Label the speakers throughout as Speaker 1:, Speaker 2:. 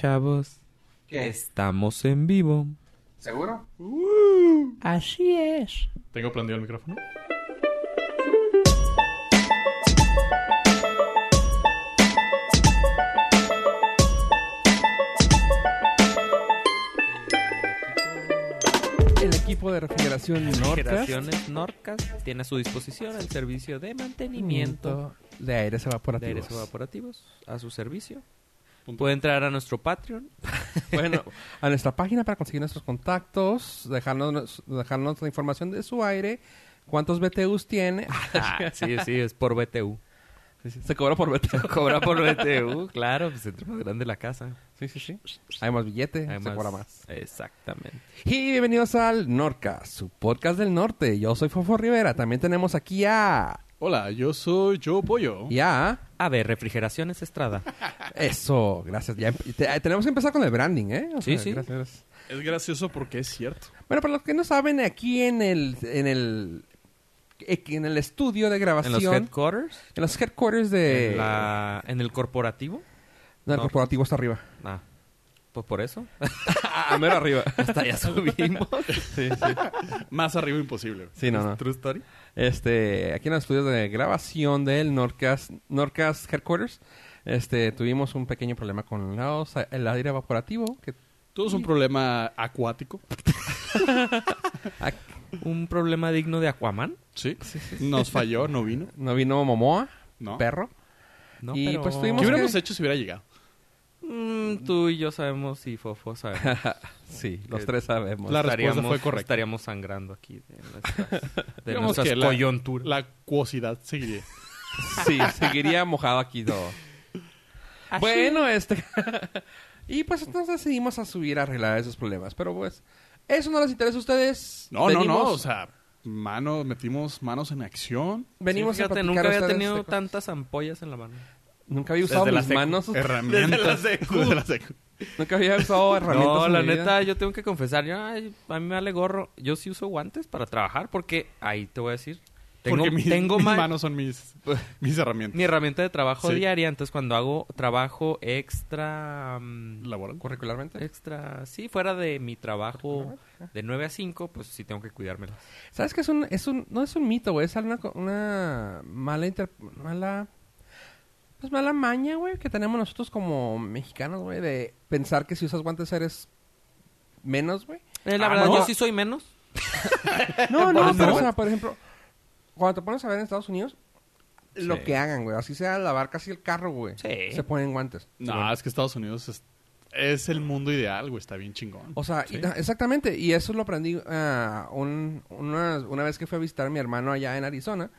Speaker 1: Pichavos.
Speaker 2: ¿Qué?
Speaker 1: Estamos en vivo.
Speaker 2: ¿Seguro?
Speaker 1: Así es.
Speaker 3: Tengo prendido el micrófono.
Speaker 4: El equipo de refrigeración Norcas
Speaker 1: Generaciones Norcas tiene a su disposición el servicio de mantenimiento
Speaker 4: Mm, de aires
Speaker 1: de
Speaker 4: evaporativos.
Speaker 1: aires evaporativos a su servicio. Puede entrar a nuestro Patreon.
Speaker 4: Bueno, a nuestra página para conseguir nuestros contactos, dejarnos, dejarnos la información de su aire, cuántos BTUs tiene.
Speaker 1: Ah, sí, sí, es por BTU.
Speaker 4: Se cobra por BTU.
Speaker 1: Cobra por BTU, claro, pues entre más grande la casa.
Speaker 4: Sí, sí, sí. Hay más billete,
Speaker 1: Además-
Speaker 4: se cobra más.
Speaker 1: Exactamente.
Speaker 4: Y bienvenidos al Norca, su podcast del norte. Yo soy Fofo Rivera. También tenemos aquí a...
Speaker 3: Hola, yo soy Yo Pollo.
Speaker 4: Y a...
Speaker 1: A ver, refrigeraciones Estrada.
Speaker 4: Eso, gracias. Ya empe- te- tenemos que empezar con el branding, ¿eh? O
Speaker 1: Sí, sí.
Speaker 4: gracias, gracias.
Speaker 3: Es gracioso porque es cierto.
Speaker 4: Bueno, para los que no saben, aquí en el, en el, e, en el estudio de
Speaker 1: En
Speaker 4: grabación,
Speaker 1: los headquarters,
Speaker 4: headquarters de
Speaker 1: en, la- en el corporativo.
Speaker 4: del
Speaker 1: no.
Speaker 4: corporativo hasta arriba.
Speaker 1: Ah, pues por eso.
Speaker 4: A Ah, mero arriba.
Speaker 1: Hasta allá subimos.
Speaker 4: sí, sí.
Speaker 3: Más arriba imposible.
Speaker 4: Sí, no, no.
Speaker 1: True story.
Speaker 4: Este, aquí en los estudios de grabación del Norcas, Norcas Headquarters, este, tuvimos un pequeño problema con la osa- el aire evaporativo. Que,
Speaker 3: Todo es un problema acuático.
Speaker 4: ah,
Speaker 1: Un problema digno de Aquaman.
Speaker 3: Sí. Nos falló, no vino.
Speaker 4: no vino Momoa,
Speaker 3: No.
Speaker 4: perro.
Speaker 1: No,
Speaker 4: Y,
Speaker 1: pero...
Speaker 4: pues, tuvimos-
Speaker 3: ¿Qué hubiéramos
Speaker 4: que-
Speaker 3: hecho si hubiera llegado?
Speaker 1: Mm, tú y yo sabemos y Fofo sabemos.
Speaker 4: Sí, los
Speaker 1: Que-
Speaker 4: tres sabemos.
Speaker 3: La respuesta fue correcta.
Speaker 1: Estaríamos sangrando aquí de nuestras, de
Speaker 3: Digamos
Speaker 1: nuestras
Speaker 3: que la-
Speaker 1: coyunturas.
Speaker 3: La acuosidad seguiría.
Speaker 4: Sí, seguiría mojado aquí todo. Bueno, este. y pues entonces decidimos a subir a arreglar esos problemas. Pero pues, eso no les interesa a ustedes.
Speaker 3: No, no,
Speaker 4: Venimos-
Speaker 3: no. O sea, mano, metimos manos en acción.
Speaker 4: Venimos
Speaker 1: Sí,
Speaker 4: a
Speaker 1: fíjate,
Speaker 4: platicar
Speaker 1: nunca
Speaker 4: a
Speaker 1: había
Speaker 4: ustedes de
Speaker 3: este
Speaker 1: tenido
Speaker 4: cosas.
Speaker 1: tantas ampollas en la mano.
Speaker 4: Nunca había usado
Speaker 3: Desde la
Speaker 4: mis
Speaker 3: secu.
Speaker 4: manos.
Speaker 3: Herramientas. Desde la secu.
Speaker 4: Nunca había usado herramientas.
Speaker 1: No,
Speaker 4: en
Speaker 1: la
Speaker 4: mi vida.
Speaker 1: neta, yo tengo que confesar, yo, ay, a mí me vale gorro. Yo sí uso guantes para trabajar porque, ahí te voy a decir, tengo,
Speaker 3: Porque mis,
Speaker 1: tengo
Speaker 3: mis
Speaker 1: ma-
Speaker 3: manos son mis, mis herramientas.
Speaker 1: mi herramienta de trabajo
Speaker 3: Sí.
Speaker 1: diaria. Entonces, cuando hago trabajo extra... mm,
Speaker 3: Laboral.
Speaker 1: eh.
Speaker 4: Curricularmente.
Speaker 1: extra, sí, fuera de mi trabajo de 9 a 5, pues sí tengo que cuidármelas.
Speaker 4: ¿Sabes qué? Es un, es un, no es un mito, güey. Es una, co- una mala, inter- mala. Pues mala maña, güey, que tenemos nosotros como mexicanos, güey, de pensar que si usas guantes eres menos, güey.
Speaker 1: Eh, la
Speaker 3: Ah,
Speaker 1: verdad,
Speaker 3: no.
Speaker 1: yo sí soy menos.
Speaker 4: No, no,
Speaker 3: Por
Speaker 4: pero,
Speaker 3: eso.
Speaker 4: o sea, por ejemplo, cuando te pones a ver en Estados Unidos, lo que hagan, güey, así sea lavar casi el carro, güey,
Speaker 1: Sí.
Speaker 4: se ponen guantes.
Speaker 3: No, es que Estados Unidos es, es el mundo ideal, güey. Está bien chingón.
Speaker 4: O sea, y- ah, exactamente, y eso lo aprendí ah, un- una, una vez que fui a visitar a mi hermano allá en Arizona,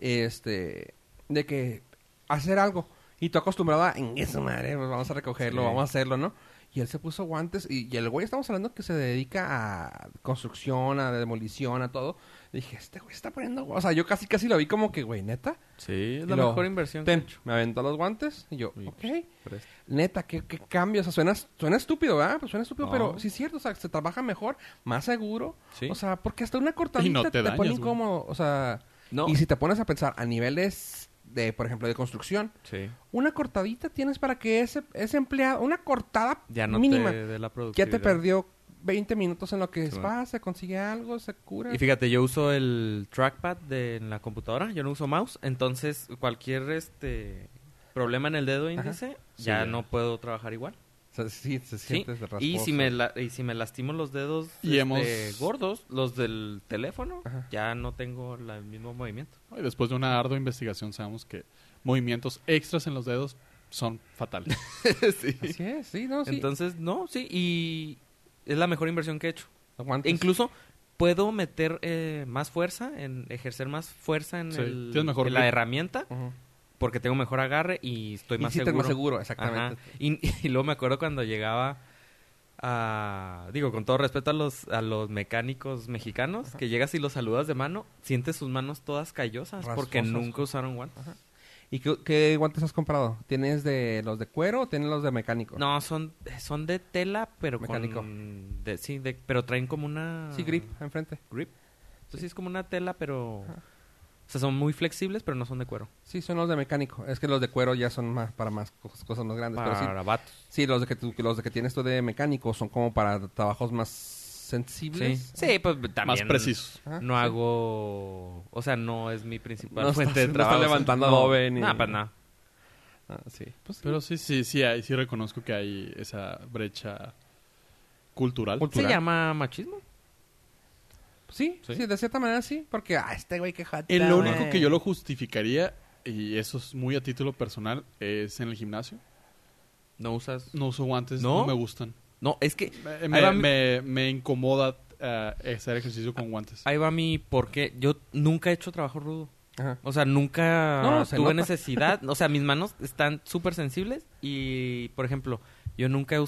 Speaker 4: este, de que hacer algo, y tú acostumbrado a, en eso, madre, pues vamos a recogerlo,
Speaker 1: Sí.
Speaker 4: vamos a hacerlo, ¿no? Y él se puso guantes, y, y el güey, estamos hablando que se dedica a construcción, a demolición, a todo. Dije, este güey está poniendo, gu-". o sea, yo casi casi lo vi como que, güey, neta.
Speaker 1: Sí, es
Speaker 4: Y
Speaker 1: la
Speaker 4: luego,
Speaker 1: mejor inversión.
Speaker 4: Tem, me aventó los guantes y yo,
Speaker 1: Uy,
Speaker 4: ok.
Speaker 1: Presta.
Speaker 4: Neta, qué, qué cambio. O sea, suena, suena estúpido, ¿verdad? Pues suena estúpido,
Speaker 1: No.
Speaker 4: pero sí es cierto. O sea, se trabaja mejor, más seguro.
Speaker 1: Sí.
Speaker 4: O sea, porque hasta una cortadita
Speaker 3: Y no te
Speaker 4: te,
Speaker 3: dañas,
Speaker 4: pone
Speaker 3: güey.
Speaker 4: incómodo. O sea,
Speaker 1: No.
Speaker 4: y si te pones a pensar a niveles de, por ejemplo, de construcción,
Speaker 1: Sí.
Speaker 4: una cortadita tienes para que ese, ese empleado, una cortada
Speaker 1: Ya no
Speaker 4: mínima,
Speaker 1: te dé la
Speaker 4: ya
Speaker 1: productividad.
Speaker 4: te perdió 20 minutos en lo que
Speaker 1: Sí,
Speaker 4: va,
Speaker 1: bueno.
Speaker 4: se consigue algo, se cura.
Speaker 1: Y fíjate, yo uso el trackpad de en la computadora, yo no uso mouse, entonces cualquier este problema en el dedo índice ya
Speaker 3: ya.
Speaker 1: no puedo trabajar igual.
Speaker 4: O sea, sí, se
Speaker 1: Sí.
Speaker 4: siente
Speaker 1: Y
Speaker 4: rasposo.
Speaker 1: si me la- y si me lastimo los dedos
Speaker 3: Y
Speaker 1: este,
Speaker 3: hemos-
Speaker 1: gordos, los del teléfono,
Speaker 4: Ajá.
Speaker 1: ya no tengo la- el mismo movimiento.
Speaker 3: Y después de una ardua investigación sabemos que movimientos extras en los dedos son fatales.
Speaker 4: Así es, sí, no, sí.
Speaker 1: Entonces, no, sí, y es la mejor inversión que he hecho.
Speaker 4: Guantes.
Speaker 1: E Incluso puedo meter eh, más fuerza, en ejercer más fuerza en,
Speaker 3: Sí,
Speaker 1: el-
Speaker 3: tienes mejor
Speaker 1: en la
Speaker 3: grip.
Speaker 1: herramienta
Speaker 4: Ujú.
Speaker 1: porque tengo mejor agarre y estoy
Speaker 4: Y
Speaker 1: más,
Speaker 4: sí estás
Speaker 1: seguro.
Speaker 4: más seguro,
Speaker 1: Ajá.
Speaker 4: exactamente.
Speaker 1: Y, y luego me acuerdo cuando llegaba a... Digo, con todo respeto a los, a los mecánicos mexicanos, que llegas y los saludas de mano, sientes sus manos todas callosas porque
Speaker 4: Rasposas.
Speaker 1: nunca usaron guantes.
Speaker 4: ¿Y qué, qué guantes has comprado? ¿Tienes de los de cuero o tienes los de mecánico?
Speaker 1: No, son, son de tela, pero
Speaker 4: Mecánico.
Speaker 1: con... de- sí, de- pero traen como una...
Speaker 4: Sí, grip, enfrente.
Speaker 1: Grip. Entonces sí es como una tela, pero O sea, son muy flexibles, pero no son de cuero.
Speaker 4: Sí, son los de mecánico. Es que los de cuero ya son más para más co- cosas más grandes. pero sí,
Speaker 1: Para vatos.
Speaker 4: sí, los de que tú- los de que tienes tú de mecánico son como para trabajos más
Speaker 1: Sí.
Speaker 4: sensibles.
Speaker 1: sí, pues también.
Speaker 3: Más precisos.
Speaker 4: Ajá,
Speaker 1: No
Speaker 4: sí.
Speaker 1: hago. O sea, no es mi principal
Speaker 4: No
Speaker 1: fuente
Speaker 4: estás-
Speaker 1: de
Speaker 4: no estás
Speaker 1: trabajo.
Speaker 4: levantando
Speaker 1: no,
Speaker 4: adobe ni-
Speaker 1: Nah, pues nada.
Speaker 4: Ah, sí. Pues sí.
Speaker 3: Pero sí, sí, sí, hay, sí reconozco que hay esa brecha cultural.
Speaker 1: ¿Se llama machismo?
Speaker 4: Sí,
Speaker 3: Sí.
Speaker 4: sí, de cierta manera sí, porque ah, este güey que jata.
Speaker 3: En lo
Speaker 4: güey.
Speaker 3: único que yo lo justificaría, y eso es muy a título personal, es en el gimnasio.
Speaker 1: No usas.
Speaker 3: No uso guantes,
Speaker 1: ¿No?
Speaker 3: no, me gustan.
Speaker 1: No, es que
Speaker 3: Me,
Speaker 1: Ahí
Speaker 3: me,
Speaker 1: va mi-
Speaker 3: me- me incomoda eh, hacer ejercicio con guantes.
Speaker 1: ahí va mi por qué. Yo nunca he hecho trabajo rudo.
Speaker 4: Ajá.
Speaker 1: O sea, nunca
Speaker 4: No, se
Speaker 1: tuve
Speaker 4: nota.
Speaker 1: necesidad. O sea, mis manos están súper sensibles. Y, por ejemplo, yo nunca he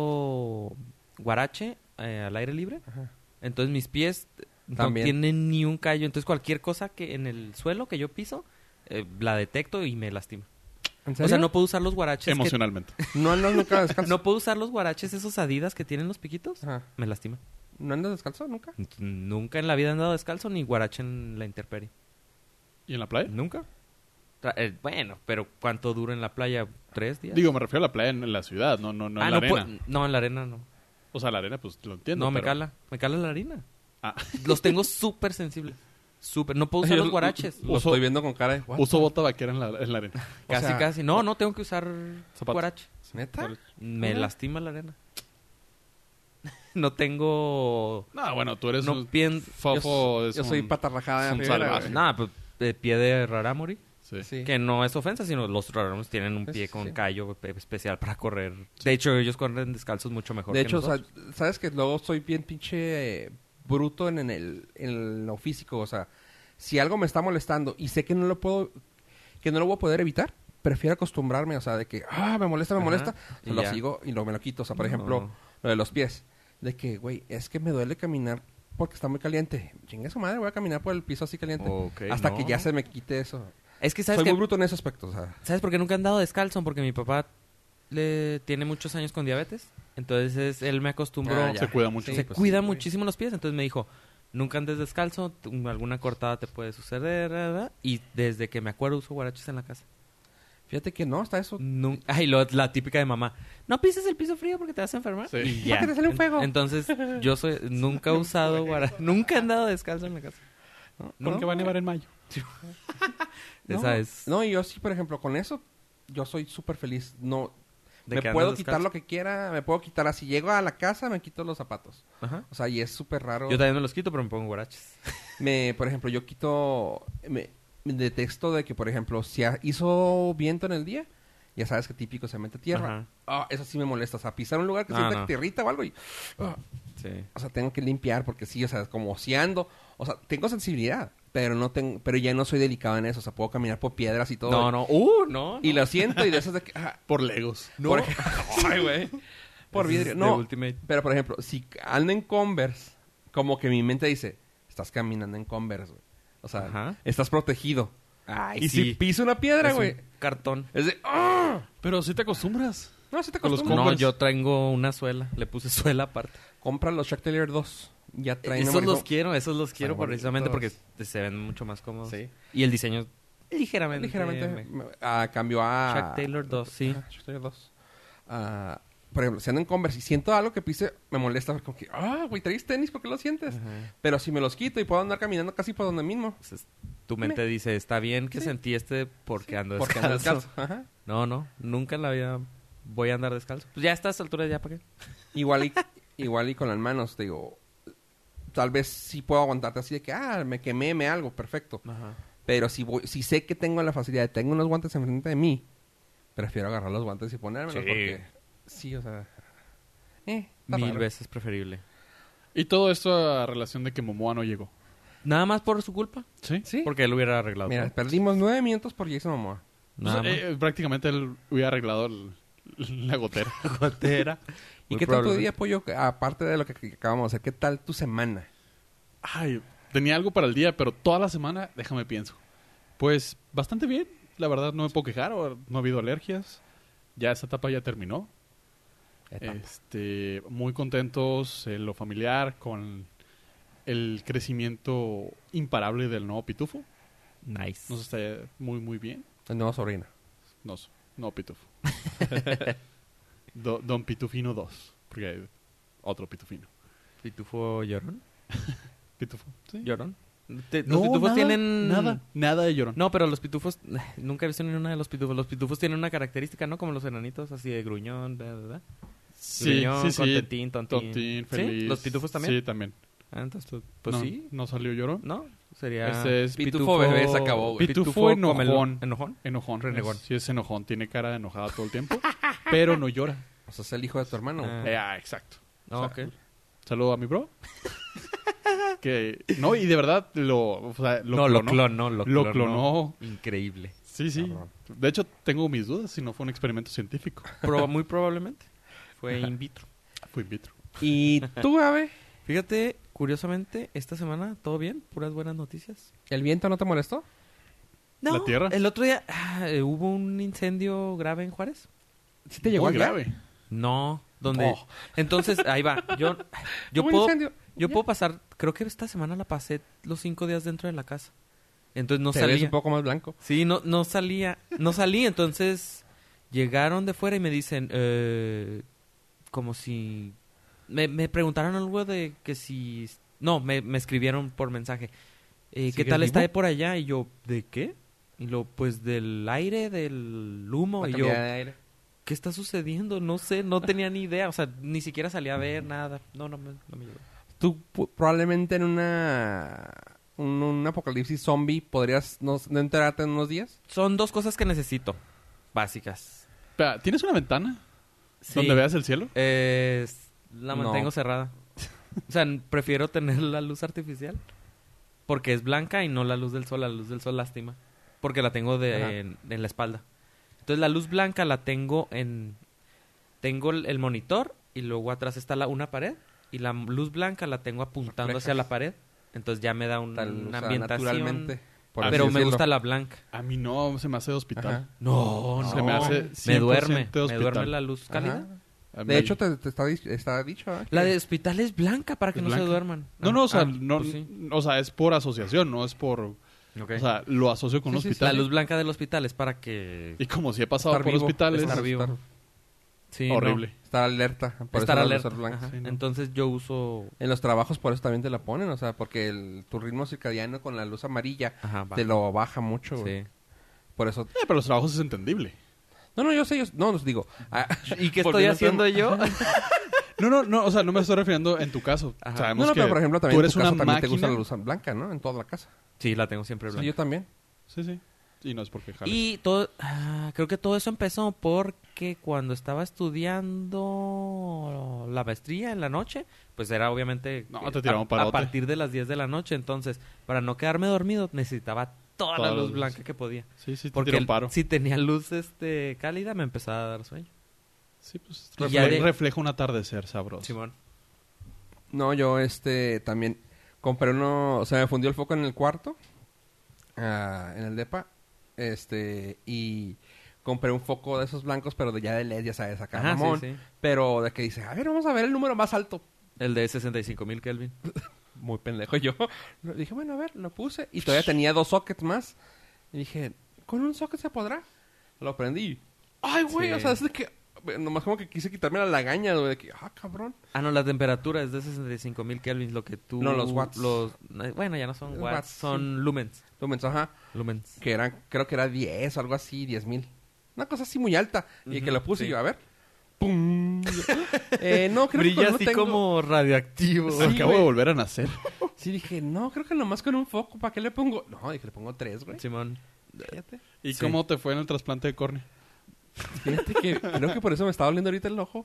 Speaker 1: usado guarache eh, al aire libre.
Speaker 4: Ajá.
Speaker 1: Entonces mis pies
Speaker 4: También.
Speaker 1: no tienen ni un callo. Entonces cualquier cosa que en el suelo que yo piso, eh, la detecto y me lastima.
Speaker 4: ¿En serio?
Speaker 1: O sea, no puedo usar los guaraches. que-
Speaker 3: Emocionalmente.
Speaker 4: no andas nunca descalzo.
Speaker 1: no puedo usar los guaraches esos adidas que tienen los piquitos.
Speaker 4: Ajá.
Speaker 1: Me lastima.
Speaker 4: ¿No andas descalzo nunca?
Speaker 1: Nunca en la vida he andado descalzo ni guarache en la intemperie.
Speaker 3: ¿Y en la playa?
Speaker 1: ¿Nunca? Tra- eh, bueno, pero ¿cuánto dura en la playa? ¿Tres días?
Speaker 3: Digo, me refiero a la playa en, en la ciudad, no, no, no
Speaker 1: Ah,
Speaker 3: en la
Speaker 1: no,
Speaker 3: arena.
Speaker 1: pu- no, en la arena no.
Speaker 3: O sea, la arena, pues lo entiendo.
Speaker 1: no, me
Speaker 3: pero-
Speaker 1: cala. Me cala la arena.
Speaker 3: Ah.
Speaker 1: Los tengo súper sensibles. Súper. No puedo usar
Speaker 4: Yo
Speaker 1: los guaraches.
Speaker 4: Lo
Speaker 3: Uso-
Speaker 4: estoy viendo con cara de "What
Speaker 3: Uso bota vaquera en la, en la arena.
Speaker 4: the-". O
Speaker 1: Casi,
Speaker 4: sea,
Speaker 1: casi. No, no, tengo que usar
Speaker 3: Zapatos.
Speaker 1: guarache.
Speaker 4: ¿Neta?
Speaker 1: Me
Speaker 4: Ajá.
Speaker 1: lastima la arena. No tengo...
Speaker 3: No, bueno, tú eres
Speaker 1: no
Speaker 3: un
Speaker 1: pienso...
Speaker 3: fofo. es
Speaker 4: Yo soy
Speaker 3: un-
Speaker 4: patarrajada.
Speaker 3: es un
Speaker 4: de Rivera,
Speaker 3: salvaje.
Speaker 4: güey.
Speaker 1: Nada, pues, de pie de rarámuri.
Speaker 3: sí.
Speaker 4: Sí.
Speaker 1: Que no es ofensa, sino los rarámuris tienen un
Speaker 4: Sí,
Speaker 1: pie
Speaker 4: sí,
Speaker 1: con
Speaker 4: sí.
Speaker 1: callo pe- especial para correr. De hecho, ellos corren descalzos mucho mejor
Speaker 4: De
Speaker 1: que
Speaker 4: hecho, o sea,
Speaker 1: nosotros.
Speaker 4: sabes que luego soy bien pinche eh, bruto en, en el, en lo físico. O sea, si algo me está molestando y sé que no lo puedo, que no lo voy a poder evitar, prefiero acostumbrarme. O sea, de que, ah, me molesta, me
Speaker 1: Ajá,
Speaker 4: molesta,
Speaker 1: y
Speaker 4: se lo
Speaker 1: ya.
Speaker 4: sigo y lo, me lo quito. O sea, por
Speaker 1: No.
Speaker 4: ejemplo, lo de los pies. De que, güey, es que me duele caminar porque está muy caliente. Chingue su madre, voy a caminar por el piso así caliente.
Speaker 1: Ok,
Speaker 4: hasta que
Speaker 1: no.
Speaker 4: ya se me quite eso.
Speaker 1: es que sabes
Speaker 4: Soy
Speaker 1: que...
Speaker 4: muy bruto en ese aspecto, o sea.
Speaker 1: ¿Sabes por qué nunca he andado descalzo? Porque mi papá le tiene muchos años con diabetes. Entonces él me acostumbró.
Speaker 4: Ah, ya.
Speaker 3: Se cuida mucho.
Speaker 4: Sí,
Speaker 1: se
Speaker 4: pues
Speaker 1: cuida
Speaker 4: sí, güey.
Speaker 1: muchísimo los pies. Entonces me dijo, nunca andes descalzo, t- alguna cortada te puede suceder. ra, ra, ra". Y desde que me acuerdo uso guaraches en la casa.
Speaker 4: Fíjate que no, está eso.
Speaker 1: Nun- Ay, lo- la típica de mamá. No pises el piso frío porque te vas a enfermar.
Speaker 3: Sí.
Speaker 1: Y ya.
Speaker 4: Porque te sale un
Speaker 1: En-
Speaker 4: fuego.
Speaker 1: Entonces yo soy, nunca he usado guaraches. Nunca he andado descalzo en la casa.
Speaker 3: Porque va a nevar en mayo.
Speaker 1: Esa es.
Speaker 4: No, y yo sí, por ejemplo, con eso, yo soy súper feliz. No,
Speaker 1: de
Speaker 4: me
Speaker 1: que
Speaker 4: puedo
Speaker 1: andas
Speaker 4: quitar
Speaker 1: descalzo.
Speaker 4: lo que quiera, me puedo quitar así. Llego a la casa, me quito los zapatos.
Speaker 1: Ajá.
Speaker 4: O sea, y es súper raro.
Speaker 1: Yo también me los quito, pero me pongo guaraches.
Speaker 4: me, por ejemplo, yo quito, me, me detesto de que, por ejemplo, si ha- hizo viento en el día, ya sabes que típico se mete tierra.
Speaker 1: Ajá.
Speaker 4: Ah, eso sí me molesta. O sea, pisar un lugar que
Speaker 1: Ah,
Speaker 4: sienta
Speaker 1: no.
Speaker 4: tierrita o algo y, ah,
Speaker 1: Sí.
Speaker 4: o sea, tengo que limpiar porque sí, o sea, como oceando. O sea, tengo sensibilidad, pero no tengo, pero ya no soy delicado en eso. O sea, puedo caminar por piedras y todo.
Speaker 1: No, no. Uh, no.
Speaker 4: Y
Speaker 1: no.
Speaker 4: lo siento y de esas de que, ah,
Speaker 3: Por legos.
Speaker 1: No.
Speaker 4: Por-
Speaker 1: Ay, güey.
Speaker 4: Por
Speaker 1: Ese es
Speaker 4: vidrio.
Speaker 1: de
Speaker 4: No,
Speaker 1: Ultimate.
Speaker 4: pero por ejemplo, si ando en Converse, como que mi mente dice, estás caminando en Converse, güey. O sea,
Speaker 1: Ajá.
Speaker 4: estás protegido.
Speaker 1: Ay,
Speaker 4: y si piso una piedra,
Speaker 1: Es un
Speaker 4: güey,
Speaker 1: cartón.
Speaker 4: es de, ¡ah!
Speaker 3: Pero si te acostumbras.
Speaker 4: No, si te
Speaker 3: Con los
Speaker 4: acostumbras.
Speaker 1: No,
Speaker 3: Converse.
Speaker 1: yo tengo una suela. Le puse suela aparte.
Speaker 4: Compra los Shark Taylor 2. Ya traen
Speaker 1: esos
Speaker 4: amarillo.
Speaker 1: los quiero, esos los quiero
Speaker 4: bonitos.
Speaker 1: precisamente porque se ven mucho más cómodos.
Speaker 4: Sí.
Speaker 1: Y el diseño ligeramente.
Speaker 4: Ligeramente
Speaker 1: me-
Speaker 4: me- ah, cambió a...
Speaker 1: Chuck Taylor 2, sí.
Speaker 4: Ajá, Chuck Taylor 2. Ah, por ejemplo, si ando en Converse y siento algo que pise, me molesta. porque Como que, ah, güey, traes tenis, ¿por qué lo sientes?
Speaker 1: Ajá.
Speaker 4: Pero si me los quito y puedo andar caminando casi por donde mismo.
Speaker 1: Entonces, pues, tu mente dice, está bien que
Speaker 4: Sí.
Speaker 1: sentí este porque ando
Speaker 4: porque
Speaker 1: descalzo.
Speaker 4: ando descalzo. Ajá.
Speaker 1: No, no, nunca en la vida voy a andar descalzo. Pues ya a estas alturas ya para qué.
Speaker 4: Igual y, igual y con las manos, te digo, tal vez sí puedo aguantarte así de que, ah, me quemé, me algo, perfecto. Pero si, voy- si sé que tengo la facilidad de tengo unos guantes enfrente de mí, prefiero agarrar los guantes y ponérmelos
Speaker 1: Sí.
Speaker 4: porque... Sí, o sea... eh, está
Speaker 1: Mil
Speaker 4: raro.
Speaker 1: veces preferible.
Speaker 3: Y todo esto a relación de que Momoa no llegó.
Speaker 1: Nada más por su culpa.
Speaker 3: Sí.
Speaker 4: Sí.
Speaker 1: Porque él hubiera arreglado.
Speaker 4: Mira,
Speaker 1: todo.
Speaker 4: perdimos nueve minutos por Jason Momoa.
Speaker 3: pues,
Speaker 1: Nada más.
Speaker 3: eh, prácticamente él hubiera arreglado el- la gotera.
Speaker 1: Gotera.
Speaker 4: ¿Y
Speaker 1: Muy
Speaker 4: qué tal tu
Speaker 1: probable.
Speaker 4: día, Pollo? Aparte de lo que, que acabamos de hacer, ¿qué tal tu semana?
Speaker 3: Ay, tenía algo para el día, pero toda la semana, déjame pienso. Pues bastante bien, la verdad no me puedo quejar, o- no ha habido alergias. Ya esa etapa ya terminó. Este, muy contentos en lo familiar con el crecimiento imparable del nuevo pitufo.
Speaker 1: Nice.
Speaker 3: Nos está muy, muy bien.
Speaker 4: No, sobrina.
Speaker 3: Nos, no, Pitufo. Do- Don Pitufino 2. Porque hay otro Pitufino.
Speaker 1: ¿Pitufo llorón?
Speaker 3: Pitufo. Sí.
Speaker 1: ¿Llorón? Te- los pitufos tienen...
Speaker 3: Nada, nada de llorón.
Speaker 1: No, pero los pitufos... Nunca he visto ninguna de los pitufos. Los pitufos tienen una característica, ¿no? Como los enanitos, así de gruñón, da, da, da.
Speaker 3: sí,
Speaker 1: Gruñón,
Speaker 3: sí, sí.
Speaker 1: contentín, tontín.
Speaker 3: Tontín,
Speaker 1: ¿Sí?
Speaker 3: feliz.
Speaker 1: ¿Los pitufos también?
Speaker 3: Sí, también.
Speaker 1: Ah, entonces, pues
Speaker 3: no,
Speaker 1: sí.
Speaker 3: No salió llorón.
Speaker 1: ¿No? Sería...
Speaker 3: Ese es
Speaker 1: pitufo,
Speaker 4: Pitufo bebé, se acabó, güey.
Speaker 1: Pitufo,
Speaker 3: Pitufo
Speaker 1: comelón.
Speaker 3: enojón.
Speaker 1: ¿Enojón?
Speaker 3: Enojón.
Speaker 1: Renegón.
Speaker 3: Es- sí, es enojón. Tiene cara de enojada todo el tiempo. pero no llora.
Speaker 4: O sea, es el hijo de tu hermano.
Speaker 1: Ah.
Speaker 4: güey.
Speaker 3: Eh, ah, exacto.
Speaker 1: No,
Speaker 3: O sea,
Speaker 1: ok.
Speaker 3: Saludo a mi bro. que no, y de verdad lo, o sea, lo
Speaker 1: no, lo
Speaker 3: clonó.
Speaker 1: clonó. Lo clonó.
Speaker 3: Lo clonó.
Speaker 1: Increíble.
Speaker 3: Sí, sí.
Speaker 4: Cabrón.
Speaker 3: De hecho, tengo mis dudas si no fue un experimento científico.
Speaker 1: Proba- muy probablemente. Fue in vitro.
Speaker 3: Fue in vitro.
Speaker 4: ¿Y tú, Ave?
Speaker 1: Fíjate, curiosamente, esta semana todo bien, puras buenas noticias.
Speaker 4: ¿El viento no te molestó?
Speaker 3: ¿La tierra?
Speaker 1: El otro día ah, eh, hubo un incendio grave en Juárez.
Speaker 4: ¿Sí te llegó
Speaker 3: Muy
Speaker 4: allá?
Speaker 3: grave.
Speaker 1: No, donde.
Speaker 3: Oh.
Speaker 1: Entonces, ahí va. Yo, yo
Speaker 4: Hubo un
Speaker 1: puedo,
Speaker 4: incendio.
Speaker 1: yo
Speaker 4: Ya.
Speaker 1: puedo pasar. Creo que esta semana la pasé los cinco días dentro de la casa. Entonces no
Speaker 4: Te ves
Speaker 1: salía.
Speaker 4: un poco más blanco.
Speaker 1: Sí, no, no salía. No salí, entonces llegaron de fuera y me dicen, eh, como si... Me, me preguntaron algo de que si... No, me, me escribieron por mensaje. eh, ¿Qué
Speaker 4: ¿Sigues
Speaker 1: tal está
Speaker 4: vivo?
Speaker 1: de por allá? Y yo, ¿de qué? Y lo, pues del aire, del humo.
Speaker 4: La
Speaker 1: Y yo,
Speaker 4: calidad de aire.
Speaker 1: ¿qué está sucediendo? No sé, no tenía ni idea. O sea, ni siquiera salí a ver nada. No, no me, no me llegó.
Speaker 4: Tú pu- probablemente en una un, un apocalipsis zombie podrías no, no enterarte en unos días.
Speaker 1: Son dos cosas que necesito, básicas.
Speaker 3: Espera, ¿Tienes una ventana
Speaker 1: Sí.
Speaker 3: donde veas el cielo?
Speaker 1: Eh, s- la
Speaker 4: No.
Speaker 1: mantengo cerrada. O sea, n- prefiero tener la luz artificial. Porque es blanca y no la luz del sol. La luz del sol lástima. Porque la tengo
Speaker 4: Ajá.
Speaker 1: de, en, en la espalda. Entonces la luz blanca la tengo en... Tengo el, el monitor y luego atrás está la, una pared. Y la m- luz blanca la tengo apuntando hacia
Speaker 4: Reflejas.
Speaker 1: la pared. Entonces ya me da un,
Speaker 4: Tal, o
Speaker 1: una
Speaker 4: sea,
Speaker 1: ambientación.
Speaker 4: naturalmente. por
Speaker 1: Ah,
Speaker 4: así
Speaker 1: pero me
Speaker 4: decirlo.
Speaker 1: gusta la blanca.
Speaker 3: A mí no, se me hace de hospital.
Speaker 4: Ajá.
Speaker 1: No,
Speaker 3: Se me hace 100%
Speaker 1: Me duerme.
Speaker 3: de
Speaker 1: Me
Speaker 3: hospital.
Speaker 1: duerme la luz cálida.
Speaker 4: Ajá.
Speaker 3: A mí-
Speaker 4: De hecho, te, te está, di- está dicho. ¿eh?
Speaker 1: La
Speaker 4: Que-
Speaker 1: de hospital es blanca para que
Speaker 3: Es
Speaker 1: no se
Speaker 3: blanca.
Speaker 1: duerman.
Speaker 3: No, no, o sea,
Speaker 1: Ah,
Speaker 3: no,
Speaker 1: pues sí.
Speaker 3: o sea, es por asociación, no es por...
Speaker 1: Ok.
Speaker 3: O sea, lo asocio con un
Speaker 4: Sí, sí, sí.
Speaker 1: la
Speaker 3: hospital.
Speaker 1: luz blanca del hospital es para que...
Speaker 3: Y como si he pasado
Speaker 4: Estar
Speaker 3: por
Speaker 4: vivo,
Speaker 3: hospitales,
Speaker 1: estar vivo. Sí, no.
Speaker 3: horrible.
Speaker 4: Estar alerta. por
Speaker 1: Estar
Speaker 4: eso la luz
Speaker 1: alerta.
Speaker 4: es blanca.
Speaker 1: Ajá.
Speaker 3: Sí, ¿no?
Speaker 1: Entonces yo uso...
Speaker 4: En los trabajos por eso también te la ponen, o sea, porque el, tu ritmo circadiano con la luz amarilla
Speaker 1: Ajá, va.
Speaker 4: te lo baja mucho, güey.
Speaker 1: Sí.
Speaker 4: Por eso...
Speaker 3: Eh, pero los trabajos es entendible.
Speaker 4: No, no, yo sé, yo... No, os digo... ah,
Speaker 1: ¿Y qué estoy
Speaker 4: volviendo al
Speaker 1: haciendo
Speaker 4: tema-
Speaker 1: yo?
Speaker 3: No, no, no, o sea, no me estoy refiriendo en tu caso.
Speaker 1: Ajá.
Speaker 4: No,
Speaker 3: Sabemos
Speaker 4: no,
Speaker 3: que
Speaker 4: pero por ejemplo también
Speaker 3: tú
Speaker 4: en
Speaker 3: eres
Speaker 4: tu
Speaker 3: una
Speaker 4: casa también te gusta
Speaker 3: máquina.
Speaker 4: la luz blanca, ¿no? En toda la casa.
Speaker 1: sí, la tengo siempre
Speaker 4: Sí, yo
Speaker 1: blanca.
Speaker 4: también.
Speaker 3: Sí, sí. Y no es porque jales.
Speaker 1: y todo... ah, creo que todo eso empezó porque cuando estaba estudiando la maestría en la noche, pues era obviamente...
Speaker 3: No,
Speaker 1: que
Speaker 3: te tiraron
Speaker 1: a- a,
Speaker 3: parote.
Speaker 1: partir de las 10 de la noche. Entonces, para no quedarme dormido, necesitaba toda,
Speaker 3: Toda
Speaker 1: la
Speaker 3: la
Speaker 1: luz
Speaker 3: luz.
Speaker 1: blanca que podía.
Speaker 3: Sí, sí, te
Speaker 1: Porque
Speaker 3: tiró un
Speaker 1: el-
Speaker 3: paro. Sí,
Speaker 1: si tenía luz este cálida, me empezaba a dar sueño.
Speaker 3: pues
Speaker 1: Y ya
Speaker 3: refle-
Speaker 1: de-
Speaker 3: refleja un atardecer sabroso.
Speaker 1: Simón.
Speaker 4: No, yo este también compré uno, o sea, me fundió el foco en el cuarto, ah, en el depa, este, y compré un foco de esos blancos, pero de ya de LED, ya sabes, acá,
Speaker 1: Ajá, sí,
Speaker 4: mamón,
Speaker 1: sí.
Speaker 4: pero de que dice, a ver, vamos a ver el número más alto.
Speaker 1: El de 65 mil Kelvin.
Speaker 4: Muy pendejo yo. Dije, bueno, a ver, lo puse, y todavía tenía dos sockets más, y dije, ¿con un socket se podrá? Lo prendí, ay, güey,
Speaker 1: Sí.
Speaker 4: o sea, es de que, eh, nomás como que quise quitarme la lagaña, güey, de que, ah, cabrón.
Speaker 1: Ah, no, la temperatura es de 65 mil Kelvin, lo que tú...
Speaker 4: No, los watts.
Speaker 1: los- eh, bueno, ya no son
Speaker 4: Los
Speaker 1: watts,
Speaker 4: watts,
Speaker 1: son lumens.
Speaker 4: Lo mensaja.
Speaker 1: Lumens.
Speaker 4: que eran, creo que era 10 o algo así, 10 mil. Una cosa así muy alta. Y que lo puse
Speaker 1: sí.
Speaker 4: y yo, a ver. ¡Pum! Eh, no, creo que
Speaker 1: Brilla
Speaker 4: con uno
Speaker 1: así
Speaker 4: tengo-
Speaker 1: como radioactivo.
Speaker 4: Sí,
Speaker 3: Acabo
Speaker 4: güey.
Speaker 3: de volver a nacer.
Speaker 4: Sí, dije, no, creo que nomás con un foco. ¿Para qué le pongo? No, dije, le pongo 3, güey.
Speaker 1: Simón.
Speaker 4: Fíjate.
Speaker 3: ¿Y
Speaker 1: Sí.
Speaker 3: cómo te fue en el trasplante de córnea?
Speaker 4: Fíjate que creo que por eso me está doliendo ahorita el ojo.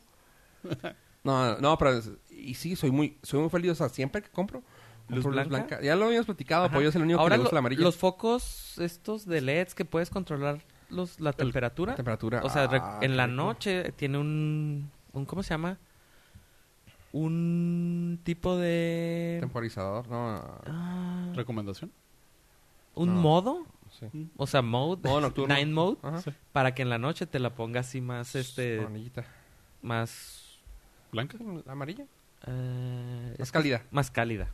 Speaker 4: No, no, pero... es- Y sí, soy muy, soy muy feliz. O sea, siempre que compro...
Speaker 1: ¿Luz
Speaker 4: compro
Speaker 1: blanca?
Speaker 4: Ya lo habíamos platicado,
Speaker 1: Ajá.
Speaker 4: pues yo soy el único
Speaker 1: Ahora
Speaker 4: que le gusta
Speaker 1: lo-
Speaker 4: la amarilla.
Speaker 1: los focos estos de LEDs que puedes controlar los, la temperatura.
Speaker 4: temperatura.
Speaker 1: O sea, re-
Speaker 4: Ah,
Speaker 1: en la
Speaker 4: qué rico.
Speaker 1: noche tiene un, un... ¿Cómo se llama? Un tipo de...
Speaker 4: Temporizador, no.
Speaker 1: ah,
Speaker 3: ¿Recomendación?
Speaker 1: un
Speaker 4: No.
Speaker 1: modo.
Speaker 4: Sí.
Speaker 1: O sea, mode.
Speaker 4: Modo nocturno. Ah.
Speaker 1: Night mode.
Speaker 4: Ajá.
Speaker 3: Sí.
Speaker 1: Para que en la noche te la ponga así más, este,
Speaker 4: Con anillita.
Speaker 1: más,
Speaker 3: ¿Blanca?
Speaker 4: ¿La amarilla?
Speaker 1: eh,
Speaker 4: Más cálida.
Speaker 1: más cálida.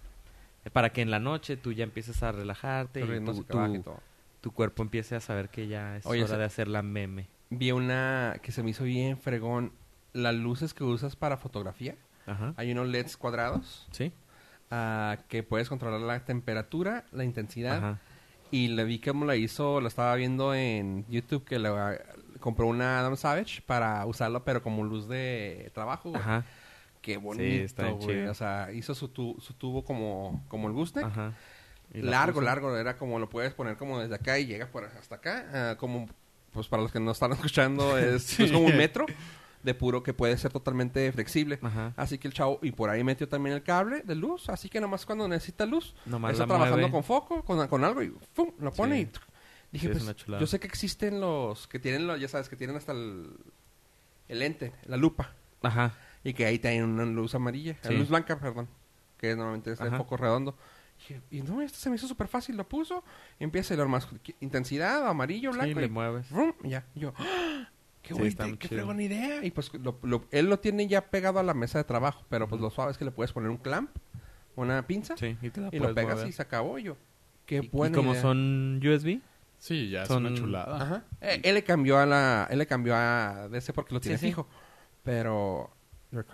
Speaker 1: Eh, Para que en la noche tú ya empieces a relajarte
Speaker 4: El
Speaker 1: y
Speaker 4: ritmo
Speaker 1: tu,
Speaker 4: se baja y
Speaker 1: tu-
Speaker 4: todo.
Speaker 1: tu cuerpo empiece a saber que ya es
Speaker 4: Oye,
Speaker 1: hora
Speaker 4: ese-
Speaker 1: de hacer la meme.
Speaker 4: Vi una que se me hizo bien fregón. Las luces que usas para fotografía.
Speaker 1: Ajá.
Speaker 4: Hay unos LEDs cuadrados
Speaker 1: ¿Sí?
Speaker 4: ah, que puedes controlar la temperatura, la intensidad.
Speaker 1: Ajá.
Speaker 4: Y le vi cómo la hizo, lo estaba viendo en YouTube que la, compró una Adam Savage para usarlo, pero como luz de trabajo. güey.
Speaker 1: Ajá.
Speaker 4: Qué
Speaker 1: Sí, está
Speaker 4: bonito,
Speaker 1: bien
Speaker 4: güey.
Speaker 1: chido.
Speaker 4: O sea, hizo su, tu- su tubo como, como el Gooseneck.
Speaker 1: Ajá. Y la
Speaker 4: Largo,
Speaker 1: puso.
Speaker 4: largo. Era como lo puedes poner como desde acá y llega por hasta acá. ah, como, pues para los que no están escuchando, es,
Speaker 3: Sí.
Speaker 4: es como un metro de puro que puede ser totalmente flexible.
Speaker 1: Ajá.
Speaker 4: Así que el chavo, y por ahí metió también el cable de luz. Así que nomás cuando necesita luz,
Speaker 1: Nomás
Speaker 4: está
Speaker 1: la
Speaker 4: trabajando
Speaker 1: mueve.
Speaker 4: con foco, con, con algo y ¡fum! lo pone
Speaker 1: Sí.
Speaker 4: y tuc. Dije,
Speaker 1: es
Speaker 4: pues,
Speaker 1: una chulada.
Speaker 4: yo sé que existen los que tienen, los, ya sabes, que tienen hasta el, el lente, la lupa.
Speaker 1: Ajá.
Speaker 4: Y que ahí tienen una luz amarilla, eh,
Speaker 1: Sí.
Speaker 4: luz blanca, perdón, que normalmente es el
Speaker 1: Ajá.
Speaker 4: foco redondo. Dije, Y no, esto se me hizo súper fácil, lo puso, y empieza el más intensidad, amarillo,
Speaker 1: Sí,
Speaker 4: blanco,
Speaker 1: le
Speaker 4: y
Speaker 1: mueves.
Speaker 4: ¡vrum! y ya. Y yo, ¡ah! ¡qué
Speaker 1: Sí,
Speaker 4: buena
Speaker 1: está muy
Speaker 4: qué
Speaker 1: chido.
Speaker 4: fregona idea! Y pues lo- lo- él lo tiene ya pegado a la mesa de trabajo, pero pues lo suave es que le puedes poner un clamp, una pinza,
Speaker 1: Sí, y te la
Speaker 4: y lo
Speaker 1: puedes
Speaker 4: pegas
Speaker 1: mover.
Speaker 4: y se acabó y yo. ¡Qué
Speaker 1: Y- y
Speaker 4: buena
Speaker 1: como
Speaker 4: idea!
Speaker 1: son USB,
Speaker 3: Sí, ya
Speaker 1: Son-
Speaker 3: es una chulada.
Speaker 4: Ajá. Eh, él le cambió a la... Él le cambió a DC porque lo tiene
Speaker 1: sí.
Speaker 4: fijo. Pero...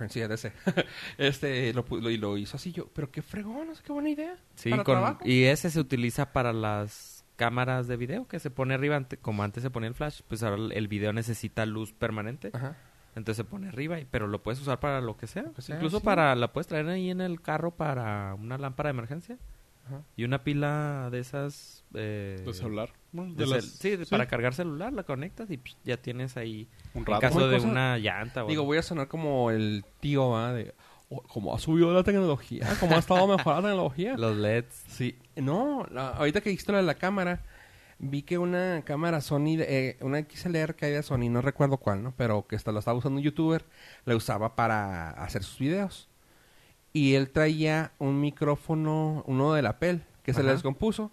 Speaker 4: Sí, a DC. este, lo, pu- lo, y lo hizo así yo. Pero qué fregón, no sé qué buena idea.
Speaker 1: sí,
Speaker 4: Para
Speaker 1: con-
Speaker 4: trabajo.
Speaker 1: y ese se utiliza para las cámaras de video que se pone arriba, ante- como antes se ponía el flash, pues ahora el- el video necesita luz permanente,
Speaker 4: Ajá.
Speaker 1: entonces se pone arriba, y- pero lo puedes usar para lo que sea,
Speaker 4: que sea,
Speaker 1: incluso
Speaker 4: Pues sí.
Speaker 1: para, la puedes traer ahí en el carro para una lámpara de emergencia
Speaker 4: Ajá.
Speaker 1: y una pila de esas... eh,
Speaker 3: De celular. Bueno,
Speaker 1: de
Speaker 3: de las-
Speaker 1: cel- sí, de- para cargar celular, la conectas y psh, ya tienes ahí,
Speaker 3: un
Speaker 1: en
Speaker 3: rato.
Speaker 1: caso
Speaker 4: Una
Speaker 1: de
Speaker 4: cosa-
Speaker 1: una llanta o
Speaker 4: Digo,
Speaker 1: algo.
Speaker 4: voy a sonar como el tío, ¿verdad? De, "Oh, como ha subido la tecnología. Como ha estado mejorando la tecnología.
Speaker 1: los LEDs.
Speaker 4: Sí. No, la- ahorita que dijiste lo de la cámara... Vi que una cámara Sony, de- eh, una XLR que hay de Sony, no recuerdo cuál, ¿no? Pero que esta, la estaba usando un youtuber, la usaba para hacer sus videos. Y él traía un micrófono, uno de la PEL, que se le
Speaker 1: Ajá.
Speaker 4: descompuso.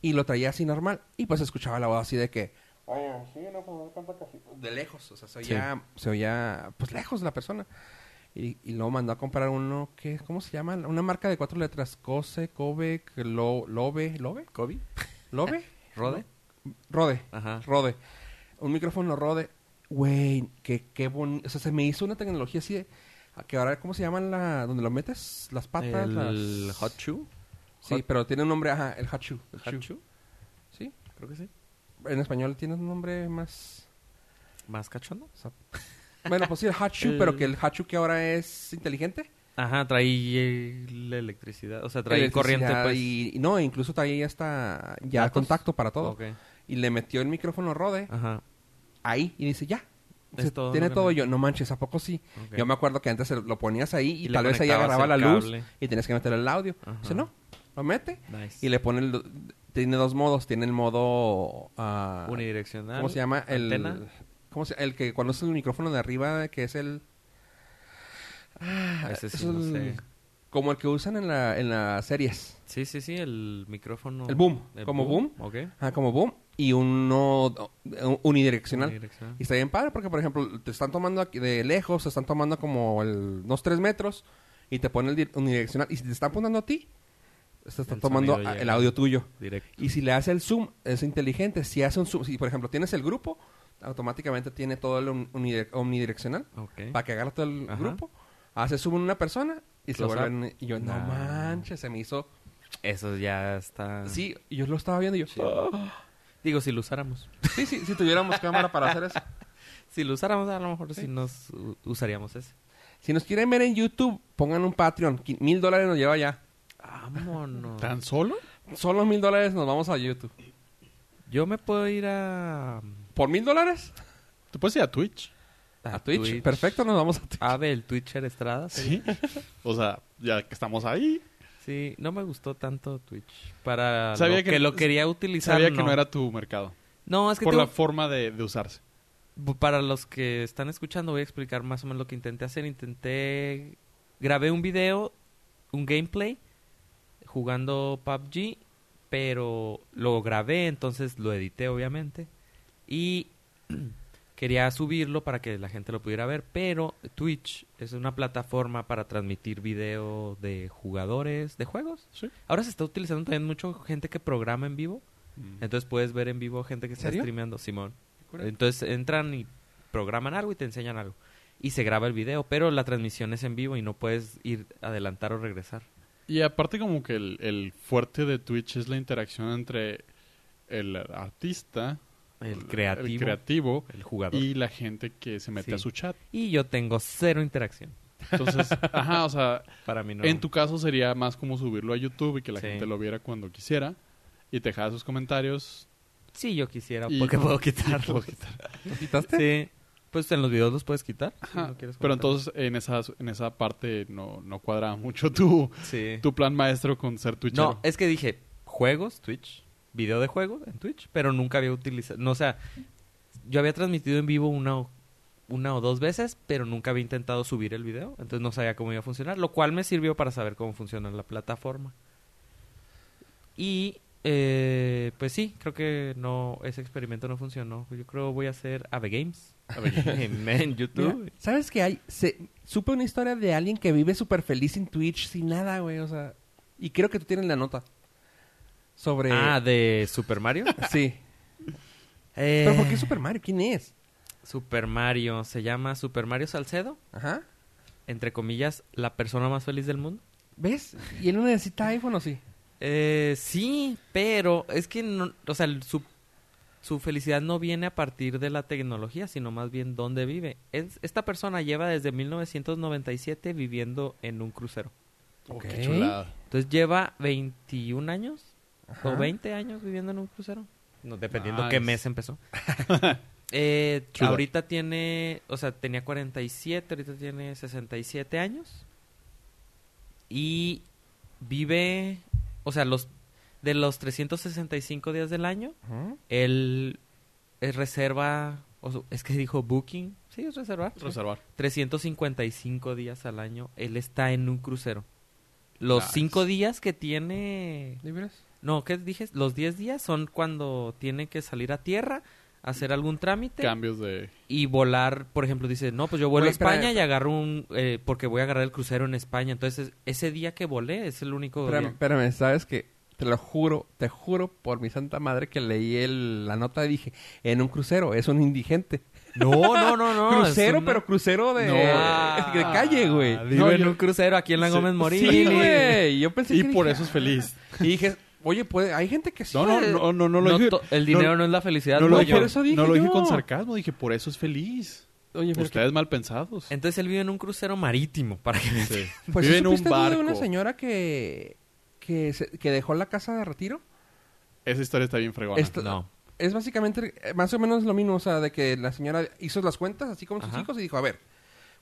Speaker 4: Y lo traía así normal. Y pues escuchaba la voz así de que... "Oye, sí, no, pues, no canta casi". De lejos, o sea, se oía, se oía, pues lejos la persona. Y, y luego mandó a comprar uno que, ¿cómo se llama? Una marca de cuatro letras. Cose, Kobe, Lo- Lobe, Lobe,
Speaker 1: ¿Kobe?
Speaker 4: Lobe,
Speaker 1: Ah, ¿Rode? Ah.
Speaker 4: Rode.
Speaker 1: Ajá.
Speaker 4: Rode. Un micrófono Rode. Güey, qué, qué bonito. O sea, se me hizo una tecnología así de... a Que ahora, ¿cómo se llaman la... donde lo metes? Las patas,
Speaker 1: el
Speaker 4: las-
Speaker 1: Hot Shoe.
Speaker 4: Sí,
Speaker 1: hot-
Speaker 4: pero tiene un nombre, ajá, el hot shoe. el shoe.
Speaker 1: shoe?
Speaker 4: Sí.
Speaker 1: Creo que sí.
Speaker 4: En español tiene un nombre más...
Speaker 1: ¿Más cachondo?
Speaker 4: Bueno, pues sí, el hot shoe,
Speaker 1: El-
Speaker 4: pero que el hot shoe que ahora es inteligente.
Speaker 1: Ajá, trae eh, la electricidad. O sea, trae
Speaker 4: Electricidad
Speaker 1: corriente, pues.
Speaker 4: Y, y no, incluso traía hasta ya
Speaker 1: Datos.
Speaker 4: contacto para todo.
Speaker 1: Ok.
Speaker 4: Y le metió el micrófono Rode
Speaker 1: Ajá.
Speaker 4: ahí y dice, ya.
Speaker 1: Es
Speaker 4: Se-
Speaker 1: todo
Speaker 4: tiene
Speaker 1: lo que
Speaker 4: todo
Speaker 1: me-
Speaker 4: yo. No manches, ¿a poco sí?
Speaker 1: Ok.
Speaker 4: Yo me acuerdo que antes se lo ponías ahí y,
Speaker 1: Y le
Speaker 4: tal vez ahí
Speaker 1: conectabas
Speaker 4: agarraba la
Speaker 1: el
Speaker 4: luz
Speaker 1: cable.
Speaker 4: y tenías que meter el audio.
Speaker 1: Ajá.
Speaker 4: Dice, no, lo mete
Speaker 1: Nice.
Speaker 4: y le pone el- Tiene dos modos. Tiene el modo... ah,
Speaker 1: Unidireccional.
Speaker 4: ¿Cómo se llama? El,
Speaker 1: Antena.
Speaker 4: ¿Cómo se El que cuando es el micrófono de arriba, que es el... Ah,
Speaker 1: Ese sí,
Speaker 4: es
Speaker 1: no
Speaker 4: el-
Speaker 1: sé.
Speaker 4: Como el que usan en, la, en las series.
Speaker 1: Sí, sí, sí, el micrófono.
Speaker 4: El boom, como
Speaker 1: Ok.
Speaker 4: Ah, como boom. Y uno eh, unidireccional.
Speaker 1: Unidireccional.
Speaker 4: Y está bien padre porque, por ejemplo, te están tomando aquí de lejos, te están tomando como el, unos tres metros y te ponen el di- unidireccional. Y si te están apuntando a ti, te están
Speaker 1: El
Speaker 4: tomando
Speaker 1: sonido
Speaker 4: a-
Speaker 1: llega.
Speaker 4: el audio tuyo.
Speaker 1: Directo.
Speaker 4: Y si le hace el zoom, es inteligente. Si hace un zoom, si por ejemplo tienes el grupo, automáticamente tiene todo el un- unidire- omnidireccional
Speaker 1: Ok.
Speaker 4: para que agarre todo el
Speaker 1: Ajá.
Speaker 4: grupo. Hace zoom en una persona y se
Speaker 1: Close up.
Speaker 4: vuelven. Y yo, no
Speaker 1: Nah. Ah.
Speaker 4: manches, se me hizo.
Speaker 1: Eso ya está.
Speaker 4: Sí, y yo lo estaba viendo y yo. "Ah".
Speaker 1: Digo, si lo usáramos.
Speaker 4: Sí, sí, si tuviéramos cámara para hacer eso.
Speaker 1: Si lo usáramos, a lo mejor sí, nos u- usaríamos ese.
Speaker 4: Si nos quieren ver en YouTube, pongan un Patreon. Qui- Mil dólares nos lleva ya.
Speaker 1: Vámonos.
Speaker 3: ¿Tan solo?
Speaker 4: Solo mil dólares nos vamos a YouTube.
Speaker 1: Yo me puedo ir a.
Speaker 4: ¿Por mil dólares?
Speaker 3: ¿Te puedes ir a Twitch?
Speaker 4: A, Twitch. Perfecto, nos vamos a Twitch.
Speaker 1: Abel, Ah, Twitcher Estrada. sería.
Speaker 3: Sí. o sea, ya que estamos ahí,
Speaker 1: Sí, no me gustó tanto Twitch. Para
Speaker 3: Sabía
Speaker 1: lo que,
Speaker 3: que-
Speaker 1: lo quería utilizar.
Speaker 3: sabía que no era tu mercado.
Speaker 1: No, es que
Speaker 3: por
Speaker 1: tengo-
Speaker 3: la forma de, de usarse.
Speaker 1: bu- para los que están escuchando voy a explicar más o menos lo que intenté hacer. Intenté grabé un video, un gameplay jugando PUBG, pero lo grabé, entonces lo edité obviamente y quería subirlo para que la gente lo pudiera ver, pero Twitch es una plataforma para transmitir video de jugadores de juegos.
Speaker 3: Sí.
Speaker 1: Ahora se está utilizando también mucho gente que programa en vivo.
Speaker 3: Mm.
Speaker 1: Entonces puedes ver en vivo gente que está
Speaker 4: ¿Serio?
Speaker 1: streameando, Simón.
Speaker 4: cura.
Speaker 1: Entonces entran y programan algo y te enseñan algo. Y se graba el video, pero la transmisión es en vivo y no puedes ir adelantar o regresar.
Speaker 3: Y aparte como que el, el fuerte de Twitch es la interacción entre el artista,
Speaker 1: El creativo, el,
Speaker 3: el creativo
Speaker 1: jugador. Y...
Speaker 3: y la gente que se mete
Speaker 1: Sí.
Speaker 3: a su chat.
Speaker 1: yo tengo cero interacción.
Speaker 3: Entonces, ajá, o sea,
Speaker 1: Para mí no.
Speaker 3: en tu caso sería más como subirlo a YouTube y que la
Speaker 1: Sí.
Speaker 3: gente lo viera cuando quisiera y te dejaba sus comentarios.
Speaker 1: Sí, yo quisiera,
Speaker 3: Y-
Speaker 1: porque puedo
Speaker 3: puedo
Speaker 1: quitarlo.
Speaker 3: quitar.
Speaker 4: ¿Lo quitaste?
Speaker 1: Sí. Pues en los videos los puedes quitar. si
Speaker 3: Ajá,
Speaker 1: no quieres
Speaker 3: Pero
Speaker 1: comentar.
Speaker 3: entonces en esa, en esa parte no, no cuadraba mucho tu,
Speaker 1: Sí.
Speaker 3: tu plan maestro con ser Twitchero.
Speaker 1: No, eh, es que dije, juegos, Twitch, video de juegos en Twitch, pero nunca había utilizado, no, o sea, yo había transmitido en vivo una o, una o dos veces, pero nunca había intentado subir el video, entonces no sabía cómo iba a funcionar, lo cual me sirvió para saber cómo funciona la plataforma. Y, eh, pues sí, creo que no, ese experimento no funcionó, yo creo voy a hacer Ave Games en, en
Speaker 4: Mira,
Speaker 1: YouTube.
Speaker 4: ¿Sabes que hay? Se, supe una historia de alguien que vive súper feliz sin Twitch, sin nada, güey. O sea, y creo que tú tienes la nota. Sobre.
Speaker 1: Ah, de Super Mario.
Speaker 4: Sí.
Speaker 1: Eh,
Speaker 4: ¿Pero por qué Super Mario? ¿Quién es?
Speaker 1: Super Mario? Se llama Super Mario Salcedo.
Speaker 4: Ajá.
Speaker 1: entre comillas, la persona más feliz del mundo?
Speaker 4: ¿Ves? ¿Y él no necesita iPhone o sí?
Speaker 1: Eh, sí, pero es que, no, o sea, el- su, su felicidad no viene a partir de la tecnología, sino más bien dónde vive. Es- esta persona lleva desde 1997 viviendo en un crucero.
Speaker 3: Oh, qué
Speaker 4: Ok.
Speaker 3: chulada.
Speaker 1: Entonces lleva 21 años
Speaker 4: Ajá.
Speaker 1: o 20 años viviendo en un crucero. No, dependiendo
Speaker 3: Nice.
Speaker 1: qué mes empezó. Eh,
Speaker 3: Chulo.
Speaker 1: ahorita tiene, o sea, tenía 47, ahorita tiene 67 años. Y vive, o sea, los de los 365 días del año,
Speaker 4: Ajá.
Speaker 1: él, eh, reserva, o su- es que dijo booking, sí, es reservar.
Speaker 3: Reservar.
Speaker 1: 355 días al año, él está en un crucero. Los
Speaker 3: Nice.
Speaker 1: cinco días que tiene...
Speaker 4: ¿Libres?
Speaker 1: No, ¿qué dije? Los 10 días son cuando tiene que salir a tierra, hacer algún trámite
Speaker 3: Cambios de...
Speaker 1: y volar. Por ejemplo, dice, no, pues yo vuelo
Speaker 4: Güey,
Speaker 1: a España
Speaker 4: espérame.
Speaker 1: y agarro un... eh, porque voy a agarrar el crucero en España. Entonces, ese día que volé es el único...
Speaker 4: Espérame,
Speaker 1: día.
Speaker 4: espérame, ¿sabes que Te lo juro, te juro por mi santa madre que leí el- la nota y dije, en un crucero, es un indigente.
Speaker 1: No, no, no, no. es
Speaker 4: crucero,
Speaker 1: una-
Speaker 4: pero crucero de,
Speaker 3: No.
Speaker 4: de calle, güey.
Speaker 3: Ah,
Speaker 1: Vive
Speaker 3: No,
Speaker 1: en
Speaker 3: yo-
Speaker 1: un crucero aquí en la
Speaker 3: Sí,
Speaker 1: Gómez Morín.
Speaker 4: Sí,
Speaker 1: y-
Speaker 4: güey. Yo pensé
Speaker 3: Y
Speaker 4: que
Speaker 3: por
Speaker 4: dije,
Speaker 3: eso es feliz.
Speaker 4: Y dije, oye, puede, hay gente que sí.
Speaker 3: No, no,
Speaker 4: güey.
Speaker 3: no, no, no lo dije.
Speaker 1: to- El
Speaker 3: no-
Speaker 1: dinero no, es la felicidad.
Speaker 3: No lo,
Speaker 1: güey.
Speaker 3: dije,
Speaker 4: por eso dije
Speaker 3: no lo dije
Speaker 4: yo.
Speaker 3: con sarcasmo, dije por eso es feliz.
Speaker 4: Oye, pero
Speaker 3: Ustedes mal pensados.
Speaker 1: Entonces, él vive en un crucero marítimo, para que me
Speaker 3: Sí.
Speaker 4: que- pues, ¿sí
Speaker 3: Vive en un
Speaker 4: supiste tú de
Speaker 3: barco.
Speaker 4: una señora que que, se- que dejó la casa de retiro?
Speaker 3: Esa historia está bien fregona.
Speaker 4: Esta-
Speaker 1: No.
Speaker 4: Es básicamente eh, más o menos lo mismo, o sea, de que la señora hizo las cuentas así como sus
Speaker 1: Ajá.
Speaker 4: hijos y dijo, a ver,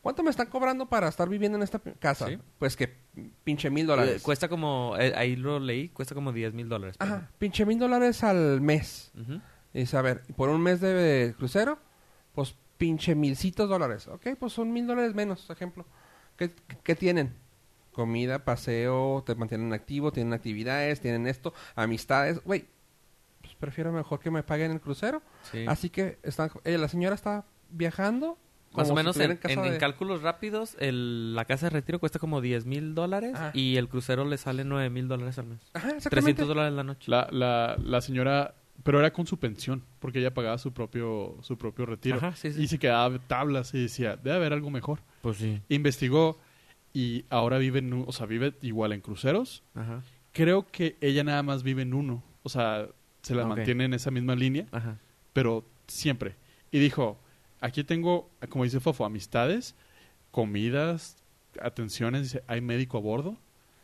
Speaker 4: ¿cuánto me están cobrando para estar viviendo en esta p- casa?
Speaker 1: Sí.
Speaker 4: Pues que pinche mil
Speaker 1: Eh,
Speaker 4: dólares.
Speaker 1: Cuesta como... eh, ahí lo leí. Cuesta como 10 mil dólares. por
Speaker 4: Ajá, pinche mil dólares al mes.
Speaker 1: ejemplo. Ujú.
Speaker 4: Y dice, a ver, por un mes de crucero, pues pinche milcitos dólares. Ok, pues son mil dólares menos, por ejemplo. ¿Qué, qué tienen? Comida, paseo, te mantienen activo, tienen actividades, tienen esto, amistades. Güey, pues prefiero mejor que me paguen el crucero.
Speaker 1: Sí.
Speaker 4: Así que están, eh, la señora está viajando.
Speaker 1: Más
Speaker 4: como
Speaker 1: o
Speaker 4: si
Speaker 1: menos
Speaker 4: estuviera
Speaker 1: en, en-
Speaker 4: casa
Speaker 1: en
Speaker 4: de-
Speaker 1: cálculos rápidos, el- la casa de retiro cuesta como 10 mil dólares
Speaker 4: Ajá.
Speaker 1: y el crucero le sale 9 mil dólares al mes.
Speaker 4: Ajá, Ah. exactamente.
Speaker 1: 300 dólares la noche.
Speaker 3: La, la, la señora, pero era con su pensión, porque ella pagaba su propio, su propio retiro.
Speaker 1: Ajá, sí, sí.
Speaker 3: Y se quedaba tablas y decía, debe haber algo mejor.
Speaker 1: Pues sí.
Speaker 3: Investigó y ahora vive, en, un- o sea, vive igual en cruceros.
Speaker 1: Ajá.
Speaker 3: Creo que ella nada más vive en uno. O sea, se la
Speaker 1: Ok.
Speaker 3: mantiene en esa misma línea,
Speaker 1: Ajá.
Speaker 3: pero siempre. Y dijo, aquí tengo, como dice Fofo, amistades, comidas, atenciones. Dice, hay médico a bordo.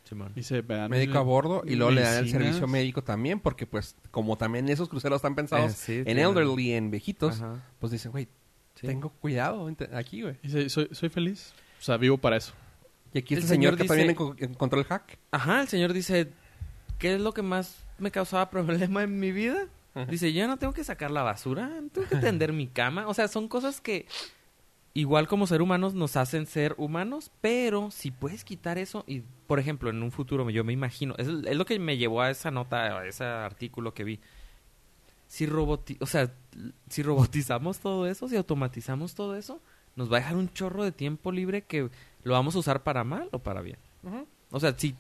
Speaker 1: Simón.
Speaker 3: Dice, me dan
Speaker 4: Médico a bordo y luego le dan el
Speaker 3: medicinas.
Speaker 4: servicio médico también, porque pues como también esos cruceros están
Speaker 1: Eh,
Speaker 4: pensados
Speaker 1: sí,
Speaker 4: en
Speaker 1: tienen-
Speaker 4: elderly, en viejitos,
Speaker 1: Ajá.
Speaker 4: pues dicen, güey,
Speaker 1: Sí.
Speaker 4: tengo cuidado ente- aquí, güey.
Speaker 3: Dice, soy, soy feliz. O sea, vivo para eso.
Speaker 4: Y aquí
Speaker 1: El
Speaker 4: este señor,
Speaker 1: señor
Speaker 4: que
Speaker 1: dice-
Speaker 4: también enco- encontró el hack.
Speaker 1: Ajá, el señor dice, ¿qué es lo que más me causaba problema en mi vida? Dice, yo no tengo que sacar la basura, no tengo que tender mi cama. O sea, son cosas que igual como ser humanos nos hacen ser humanos, pero si puedes quitar eso y, por ejemplo, en un futuro, yo me imagino, es, es lo que me llevó a esa nota, a ese artículo que vi. Si, roboti o sea, si robotizamos todo eso, si automatizamos todo eso, nos va a dejar un chorro de tiempo libre que lo vamos a usar para mal o para bien.
Speaker 4: Ujú.
Speaker 1: O sea, si,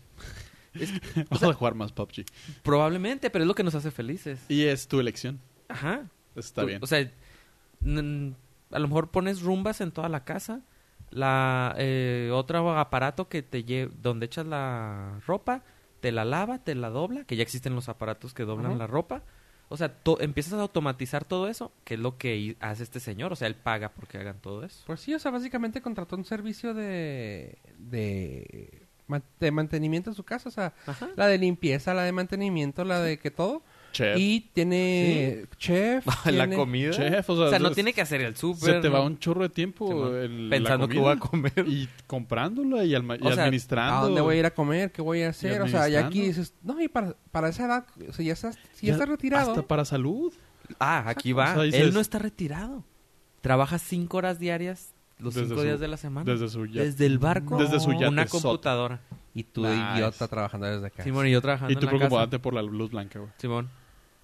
Speaker 3: Vamos a jugar más PUBG.
Speaker 1: Probablemente, pero es lo que nos hace felices.
Speaker 3: Y es tu elección.
Speaker 1: Ajá.
Speaker 3: Está
Speaker 1: Tú-
Speaker 3: bien.
Speaker 1: O sea, n- a lo mejor pones rumbas en toda la casa. La eh, otro aparato que te lle- donde echas la ropa, te la lava, te la dobla, que ya existen los aparatos que doblan
Speaker 4: Ajá.
Speaker 1: la ropa. O sea, to- empiezas a automatizar todo eso, que es lo que hi- hace este señor. O sea, él paga porque hagan todo eso.
Speaker 4: Pues sí, o sea, básicamente contrató un servicio de, de, ma- de mantenimiento en su casa. O sea,
Speaker 1: Ajá.
Speaker 4: la de limpieza, la de mantenimiento, la de que todo.
Speaker 3: Chef.
Speaker 4: Y tiene chef. tiene-
Speaker 3: Chef, o sea,
Speaker 1: O sea, no
Speaker 3: es-
Speaker 1: tiene que hacer el súper.
Speaker 3: se te va
Speaker 1: ¿no?
Speaker 3: un chorro de tiempo
Speaker 1: Simón.
Speaker 3: en la
Speaker 1: Pensando que
Speaker 3: comida.
Speaker 1: voy a comer.
Speaker 3: Y comprándola y, alma- y
Speaker 1: O sea,
Speaker 3: administrando.
Speaker 4: ¿A dónde voy a ir a comer? ¿Qué voy a hacer? O sea, ya aquí
Speaker 3: administrando.
Speaker 4: dices, no, y para, para esa edad, o sea, ya estás, si ya
Speaker 3: Ya-
Speaker 4: estás retirado.
Speaker 3: Hasta para salud.
Speaker 1: Ah, aquí va.
Speaker 3: O sea, dices-
Speaker 1: Él no está retirado. Trabaja cinco horas diarias los
Speaker 3: Desde
Speaker 1: cinco
Speaker 3: su-
Speaker 1: días de la semana.
Speaker 3: Desde su ya-
Speaker 1: Desde el barco.
Speaker 3: Desde su yate
Speaker 1: Una
Speaker 3: sota.
Speaker 1: computadora.
Speaker 4: Y tú,
Speaker 3: Nice.
Speaker 4: idiota, trabajando desde acá.
Speaker 1: Simón y yo trabajando
Speaker 3: Y tú
Speaker 1: en la casa.
Speaker 3: preocupándote por la luz blanca, güey.
Speaker 1: Simón.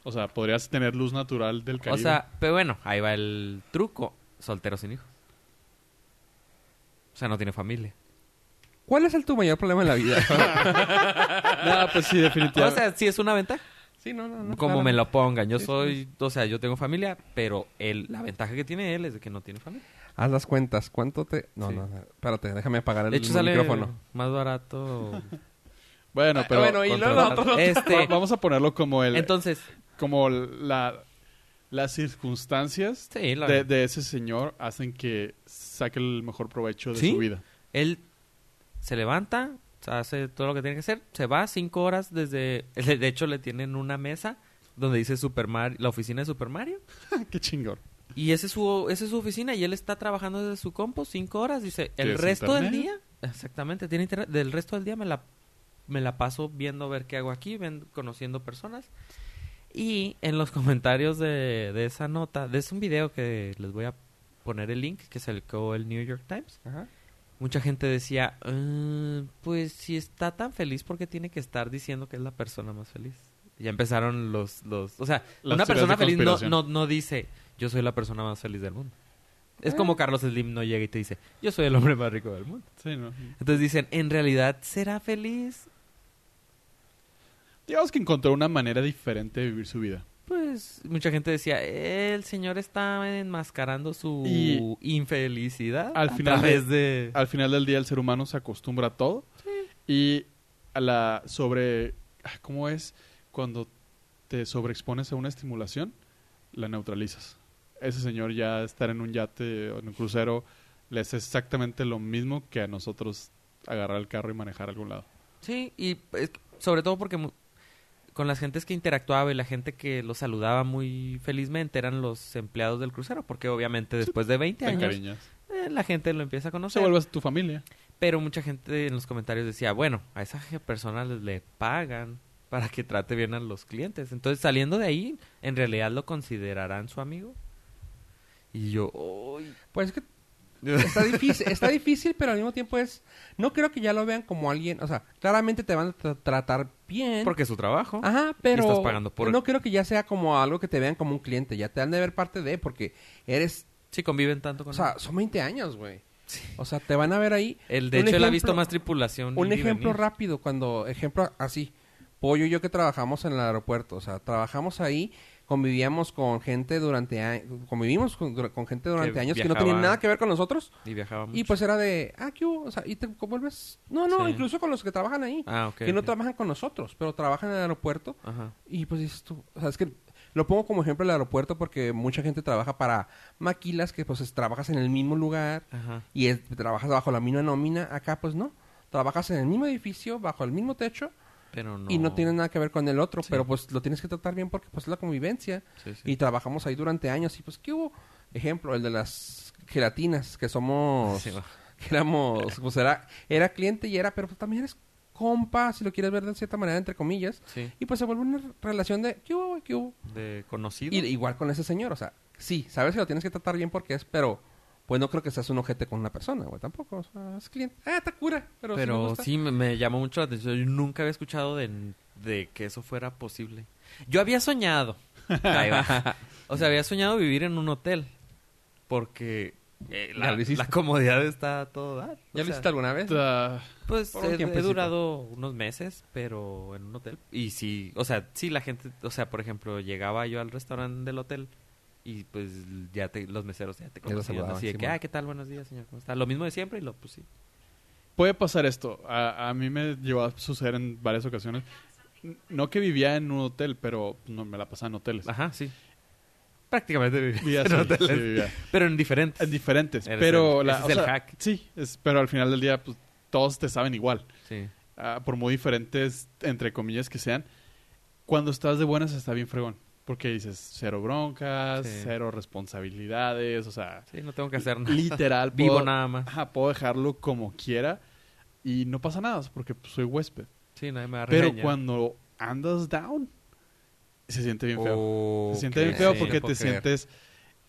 Speaker 3: O sea, podrías tener luz natural del Caribe.
Speaker 1: O sea, pero bueno, ahí va el truco. Soltero sin hijos. O sea, no tiene familia.
Speaker 4: ¿Cuál es el tu mayor problema en la vida?
Speaker 3: no, pues sí,
Speaker 1: O
Speaker 3: definitivamente.
Speaker 1: sea, sí es una ventaja.
Speaker 4: sí, no, no, no.
Speaker 1: como
Speaker 4: claro.
Speaker 1: me lo pongan. Yo
Speaker 4: Sí, sí.
Speaker 1: soy... O sea, yo tengo familia, pero él, la ventaja que tiene él es de que no tiene familia.
Speaker 4: Haz las cuentas. ¿Cuánto te...? No,
Speaker 1: Sí.
Speaker 4: no, no, espérate. Déjame apagar el
Speaker 1: De hecho, sale
Speaker 4: micrófono.
Speaker 1: más barato.
Speaker 3: bueno, pero
Speaker 4: bueno, y luego
Speaker 1: contratar.
Speaker 4: otro-
Speaker 1: Este,
Speaker 3: va- vamos a ponerlo como el
Speaker 1: entonces,
Speaker 3: como la las circunstancias
Speaker 1: sí, la-
Speaker 3: de, de ese señor hacen que saque el mejor provecho de
Speaker 1: ¿Sí?
Speaker 3: su vida.
Speaker 1: Él se levanta, o sea, hace todo lo que tiene que hacer, se va cinco horas desde... De hecho, le tienen una mesa donde dice Super Mario, la oficina de Super Mario.
Speaker 3: Qué chingón.
Speaker 1: Y esa es, su, esa es su oficina y él está trabajando desde su compo cinco horas. Dice, el
Speaker 3: ¿Tienes
Speaker 1: resto del
Speaker 3: internet?
Speaker 1: día... Exactamente, tiene internet. Del resto del día me la, me la paso viendo ver qué hago aquí, ven- conociendo personas. Y en los comentarios de, de esa nota, de es un video que les voy a poner el link, que se le el New York Times
Speaker 4: Ajá.
Speaker 1: mucha gente decía, "Ah, pues si está tan feliz, ¿por qué tiene que estar diciendo que es la persona más feliz? Ya empezaron los... los o sea,
Speaker 3: Las teorías
Speaker 1: una persona
Speaker 3: de
Speaker 1: feliz no,
Speaker 3: conspiración.
Speaker 1: no, no dice, yo soy la persona más feliz del mundo. Es como Carlos Slim no llega y te dice, yo soy el hombre más rico del mundo.
Speaker 3: Sí, ¿no?
Speaker 1: Entonces dicen, ¿en realidad será feliz?
Speaker 3: Digamos que encontró una manera diferente de vivir su vida.
Speaker 1: Pues mucha gente decía, el señor está enmascarando su
Speaker 3: Y
Speaker 1: infelicidad
Speaker 3: al
Speaker 1: a
Speaker 3: final
Speaker 1: través de...
Speaker 3: Al final del día el ser humano se acostumbra a todo y a la sobre ah, ¿cómo es cuando te sobreexpones a una estimulación? La neutralizas. Ese señor ya estar en un yate o en un crucero le es exactamente lo mismo que a nosotros agarrar el carro y manejar a algún lado.
Speaker 1: Sí, y eh, sobre todo porque mu- con las gentes que interactuaba y la gente que los saludaba muy felizmente eran los empleados del crucero, porque obviamente después de 20
Speaker 3: Te
Speaker 1: años
Speaker 3: encariñas.
Speaker 1: eh, la gente lo empieza
Speaker 3: No
Speaker 1: a
Speaker 3: se
Speaker 1: conocer.
Speaker 3: vuelvas tu familia.
Speaker 1: Pero mucha gente en los comentarios decía, bueno, a esas personas les le pagan para que trate bien a los clientes. Entonces saliendo de ahí, ¿en realidad lo considerarán su amigo? Y yo, "Oh, "Uy".
Speaker 4: Pues es que está difícil, está difícil, pero al mismo tiempo es... No creo que ya lo vean como alguien... O sea, claramente te van a tra- tratar bien.
Speaker 1: porque es su trabajo.
Speaker 4: Ajá, pero
Speaker 1: estás pagando por-
Speaker 4: no creo que ya sea como algo que te vean como un cliente. Ya te han de ver parte de, porque eres...
Speaker 1: Sí, conviven tanto con
Speaker 4: O sea, son 20 años, güey. O sea, te van a ver ahí.
Speaker 1: él. De
Speaker 4: un
Speaker 1: hecho, él ha
Speaker 4: ejemplo-
Speaker 1: visto más tripulación.
Speaker 4: Un
Speaker 1: ir y
Speaker 4: ejemplo
Speaker 1: venir.
Speaker 4: rápido, cuando, ejemplo así, Pollo y yo que trabajamos en el aeropuerto, o sea, trabajamos ahí, convivíamos con gente durante años, convivimos con, dura- con gente durante
Speaker 1: Que
Speaker 4: años que no tenían
Speaker 1: viajaba.
Speaker 4: nada que ver con nosotros,
Speaker 1: Y viajaba
Speaker 4: y
Speaker 1: mucho.
Speaker 4: pues era de, ah, ¿qué hubo? O sea, y te vuelves, no, no,
Speaker 1: Sí.
Speaker 4: incluso con los que trabajan ahí,
Speaker 1: Ah, ok.
Speaker 4: que no
Speaker 1: ok.
Speaker 4: trabajan con nosotros, pero trabajan en el aeropuerto,
Speaker 1: Ajá.
Speaker 4: y pues dices tú, o sea, es que lo pongo como ejemplo el aeropuerto porque mucha gente trabaja para maquilas que pues es- trabajas en el mismo lugar,
Speaker 1: Ajá.
Speaker 4: y es- trabajas bajo la misma nómina, acá pues no. Trabajas en el mismo edificio, bajo el mismo techo
Speaker 1: Pero no.
Speaker 4: y no tiene nada que ver con el otro,
Speaker 1: Sí.
Speaker 4: pero pues lo tienes que tratar bien porque pues es la convivencia
Speaker 1: Sí, sí.
Speaker 4: y trabajamos ahí durante años y pues ¿qué hubo? Ejemplo, el de las gelatinas que somos
Speaker 1: Sí, va.
Speaker 4: que éramos pues era era cliente y era, pero pues, también eres compa, si lo quieres ver de cierta manera entre comillas,
Speaker 1: Sí.
Speaker 4: y pues se vuelve una relación de ¿qué hubo? ¿Qué hubo?
Speaker 1: De conocido.
Speaker 4: Y, igual con ese señor, o sea, sí, sabes que lo tienes que tratar bien porque es, pero pues no creo que seas un ojete con una persona, güey, tampoco. O sea, es cliente. Ah, te cura, pero, sí me
Speaker 1: Pero
Speaker 4: gusta.
Speaker 1: sí, me, me llamó mucho la atención. Yo nunca había escuchado de, de que eso fuera posible. Yo había soñado. Ahí va. o sea, había soñado vivir en un hotel. Porque Eh,
Speaker 4: Ya
Speaker 1: la,
Speaker 4: lo hiciste.
Speaker 1: la comodidad está a todo dar. O
Speaker 4: ¿Ya lo
Speaker 1: sea,
Speaker 4: hiciste alguna vez?
Speaker 3: Ta-
Speaker 1: Pues
Speaker 4: por un
Speaker 1: he, he
Speaker 4: tiempecito?
Speaker 1: durado unos meses, pero en un hotel. Y sí, o sea, sí la gente, o sea, por ejemplo, llegaba yo al restaurante del hotel y pues ya te, los meseros ya te
Speaker 4: los
Speaker 1: conocían.
Speaker 4: saludaban,
Speaker 1: Así de que,
Speaker 4: Simón.
Speaker 1: ah, ¿qué tal? Buenos días, señor. ¿Cómo está? Lo mismo de siempre y lo pues sí.
Speaker 3: Puede pasar esto. A, a mí me llegó a suceder en varias ocasiones. N- No que vivía en un hotel, pero no, me la pasaba en hoteles.
Speaker 1: Ajá, sí. Prácticamente viví
Speaker 3: Vivía
Speaker 1: en
Speaker 3: solo,
Speaker 1: hoteles,
Speaker 3: sí, vivía.
Speaker 1: pero en diferentes.
Speaker 3: En diferentes.
Speaker 1: Eres
Speaker 3: pero
Speaker 1: el-
Speaker 3: la-
Speaker 1: ese es
Speaker 3: o sea,
Speaker 1: el hack.
Speaker 3: Sí, es- pero al final del día pues, todos te saben igual.
Speaker 1: Sí.
Speaker 3: Ah, por muy diferentes, entre comillas, que sean. Cuando estás de buenas está bien fregón. Porque dices cero broncas,
Speaker 1: Sí.
Speaker 3: cero responsabilidades, o sea...
Speaker 1: Sí, no tengo que hacer nada.
Speaker 3: Literal.
Speaker 1: Vivo
Speaker 3: puedo-
Speaker 1: nada más.
Speaker 3: Ajá, puedo dejarlo como quiera y no pasa nada, porque pues, soy huésped.
Speaker 1: Sí, nadie me va a
Speaker 3: Pero
Speaker 1: regañar.
Speaker 3: cuando andas down, se siente bien feo.
Speaker 1: Oh,
Speaker 3: se siente
Speaker 1: ok,
Speaker 3: bien feo
Speaker 1: sí.
Speaker 3: porque
Speaker 4: puedo
Speaker 3: te
Speaker 4: creer.
Speaker 3: sientes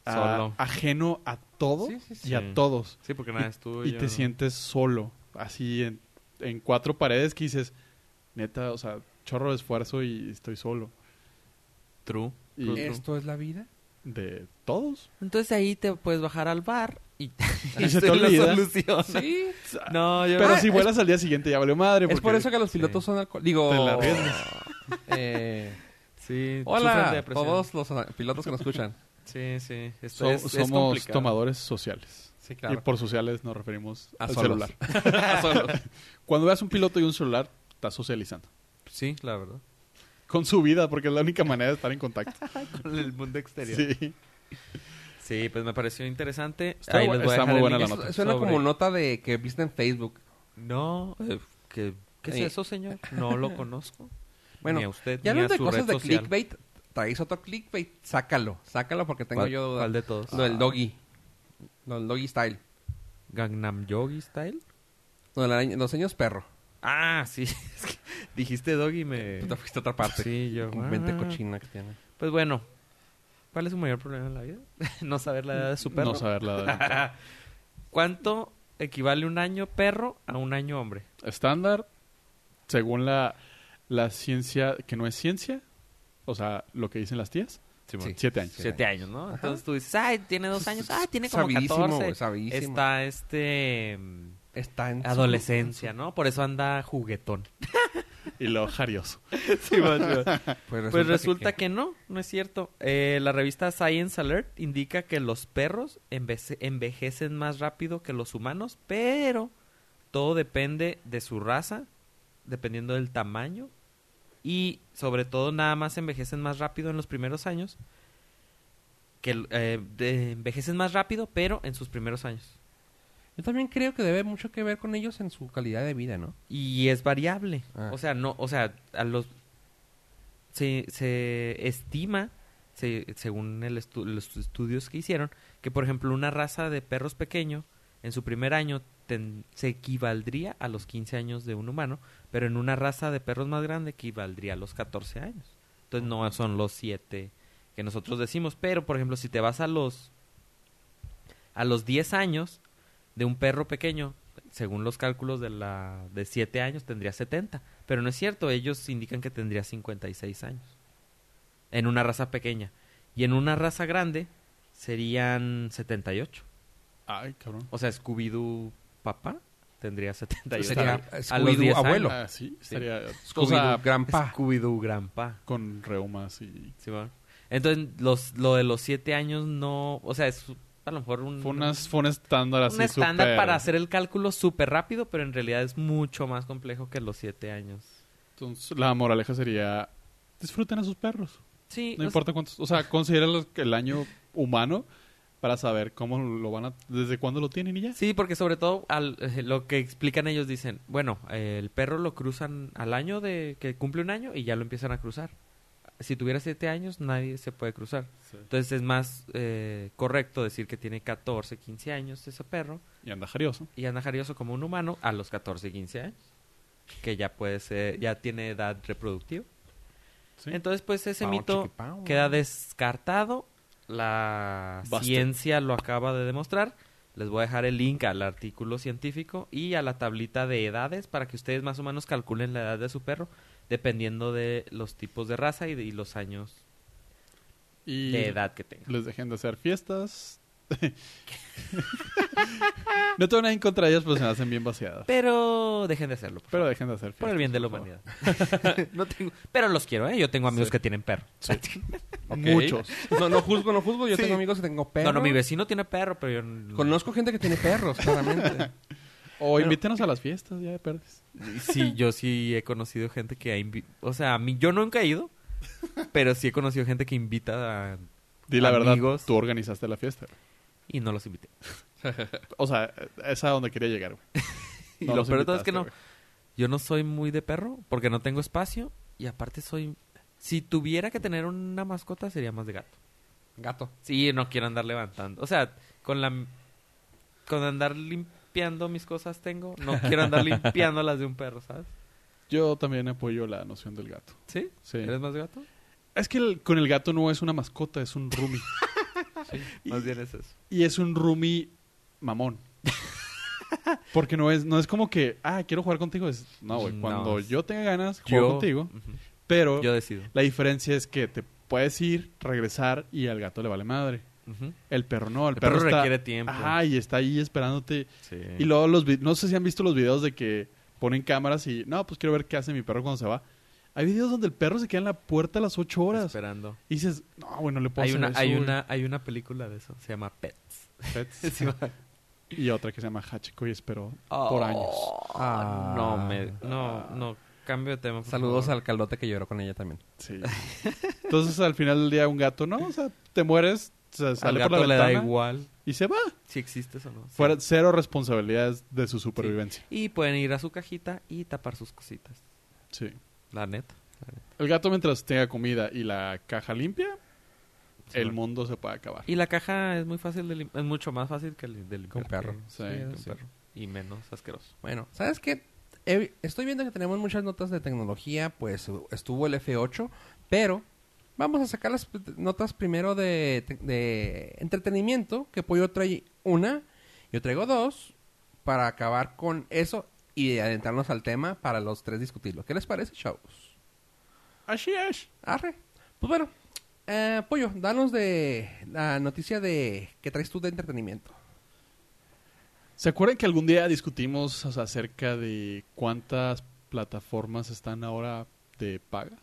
Speaker 3: ah,
Speaker 1: Solo.
Speaker 3: ajeno a todo
Speaker 4: Sí, sí, sí.
Speaker 3: y a todos.
Speaker 1: Sí, porque nada es tuyo.
Speaker 3: Y te sientes solo, así en, en cuatro paredes que dices, neta, o sea, chorro de esfuerzo y estoy solo.
Speaker 1: True.
Speaker 3: Y
Speaker 1: True, true.
Speaker 4: ¿Esto es la vida?
Speaker 3: de todos.
Speaker 1: Entonces ahí te puedes bajar al bar y,
Speaker 3: Y se te olvida.
Speaker 4: Sí.
Speaker 1: No, yo
Speaker 3: Pero
Speaker 4: Ah,
Speaker 3: si
Speaker 4: es-
Speaker 3: vuelas al día siguiente ya valió madre.
Speaker 4: Es por
Speaker 3: porque-
Speaker 4: eso que los
Speaker 1: Sí.
Speaker 4: pilotos son alcohólicos. Digo...
Speaker 3: Te la arriesgas.
Speaker 4: eh,
Speaker 1: sí, sufren de
Speaker 4: hola,
Speaker 1: depresión.
Speaker 4: todos los ah, pilotos que nos escuchan.
Speaker 1: Sí, sí. Esto
Speaker 3: So-
Speaker 1: es, es
Speaker 3: somos
Speaker 1: complicado.
Speaker 3: tomadores sociales.
Speaker 4: Sí,
Speaker 3: Y por sociales nos referimos
Speaker 4: A
Speaker 3: al
Speaker 4: solos.
Speaker 3: celular. Cuando veas un piloto y un celular, estás socializando.
Speaker 1: Sí, la verdad.
Speaker 3: Con su vida, porque es la única manera de estar en contacto.
Speaker 1: Con el mundo exterior. Sí,
Speaker 3: sí.
Speaker 1: pues me pareció interesante.
Speaker 3: Está
Speaker 1: Ahí
Speaker 3: bu-
Speaker 1: les voy a
Speaker 3: está
Speaker 1: dejar
Speaker 3: muy
Speaker 1: el
Speaker 3: buena
Speaker 1: link.
Speaker 3: la nota.
Speaker 4: Suena
Speaker 1: Sobre-
Speaker 4: como nota de que viste en Facebook.
Speaker 1: No, eh, ¿qué, qué es
Speaker 4: Sí.
Speaker 1: eso, señor? No lo conozco.
Speaker 4: Bueno,
Speaker 1: ni a usted,
Speaker 4: Ya
Speaker 1: ni a
Speaker 4: hablando de
Speaker 1: su
Speaker 4: cosas
Speaker 1: red
Speaker 4: de
Speaker 1: social.
Speaker 4: clickbait, traes otro clickbait, sácalo, sácalo porque tengo
Speaker 1: ¿Cuál-
Speaker 4: yo duda.
Speaker 1: ¿Cuál de todos?
Speaker 4: Lo del doggy. Lo del doggy style.
Speaker 1: ¿Gangnam Yogi Style?
Speaker 4: Lo de la araña- los sueños perro.
Speaker 1: Ah, sí. Es que dijiste doggy y me...
Speaker 4: Tú te fuiste a otra parte.
Speaker 1: Sí, yo...
Speaker 4: Con Mente
Speaker 1: ah.
Speaker 4: cochina que tiene.
Speaker 1: Pues bueno, ¿cuál es su mayor problema en la vida? no saber la edad de su perro.
Speaker 3: No saber la edad.
Speaker 1: ¿Cuánto equivale un año perro a un año hombre?
Speaker 3: Estándar, según la, la ciencia, que no es ciencia, o sea, lo que dicen las tías,
Speaker 4: Sí.
Speaker 3: siete años.
Speaker 1: Siete años, ¿no? Entonces tú dices, ay, tiene dos años, ay, tiene como
Speaker 4: Sabidísimo, güey,
Speaker 1: 14.
Speaker 4: sabidísimo.
Speaker 1: Está este... mm,
Speaker 4: Está en su-
Speaker 1: Adolescencia, ¿no? Por eso anda juguetón.
Speaker 3: Y lo jarioso.
Speaker 4: Pues resulta,
Speaker 1: Pues resulta
Speaker 4: que...
Speaker 1: que no, no es cierto. Eh, la revista Science Alert indica que los perros envece- envejecen más rápido que los humanos, pero todo depende de su raza, dependiendo del tamaño, y sobre todo nada más envejecen más rápido en los primeros años, que el- eh, de- envejecen más rápido, pero en sus primeros años.
Speaker 4: Yo también creo que debe mucho que ver con ellos en su calidad de vida, ¿no?
Speaker 1: Y es variable.
Speaker 4: Ah.
Speaker 1: O sea, no, o sea, a los se, se estima, se- según el estu- los estudios que hicieron, que por ejemplo una raza de perros pequeño en su primer año ten- se equivaldría a los 15 años de un humano, pero en una raza de perros más grande equivaldría a los 14 años. Entonces no son los 7 que nosotros decimos, pero por ejemplo si te vas a los a los 10 años de un perro pequeño, según los cálculos de la de 7 años tendría 70, pero no es cierto, ellos indican que tendría 56 años en una raza pequeña y en una raza grande serían 78.
Speaker 3: Ay, cabrón.
Speaker 1: O sea, Scooby Doo papá tendría 78.
Speaker 4: Sería
Speaker 1: a los
Speaker 4: Scooby-Doo
Speaker 1: 10 años.
Speaker 4: abuelo.
Speaker 3: Ah, sí, sería... O
Speaker 4: Scooby-Doo,
Speaker 3: sea,
Speaker 4: Grandpa.
Speaker 1: Scooby Doo grandpa.
Speaker 3: con reumas y...
Speaker 1: Simón. Entonces, los, lo de los siete años no. O sea, es a lo mejor un,
Speaker 3: Fue, unas- fue un estándar así
Speaker 1: un estándar
Speaker 3: súper-
Speaker 1: para hacer el cálculo súper rápido, pero en realidad es mucho más complejo que los siete años.
Speaker 3: Entonces, la moraleja sería... Disfruten a sus perros.
Speaker 1: Sí,
Speaker 3: No
Speaker 1: o
Speaker 3: importa cuántos... O sea, consideren el año humano para saber cómo lo van a... Desde cuándo lo tienen y ya.
Speaker 1: sea, sí, porque sobre todo al- eh, lo que explican ellos dicen: bueno, eh, el perro lo cruzan al año de que cumple un año y ya lo empiezan a cruzar. Si tuviera siete años, nadie se puede cruzar. Entonces es más eh, correcto decir que tiene 14, 15 años ese perro
Speaker 3: Y anda jarioso.
Speaker 1: y anda jarioso como un humano a los 14, 15 años, que ya puede ser, ya tiene edad reproductiva.
Speaker 3: Sí.
Speaker 1: Entonces, pues ese
Speaker 4: Pao,
Speaker 1: mito
Speaker 4: chiquipao.
Speaker 1: queda descartado. La
Speaker 3: Basta.
Speaker 1: ciencia lo acaba de demostrar. Les voy a dejar el link al artículo científico y a la tablita de edades para que ustedes más o menos calculen la edad de su perro dependiendo de los tipos de raza y, de- y los años
Speaker 3: y
Speaker 1: de edad que tenga.
Speaker 3: les dejen de hacer fiestas, No tengo nada en contra de ellas, pero se me hacen bien vaciadas.
Speaker 1: Pero dejen de hacerlo. Por,
Speaker 3: Pero
Speaker 1: favor.
Speaker 3: dejen de hacer
Speaker 1: Por el bien de la
Speaker 3: favor.
Speaker 1: humanidad. no tengo... Pero los quiero, ¿eh? Yo tengo amigos
Speaker 3: Sí.
Speaker 1: que tienen perro.
Speaker 4: Ok.
Speaker 3: Muchos.
Speaker 4: No, no juzgo, no juzgo. Yo tengo amigos que tengo perros.
Speaker 1: No, no, mi vecino tiene perro, pero yo... no-
Speaker 4: Conozco gente que tiene perros, claramente.
Speaker 3: O invítenos a las fiestas, ya de perdes.
Speaker 1: Sí, yo sí he conocido gente que ha invi- O sea, a mí, yo nunca he ido, pero sí he conocido gente que invita a...
Speaker 3: Di la
Speaker 1: Amigos.
Speaker 3: verdad, tú organizaste la fiesta. güey.
Speaker 1: y no los invité.
Speaker 3: O sea, es a donde quería llegar, güey.
Speaker 1: Y
Speaker 3: No
Speaker 1: lo
Speaker 3: los
Speaker 1: peor de todo es que no.
Speaker 3: invitaste,
Speaker 1: Yo no soy muy de perro porque no tengo espacio y aparte soy... Si tuviera que tener una mascota sería más de gato.
Speaker 4: Gato.
Speaker 1: Sí, no quiero andar levantando. O sea, con la... Con andar limpiando mis cosas tengo. No quiero andar limpiando las de un perro, ¿sabes?
Speaker 3: güey. Yo también apoyo la noción del gato.
Speaker 1: ¿Sí?
Speaker 3: Sí.
Speaker 1: ¿Eres más gato?
Speaker 3: Es que el- con el gato no es una mascota, es un roomie.
Speaker 1: Más bien es eso.
Speaker 3: Ah. y es un roomie mamón. Porque no es, no es como que, ah, quiero jugar contigo. Es, no, güey.
Speaker 1: No.
Speaker 3: Cuando yo tenga ganas, juego contigo.
Speaker 1: Ujú.
Speaker 3: Pero
Speaker 1: Yo decido.
Speaker 3: la diferencia es que te puedes ir, regresar y al gato le vale madre.
Speaker 1: Ujú.
Speaker 3: El perro no, el,
Speaker 1: El perro
Speaker 3: está-
Speaker 1: requiere tiempo.
Speaker 3: Ajá, y está ahí esperándote.
Speaker 1: Sí.
Speaker 3: Y luego los vi- no sé si han visto los videos de que ponen cámaras y no, pues quiero ver qué hace mi perro cuando se va. Hay videos donde el perro se queda en la puerta a las 8 horas.
Speaker 1: Esperando.
Speaker 3: Y dices, no, güey, no le puedo
Speaker 1: Hay
Speaker 3: hacer
Speaker 1: una,
Speaker 3: eso,
Speaker 1: hay,
Speaker 3: güey".
Speaker 1: una, hay una película de eso. Se llama Pets.
Speaker 3: Pets.
Speaker 1: Sí, va.
Speaker 3: Y otra que se llama Hachiko y esperó
Speaker 1: Oh.
Speaker 3: por años.
Speaker 1: Ah, No,
Speaker 4: Ah.
Speaker 1: me, no, no. Cambio de tema. por
Speaker 4: Saludos
Speaker 1: favor.
Speaker 4: al caldote que lloró con ella también.
Speaker 3: Sí. Entonces al final del día un gato, ¿no? O sea, te mueres, se
Speaker 1: Al
Speaker 3: sale
Speaker 1: gato
Speaker 3: por la
Speaker 1: le da
Speaker 3: ventana
Speaker 1: igual
Speaker 3: y se va.
Speaker 1: si existes o no. Sí.
Speaker 3: Fuera cero responsabilidades de su supervivencia.
Speaker 1: Y pueden ir a su cajita y tapar sus cositas.
Speaker 3: Sí.
Speaker 1: La neta.
Speaker 3: El gato mientras tenga comida y la caja limpia,
Speaker 1: Sí,
Speaker 3: el
Speaker 1: no.
Speaker 3: mundo se puede acabar.
Speaker 1: Y la caja es muy fácil de lim- Es mucho más fácil que el de
Speaker 4: Con
Speaker 1: limpiar.
Speaker 4: perro.
Speaker 1: que-
Speaker 3: Sí,
Speaker 1: que un
Speaker 3: sí.
Speaker 1: perro. Y menos asqueroso.
Speaker 4: Bueno, ¿sabes qué? He- Estoy viendo que tenemos muchas notas de tecnología, pues estuvo el F8, pero vamos a sacar las p- notas primero de, te- de entretenimiento, que Pollo trae una, yo traigo dos, para acabar con eso y adentrarnos al tema para los tres discutirlo. ¿Qué les parece, chavos?
Speaker 3: Así es.
Speaker 4: Arre. Pues bueno, eh, Pollo, danos de la noticia de que traes tú de entretenimiento.
Speaker 3: ¿Se acuerdan que algún día discutimos o sea, acerca de cuántas plataformas están ahora de paga?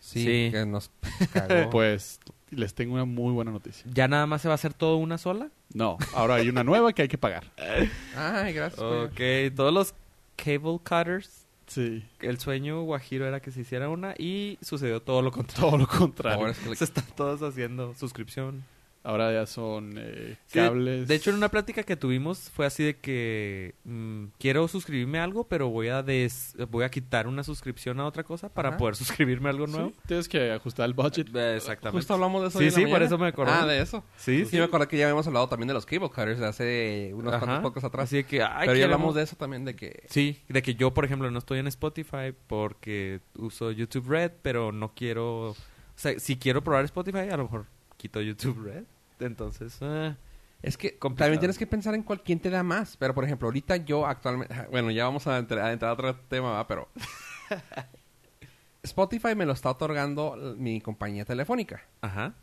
Speaker 1: Sí, Sí.
Speaker 4: que nos
Speaker 1: Oh.
Speaker 4: cagó.
Speaker 3: Pues les tengo una muy buena noticia.
Speaker 1: ¿Ya nada más se va a hacer todo una sola?
Speaker 3: No, ahora hay una nueva que hay que pagar.
Speaker 4: Ay, gracias. Pollo.
Speaker 1: Ok. Todos los cable cutters.
Speaker 3: Sí.
Speaker 1: El sueño guajiro era que se hiciera una y sucedió todo lo contrario.
Speaker 3: Todo lo contrario.
Speaker 4: Ahora es que le-
Speaker 1: Se están todos haciendo suscripción.
Speaker 3: Ahora ya son eh,
Speaker 1: Sí,
Speaker 3: cables.
Speaker 1: De hecho, en una plática que tuvimos fue así de que mm, quiero suscribirme a algo, pero voy a des- voy a quitar una suscripción a otra cosa para
Speaker 4: Ajá.
Speaker 1: poder suscribirme a algo
Speaker 3: Sí,
Speaker 1: nuevo.
Speaker 3: tienes que ajustar el budget.
Speaker 1: Eh, Exactamente.
Speaker 4: Justo hablamos de eso.
Speaker 1: Sí,
Speaker 4: hoy en la
Speaker 1: sí, por
Speaker 4: mañana.
Speaker 1: eso me acordé.
Speaker 4: Ah, de eso.
Speaker 1: Sí,
Speaker 4: Sí, me acuerdo que ya habíamos hablado también de los cable cutters de hace unos
Speaker 1: Ajá.
Speaker 4: cuantos pocos atrás.
Speaker 1: Así de que, ay,
Speaker 4: pero ya
Speaker 1: queremos-
Speaker 4: hablamos de eso también, de que...
Speaker 1: Sí, de que yo, por ejemplo, no estoy en Spotify porque uso YouTube Red, pero no quiero... O sea, si quiero probar Spotify, a lo mejor quito YouTube Red. Entonces,
Speaker 4: Ah.
Speaker 1: eh,
Speaker 4: Es que
Speaker 1: Complicado.
Speaker 4: también tienes que pensar en cuál, quién te da más. Pero, por ejemplo, ahorita yo actualmente... Bueno, ya vamos a entrar a, entrar a otro tema, ¿va? pero... Spotify me lo está otorgando l- mi compañía telefónica.
Speaker 1: ajá.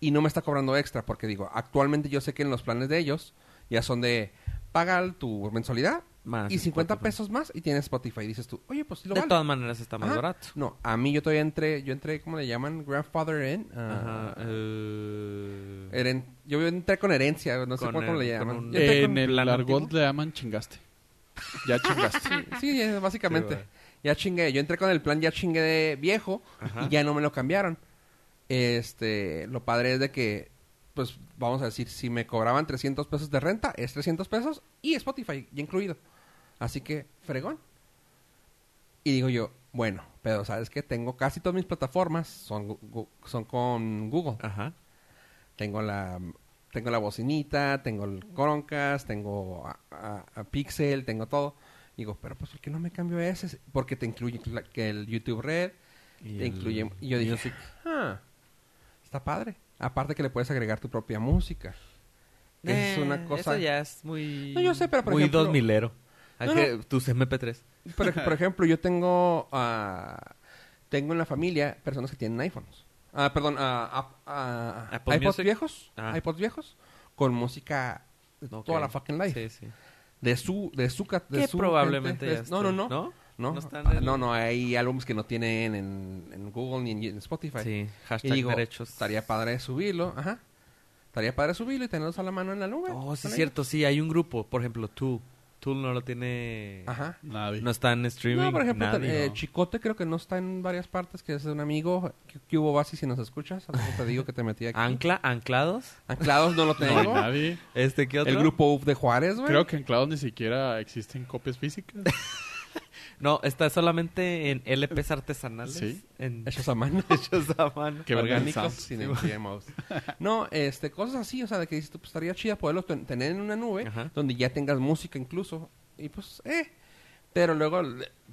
Speaker 4: Y no me está cobrando extra porque, digo, actualmente yo sé que en los planes de ellos ya son de... Paga tu mensualidad
Speaker 1: Más
Speaker 4: y 50
Speaker 1: Spotify.
Speaker 4: pesos más y tienes Spotify. Y dices tú, oye, pues sí lo
Speaker 1: Ah, De
Speaker 4: vale.
Speaker 1: todas maneras está más
Speaker 4: Ajá.
Speaker 1: barato.
Speaker 4: No, a mí yo todavía entré, yo entré, ¿cómo le llaman? Grandfather in. ah,
Speaker 1: Ajá. eh,
Speaker 4: heren- yo entré con herencia, no sé
Speaker 1: Con
Speaker 4: cuál, cómo
Speaker 1: el-
Speaker 4: le
Speaker 1: con
Speaker 4: llaman.
Speaker 1: un-
Speaker 4: Yo entré
Speaker 3: Eh, en
Speaker 4: con-
Speaker 3: el
Speaker 1: plan
Speaker 3: argot
Speaker 1: antiguo?
Speaker 3: le llaman chingaste. Ya chingaste.
Speaker 4: Sí, ya, básicamente.
Speaker 1: Sí, va.
Speaker 4: ya chingué, yo entré con el plan ya chingué de viejo
Speaker 1: Ajá.
Speaker 4: y ya no me lo cambiaron. Este, lo padre es de que, pues vamos a decir, si me cobraban 300 pesos de renta, es 300 pesos y Spotify ya incluido. Así que, fregón. Y digo yo, bueno, pero sabes que tengo casi todas mis plataformas, son, gu- gu- son con Google.
Speaker 1: Ajá.
Speaker 4: Tengo la tengo la bocinita, tengo el Chromecast, tengo a, a- a Pixel, tengo todo. Digo, pero pues ¿por qué no me cambio a ese? Porque te incluye la- que el YouTube Red,
Speaker 1: Y
Speaker 4: te
Speaker 1: el
Speaker 4: incluye y yo dije,
Speaker 1: music.
Speaker 4: "Ah, está padre." Aparte que le puedes agregar tu propia música. Que es
Speaker 1: Eh,
Speaker 4: una cosa
Speaker 1: Eso ya es muy.
Speaker 4: No, yo sé, pero por
Speaker 1: muy
Speaker 4: ejemplo-
Speaker 1: dos milero. Hay
Speaker 4: No,
Speaker 1: que- Tus MP3.
Speaker 4: Por, ej- por ejemplo, yo tengo ah, tengo en la familia personas que tienen iPhones. Ah, perdón, ah, ap- ah,
Speaker 1: Apple
Speaker 4: iPods
Speaker 1: Music.
Speaker 4: viejos,
Speaker 1: Ah.
Speaker 4: iPods viejos con música de
Speaker 1: Ok.
Speaker 4: toda la fucking life.
Speaker 1: Sí, sí.
Speaker 4: De su, de su, ca- de
Speaker 1: Que
Speaker 4: su
Speaker 1: probablemente
Speaker 4: gente,
Speaker 1: ya
Speaker 4: de- no, no, no, no,
Speaker 1: esté-
Speaker 4: no, ah,
Speaker 1: ¿No están en el-
Speaker 4: no, no, hay álbumes que no tienen en, en Google ni en, en Spotify.
Speaker 1: Sí,
Speaker 4: Y
Speaker 1: hashtag
Speaker 4: digo,
Speaker 1: derechos.
Speaker 4: estaría padre subirlo, ajá. Estaría padre subirlo y tenerlos a la mano en la nube.
Speaker 1: Oh, sí,
Speaker 4: Con
Speaker 1: es cierto, sí, hay un grupo, por ejemplo, Tool. Tool no lo tiene.
Speaker 4: ellos. Ajá.
Speaker 3: Nadie.
Speaker 1: No está en streaming.
Speaker 4: No, por ejemplo,
Speaker 1: nadie.
Speaker 4: tan- eh,
Speaker 3: no.
Speaker 4: Chicote creo que no está en varias partes, que es un amigo. ¿Qué, qué hubo, Basi, si nos escuchas? Al rato te digo que te metí aquí.
Speaker 1: Ancla, anclados.
Speaker 4: Anclados no lo
Speaker 3: No hay
Speaker 4: tengo.
Speaker 3: nadie.
Speaker 1: Este, ¿qué otro?
Speaker 4: el grupo UF de Juárez, güey.
Speaker 3: Creo que en Cloud ni siquiera existen copias físicas.
Speaker 1: No, está solamente en LPs artesanales.
Speaker 3: Sí.
Speaker 1: En
Speaker 4: Hechos a mano.
Speaker 1: hechos a mano.
Speaker 3: Que vengan
Speaker 4: orgánicos
Speaker 3: sounds.
Speaker 4: sin GMOs. No, este, cosas así, o sea, de que dices, tú, pues estaría chida poderlos ten- tener en una nube
Speaker 1: Ajá.
Speaker 4: donde ya tengas música incluso. Y pues, eh. Pero luego,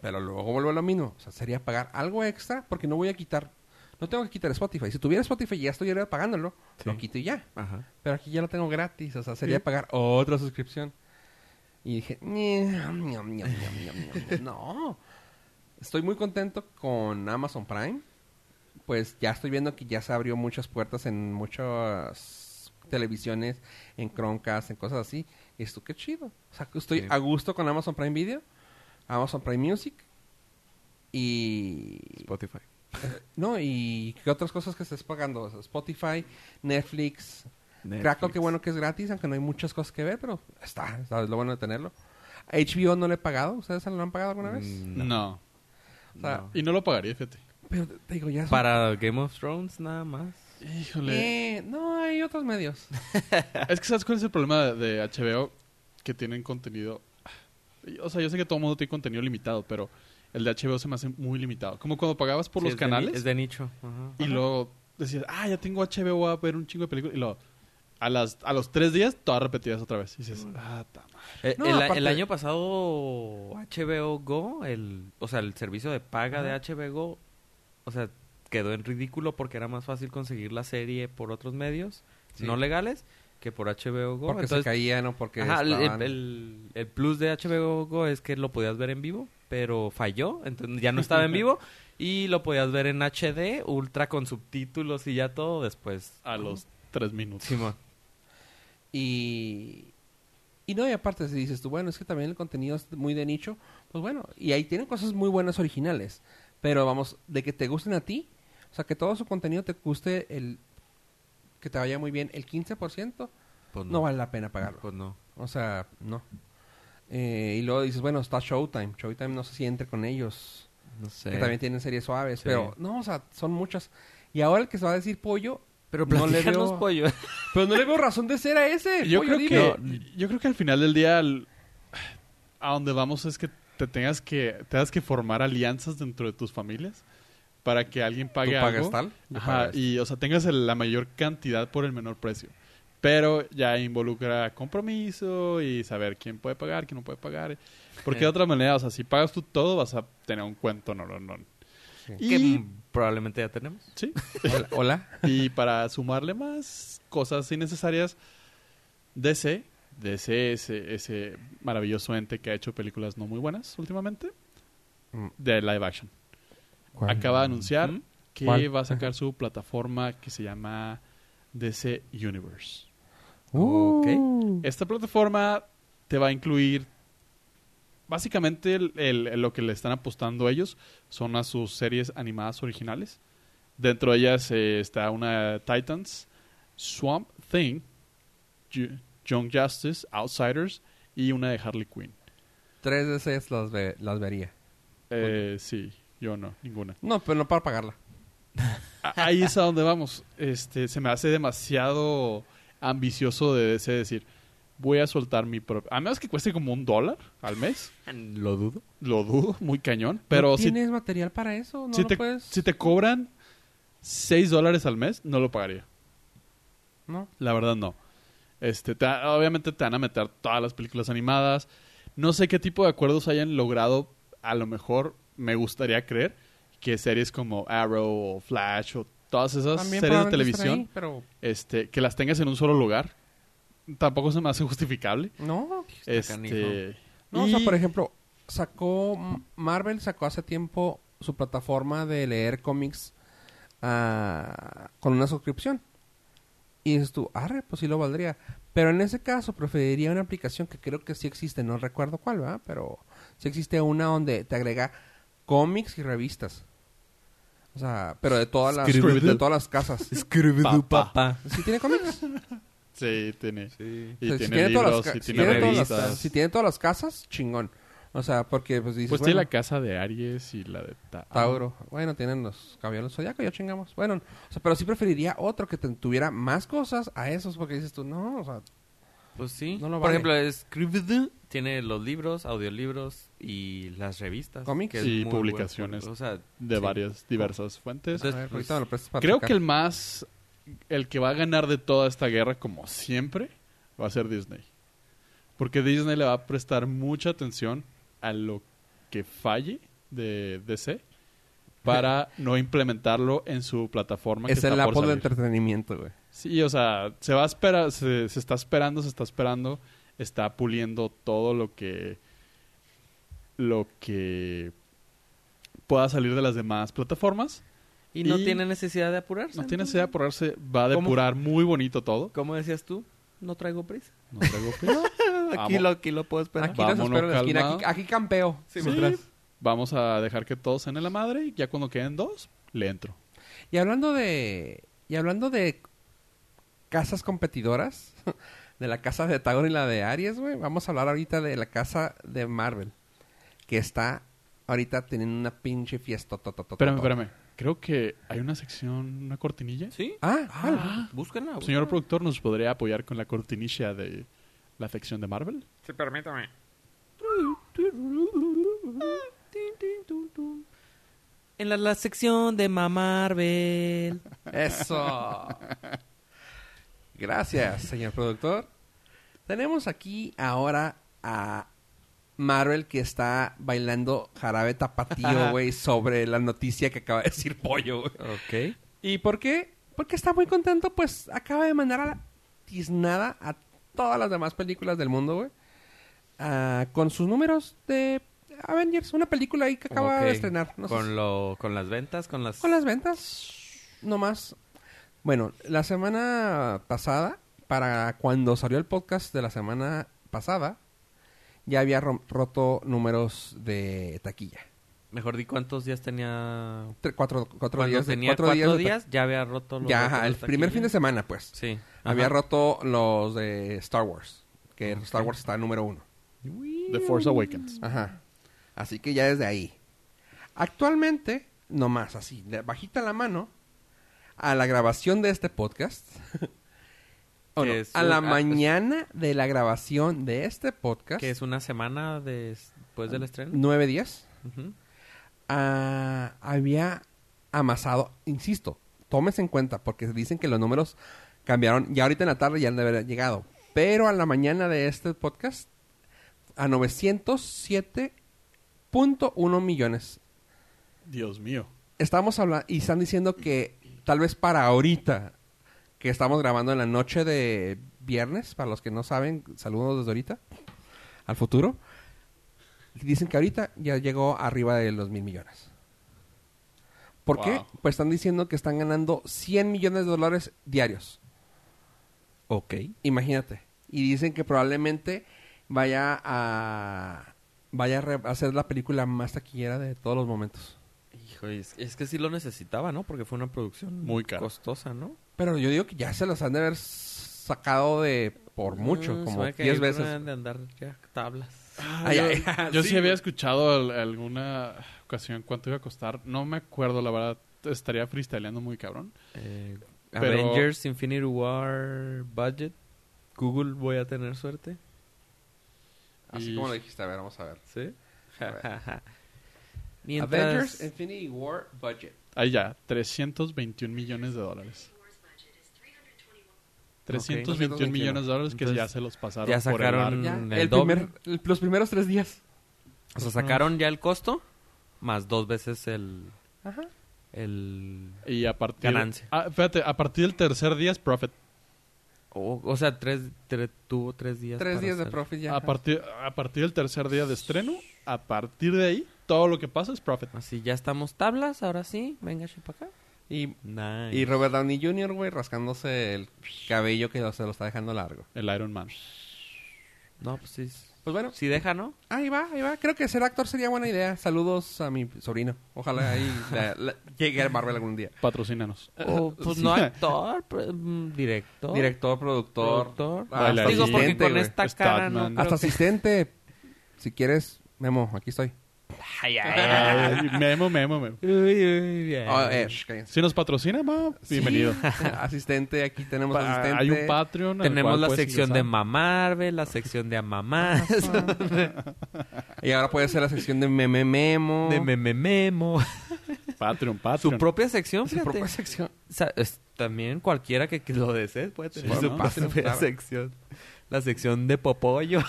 Speaker 4: pero luego vuelvo a lo mismo. O sea, sería pagar algo extra porque no voy a quitar. No tengo que quitar Spotify. Si tuviera Spotify ya estuviera pagándolo.
Speaker 3: Sí.
Speaker 4: Lo quito y ya.
Speaker 1: Ajá.
Speaker 4: Pero aquí ya lo tengo gratis. O sea, sería pagar otra suscripción. Y dije, "Nie, ñam, ñam, ñam, ñam, ñam". no. Estoy muy contento con Amazon Prime. Pues ya estoy viendo que ya se abrió muchas puertas en muchas televisiones, en Chromecast, en cosas así. Y esto qué chido. O sea, que estoy
Speaker 1: Sí.
Speaker 4: a gusto con Amazon Prime Video, Amazon Prime Music y
Speaker 1: Spotify.
Speaker 4: no, y qué otras cosas que estés pagando, O sea, Spotify, Netflix, Crackle, qué bueno que es gratis, aunque no hay muchas cosas que ver, pero está, está, es lo bueno de tenerlo. A HBO no le he pagado, ¿ustedes lo han pagado alguna vez?
Speaker 1: No.
Speaker 3: No.
Speaker 4: o sea,
Speaker 1: Mm, no.
Speaker 3: Y no lo pagaría, fíjate.
Speaker 4: Pero te te digo, ya son-
Speaker 1: Para Game of Thrones, nada más.
Speaker 3: Híjole.
Speaker 4: Eh, no, hay otros medios.
Speaker 3: Es que ¿sabes cuál es el problema de de HBO? Que tienen contenido... ah, O sea, yo sé que todo el mundo tiene contenido limitado, pero el de HBO se me hace muy limitado. Como cuando pagabas por
Speaker 1: Sí,
Speaker 3: los
Speaker 1: es de ni-
Speaker 3: canales
Speaker 1: es de nicho. Ajá.
Speaker 3: y luego decías, ah, ya tengo HBO, voy a ver un chingo de películas. Y luego, a, las, a los tres días, todas repetidas otra vez. Y dices, ah, ta madre".
Speaker 1: Eh,
Speaker 4: No,
Speaker 1: el, a-
Speaker 4: aparte-
Speaker 1: el año pasado HBO Go, el, o sea, el servicio de paga de HBO Go, o sea, quedó en ridículo porque era más fácil conseguir la serie por otros medios
Speaker 4: Sí.
Speaker 1: no legales que por HBO Go.
Speaker 4: Porque se
Speaker 1: Entonces,
Speaker 4: caían o porque
Speaker 1: ajá, el,
Speaker 4: estaban-
Speaker 1: el- el plus de HBO Go es que lo podías ver en vivo, pero falló, entonces ya no estaba en vivo y lo podías ver en HD, ultra con subtítulos y ya todo después.
Speaker 3: a los tres minutos.
Speaker 1: Simón.
Speaker 4: Y... Y no, y aparte si dices tú, bueno, es que también el contenido es muy de nicho, pues bueno, y ahí tienen cosas muy buenas originales, pero vamos, de que te gusten a ti, o sea, que todo su contenido te guste el... que te vaya muy bien, el 15%,
Speaker 1: Pues
Speaker 4: no vale la pena pagarlo.
Speaker 1: Pues no.
Speaker 4: O sea, no. Eh, y luego dices, bueno, está Showtime. Showtime no sé si entre con ellos.
Speaker 1: No sé.
Speaker 4: Que también tienen series suaves.
Speaker 1: Sí.
Speaker 4: Pero, no, o sea, son muchas. Y ahora el que se va a decir pollo.
Speaker 1: Pero
Speaker 4: no le
Speaker 1: platícanos,
Speaker 4: veo-
Speaker 1: pollo.
Speaker 4: Pero no le veo razón de ser a ese.
Speaker 3: Yo
Speaker 4: pollo,
Speaker 3: creo
Speaker 4: dime.
Speaker 3: que yo creo que al final del día el- a donde vamos es que te tengas que tengas que formar alianzas dentro de tus familias para que alguien
Speaker 4: Tú
Speaker 3: pague
Speaker 4: pagas
Speaker 3: algo.
Speaker 4: tal. yo
Speaker 3: Ajá,
Speaker 4: pago esto.
Speaker 3: y o sea, tengas el- la mayor cantidad por el menor precio. Pero ya involucra compromiso y saber quién puede pagar, quién no puede pagar. Porque de otra manera, o sea, si pagas tú todo, vas a tener un cuento, no, no, no.
Speaker 4: Sí.
Speaker 1: que
Speaker 3: Y,
Speaker 1: mm, probablemente ya tenemos.
Speaker 3: sí,
Speaker 4: Hola. hola.
Speaker 3: y para sumarle más cosas innecesarias, DC, DC ese, ese maravilloso ente que ha hecho películas no muy buenas últimamente,
Speaker 4: Mm.
Speaker 3: de live action. Acaba de anunciar
Speaker 1: ¿Mm?
Speaker 3: que
Speaker 4: ¿Cuál?
Speaker 3: va a sacar su plataforma que se llama DC Universe.
Speaker 4: Uh.
Speaker 3: Esta plataforma te va a incluir básicamente el- el- el- lo que le están apostando ellos son a sus series animadas originales. Dentro de ellas eh, está una Titans, Swamp Thing, Ju- Young Justice, Outsiders y una de Harley Quinn.
Speaker 4: Tres veces las, ve- las vería.
Speaker 3: Eh, sí, yo no, ninguna.
Speaker 4: No, pero no para pagarla.
Speaker 3: A- Ahí es a donde vamos. Este, se me hace demasiado ambicioso de DC decir, voy a soltar mi propio... A menos que cueste como un dólar al mes.
Speaker 1: Lo dudo.
Speaker 3: Lo dudo, muy cañón. Pero
Speaker 4: ¿No
Speaker 3: si,
Speaker 4: ¿Tienes material para eso? ¿No
Speaker 3: si
Speaker 4: lo
Speaker 3: te,
Speaker 4: puedes?
Speaker 3: si te cobran 6 dólares al mes, no lo pagaría.
Speaker 4: No.
Speaker 3: La verdad, no. Este, te- obviamente te van a meter todas las películas animadas. No sé qué tipo de acuerdos hayan logrado. A lo mejor me gustaría creer que series como Arrow o Flash o todas esas series de
Speaker 4: probablemente estén
Speaker 3: televisión,
Speaker 4: ahí, pero
Speaker 3: este, que las tengas en un solo lugar. Tampoco se me hace justificable.
Speaker 4: no.
Speaker 1: Está
Speaker 3: Este,
Speaker 4: No,
Speaker 3: y-
Speaker 4: o sea, por ejemplo, sacó Marvel sacó hace tiempo su plataforma de leer cómics ah, con una suscripción. Y dices tú, arre, pues sí lo valdría. Pero en ese caso preferiría una aplicación que creo que sí existe, no recuerdo cuál, ¿verdad? Pero sí existe una donde te agrega cómics y revistas. O sea, pero de todas las,
Speaker 3: Scribble.
Speaker 4: de todas las casas.
Speaker 1: Scooby-Doo
Speaker 3: Papá.
Speaker 1: papá.
Speaker 4: ¿Sí tiene cómics?
Speaker 3: Sí, tiene.
Speaker 1: Sí.
Speaker 3: Y
Speaker 4: O sea, si
Speaker 3: tiene,
Speaker 4: tiene todas las
Speaker 3: libros,
Speaker 4: ca-
Speaker 3: y
Speaker 4: si
Speaker 3: tiene
Speaker 4: tiene todas las
Speaker 3: revistas.
Speaker 4: casas- si tiene todas las casas, chingón. O sea, porque pues dices,
Speaker 3: pues tiene
Speaker 4: bueno,
Speaker 3: la casa de Aries y la de Ta- ah,
Speaker 4: Tauro. Bueno, tienen los caballeros zodiacos, ya chingamos. Bueno, o sea, pero sí preferiría otro que te- tuviera más cosas a esos, porque dices tú, no, o sea,
Speaker 1: Pues sí.
Speaker 4: No lo
Speaker 1: Por
Speaker 4: vale.
Speaker 1: ejemplo, Scribd tiene los libros, audiolibros y las revistas.
Speaker 4: Cómics.
Speaker 1: que es
Speaker 3: Y
Speaker 1: muy bueno.
Speaker 3: publicaciones.
Speaker 1: O sea,
Speaker 3: De
Speaker 1: Sí.
Speaker 3: varias, diversas fuentes.
Speaker 1: Entonces,
Speaker 4: a ver,
Speaker 1: pues,
Speaker 4: ahorita me lo prestas para
Speaker 3: Creo
Speaker 4: checar.
Speaker 3: que el más. El que va a ganar de toda esta guerra, como siempre, va a ser Disney. Porque Disney le va a prestar mucha atención a lo que falle de DC para no implementarlo en su plataforma. que
Speaker 4: es
Speaker 3: está
Speaker 4: el
Speaker 3: por
Speaker 4: Apple de
Speaker 3: salir.
Speaker 4: entretenimiento, güey.
Speaker 3: Sí, o sea, se va a esperar, se, se está esperando, se está esperando, está puliendo todo lo que lo que pueda salir de las demás plataformas.
Speaker 1: Y no
Speaker 3: Y-
Speaker 1: tiene necesidad de apurarse.
Speaker 3: No tiene
Speaker 1: entonces.
Speaker 3: necesidad de apurarse, va a
Speaker 1: ¿Cómo?
Speaker 3: depurar muy bonito todo.
Speaker 1: Como decías tú, no traigo prisa.
Speaker 3: No traigo prisa.
Speaker 1: Aquí
Speaker 3: Vamos.
Speaker 1: lo, aquí lo puedo esperar.
Speaker 4: Aquí los
Speaker 3: Vámonos,
Speaker 4: espero en la esquina,
Speaker 3: calmado.
Speaker 4: aquí, aquí campeo.
Speaker 1: Sí,
Speaker 3: Sí, Vamos a dejar que todos en la madre y ya cuando queden dos, le entro.
Speaker 4: Y hablando de. Y hablando de casas competidoras, de la casa de Tauro y la de Aries, güey, vamos a hablar ahorita de la casa de Marvel, que está ahorita teniendo una pinche fiesta.
Speaker 3: Espérame, espérame. Creo que hay una sección, una cortinilla.
Speaker 1: Sí.
Speaker 4: Ah, ah,
Speaker 1: Ah, búsquenla.
Speaker 3: Señor
Speaker 1: búsquenla.
Speaker 3: productor, ¿nos podría apoyar con la cortinilla de la sección de Marvel?
Speaker 2: Sí, permítame.
Speaker 1: En la, la sección de Mamarvel.
Speaker 4: eso. Gracias, señor productor. Tenemos aquí ahora a Marvel que está bailando jarabe tapatío, güey, sobre la noticia que acaba de decir Pollo, güey.
Speaker 1: Ok.
Speaker 4: ¿Y por qué? Porque está muy contento, pues acaba de mandar a la tiznada a todas las demás películas del mundo, güey. Ah, con sus números de Avengers, una película ahí que acaba
Speaker 1: Ok.
Speaker 4: de estrenar. No sé si-
Speaker 1: con, lo, con las ventas, con las...
Speaker 4: con las ventas, no más. Bueno, la semana pasada, para cuando salió el podcast de la semana pasada, ya había rom- roto números de taquilla.
Speaker 1: Mejor di cuántos días tenía...
Speaker 4: Tre- cuatro cuatro
Speaker 1: Cuando
Speaker 4: días. de-
Speaker 1: tenía
Speaker 4: cuatro
Speaker 1: cuatro
Speaker 4: días. de ta-
Speaker 1: días, ya había roto los
Speaker 4: ya,
Speaker 1: récords
Speaker 4: ajá, el
Speaker 1: taquilla.
Speaker 4: primer fin de semana, pues.
Speaker 1: Sí.
Speaker 4: Había
Speaker 1: ajá.
Speaker 4: roto los de Star Wars. Que Star Wars está número uno.
Speaker 3: The Force
Speaker 1: um,
Speaker 3: Awakens.
Speaker 4: Ajá. Así que ya desde ahí. Actualmente, nomás así, de- bajita la mano, a la grabación de este podcast. o no,
Speaker 1: Que es
Speaker 4: a
Speaker 1: un-
Speaker 4: la
Speaker 1: ah, es-
Speaker 4: mañana de la grabación de este podcast.
Speaker 1: Que es una semana des- después
Speaker 4: Ah,
Speaker 1: del estreno.
Speaker 4: Nueve días.
Speaker 1: Ujú.
Speaker 4: ah, había amasado, insisto, tómese en cuenta, porque dicen que los números cambiaron, ya ahorita en la tarde ya han de haber llegado, pero a la mañana de este podcast, a 907.1 millones.
Speaker 3: Dios mío.
Speaker 4: Estamos hablando, y están diciendo que tal vez para ahorita, que estamos grabando en la noche de viernes, para los que no saben, saludos desde ahorita, al futuro, dicen que ahorita ya llegó arriba de los mil millones. ¿Por qué?
Speaker 3: Wow.
Speaker 4: Pues están diciendo que están ganando 100 millones de dólares diarios.
Speaker 1: Ok.
Speaker 4: Imagínate. Y dicen que probablemente vaya a vaya a re- a ser la película más taquillera de todos los momentos.
Speaker 1: Hijo, es, es que sí lo necesitaba, ¿no? Porque fue una producción
Speaker 3: Muy cara.
Speaker 1: costosa, ¿no?
Speaker 4: Pero yo digo que ya se las han de haber sacado de por mucho,
Speaker 1: Mm, se
Speaker 4: como
Speaker 1: me hace que
Speaker 4: 10
Speaker 1: yo creo que
Speaker 4: veces. Ah,
Speaker 1: han de andar ya tablas.
Speaker 4: Ay,
Speaker 3: yo
Speaker 4: ay,
Speaker 1: Ah,
Speaker 3: yo sí,
Speaker 4: sí,
Speaker 3: había
Speaker 4: güey.
Speaker 3: escuchado al- alguna ocasión cuánto iba a costar. No me acuerdo, la verdad. Estaría freestyleando muy cabrón.
Speaker 1: Eh,
Speaker 3: Pero-
Speaker 1: Avengers Infinity War Budget. Google, voy a tener suerte.
Speaker 4: Así
Speaker 3: Y-
Speaker 4: como lo dijiste, a ver, vamos a ver.
Speaker 1: Sí.
Speaker 4: A ver.
Speaker 1: Mientras...
Speaker 4: Avengers eh, Infinity War Budget.
Speaker 3: Ahí ya, 321 millones de dólares. 321
Speaker 4: Ok.
Speaker 3: millones de dólares que
Speaker 1: Entonces,
Speaker 3: ya se los pasaron
Speaker 1: ya
Speaker 3: por el
Speaker 1: sacaron-
Speaker 3: barrio.
Speaker 4: Ya,
Speaker 1: Mm,
Speaker 4: el
Speaker 1: el doble.
Speaker 4: primer, el- los primeros tres días.
Speaker 1: O sea, sacaron ya el costo más dos veces el...
Speaker 4: Ajá.
Speaker 1: el
Speaker 3: Y a partir...
Speaker 1: Ganancia.
Speaker 3: Ah, fíjate, a partir del tercer día es profit.
Speaker 1: o, o sea, tres, tre- tuvo tres días.
Speaker 4: Tres
Speaker 1: para
Speaker 4: días de
Speaker 1: hacer-
Speaker 4: profit ya.
Speaker 3: A partir, a partir del tercer día de estreno, a partir de ahí, todo lo que pasa es profit.
Speaker 1: Así, ya estamos tablas, ahora sí. Venga, para acá.
Speaker 4: Y,
Speaker 1: Nice.
Speaker 4: y Robert Downey Jr., güey, rascándose el cabello que se lo está dejando largo.
Speaker 3: El Iron Man.
Speaker 1: No, pues sí. es-
Speaker 4: Pues bueno,
Speaker 1: Si deja, ¿no?
Speaker 4: ahí va, ahí va. Creo que ser actor sería buena idea. Saludos a mi sobrino. Ojalá ahí la- la- llegue a Marvel algún día.
Speaker 3: Patrocínanos.
Speaker 1: O, pues no actor, pero, mm, director.
Speaker 4: Director, productor.
Speaker 1: Productor.
Speaker 4: Ah, hasta
Speaker 3: Bailarín.
Speaker 1: Digo, porque
Speaker 4: asistente,
Speaker 1: con
Speaker 4: güey.
Speaker 1: esta
Speaker 3: Stuntman.
Speaker 1: cara no creo
Speaker 4: Hasta
Speaker 1: que-
Speaker 4: asistente. Si quieres, Memo, aquí estoy.
Speaker 3: Ay, memo, memo, memo.
Speaker 1: Uy, uy, bien.
Speaker 4: Oh, eh, sh, cállense.
Speaker 3: Si nos patrocina, ma, bienvenido.
Speaker 4: asistente, aquí tenemos
Speaker 3: Pa-
Speaker 4: asistente.
Speaker 3: Hay un Patreon. al
Speaker 1: Tenemos
Speaker 3: cual
Speaker 1: la
Speaker 3: puedes
Speaker 1: sección de
Speaker 3: ingresar.
Speaker 1: Mamarve, la sección de Amamás,
Speaker 4: Y ahora puede ser la sección de Meme Memo.
Speaker 1: de Memememo.
Speaker 3: Patreon,
Speaker 1: Su
Speaker 3: Patreon.
Speaker 1: propia sección,
Speaker 4: Su
Speaker 1: fíjate.
Speaker 4: propia sección.
Speaker 1: O sea, es- también cualquiera que, que lo desee puede tener
Speaker 3: Sí,
Speaker 1: su
Speaker 3: ¿no?
Speaker 1: propia
Speaker 4: Pásenlo, claro.
Speaker 1: sección. La sección de Popollo.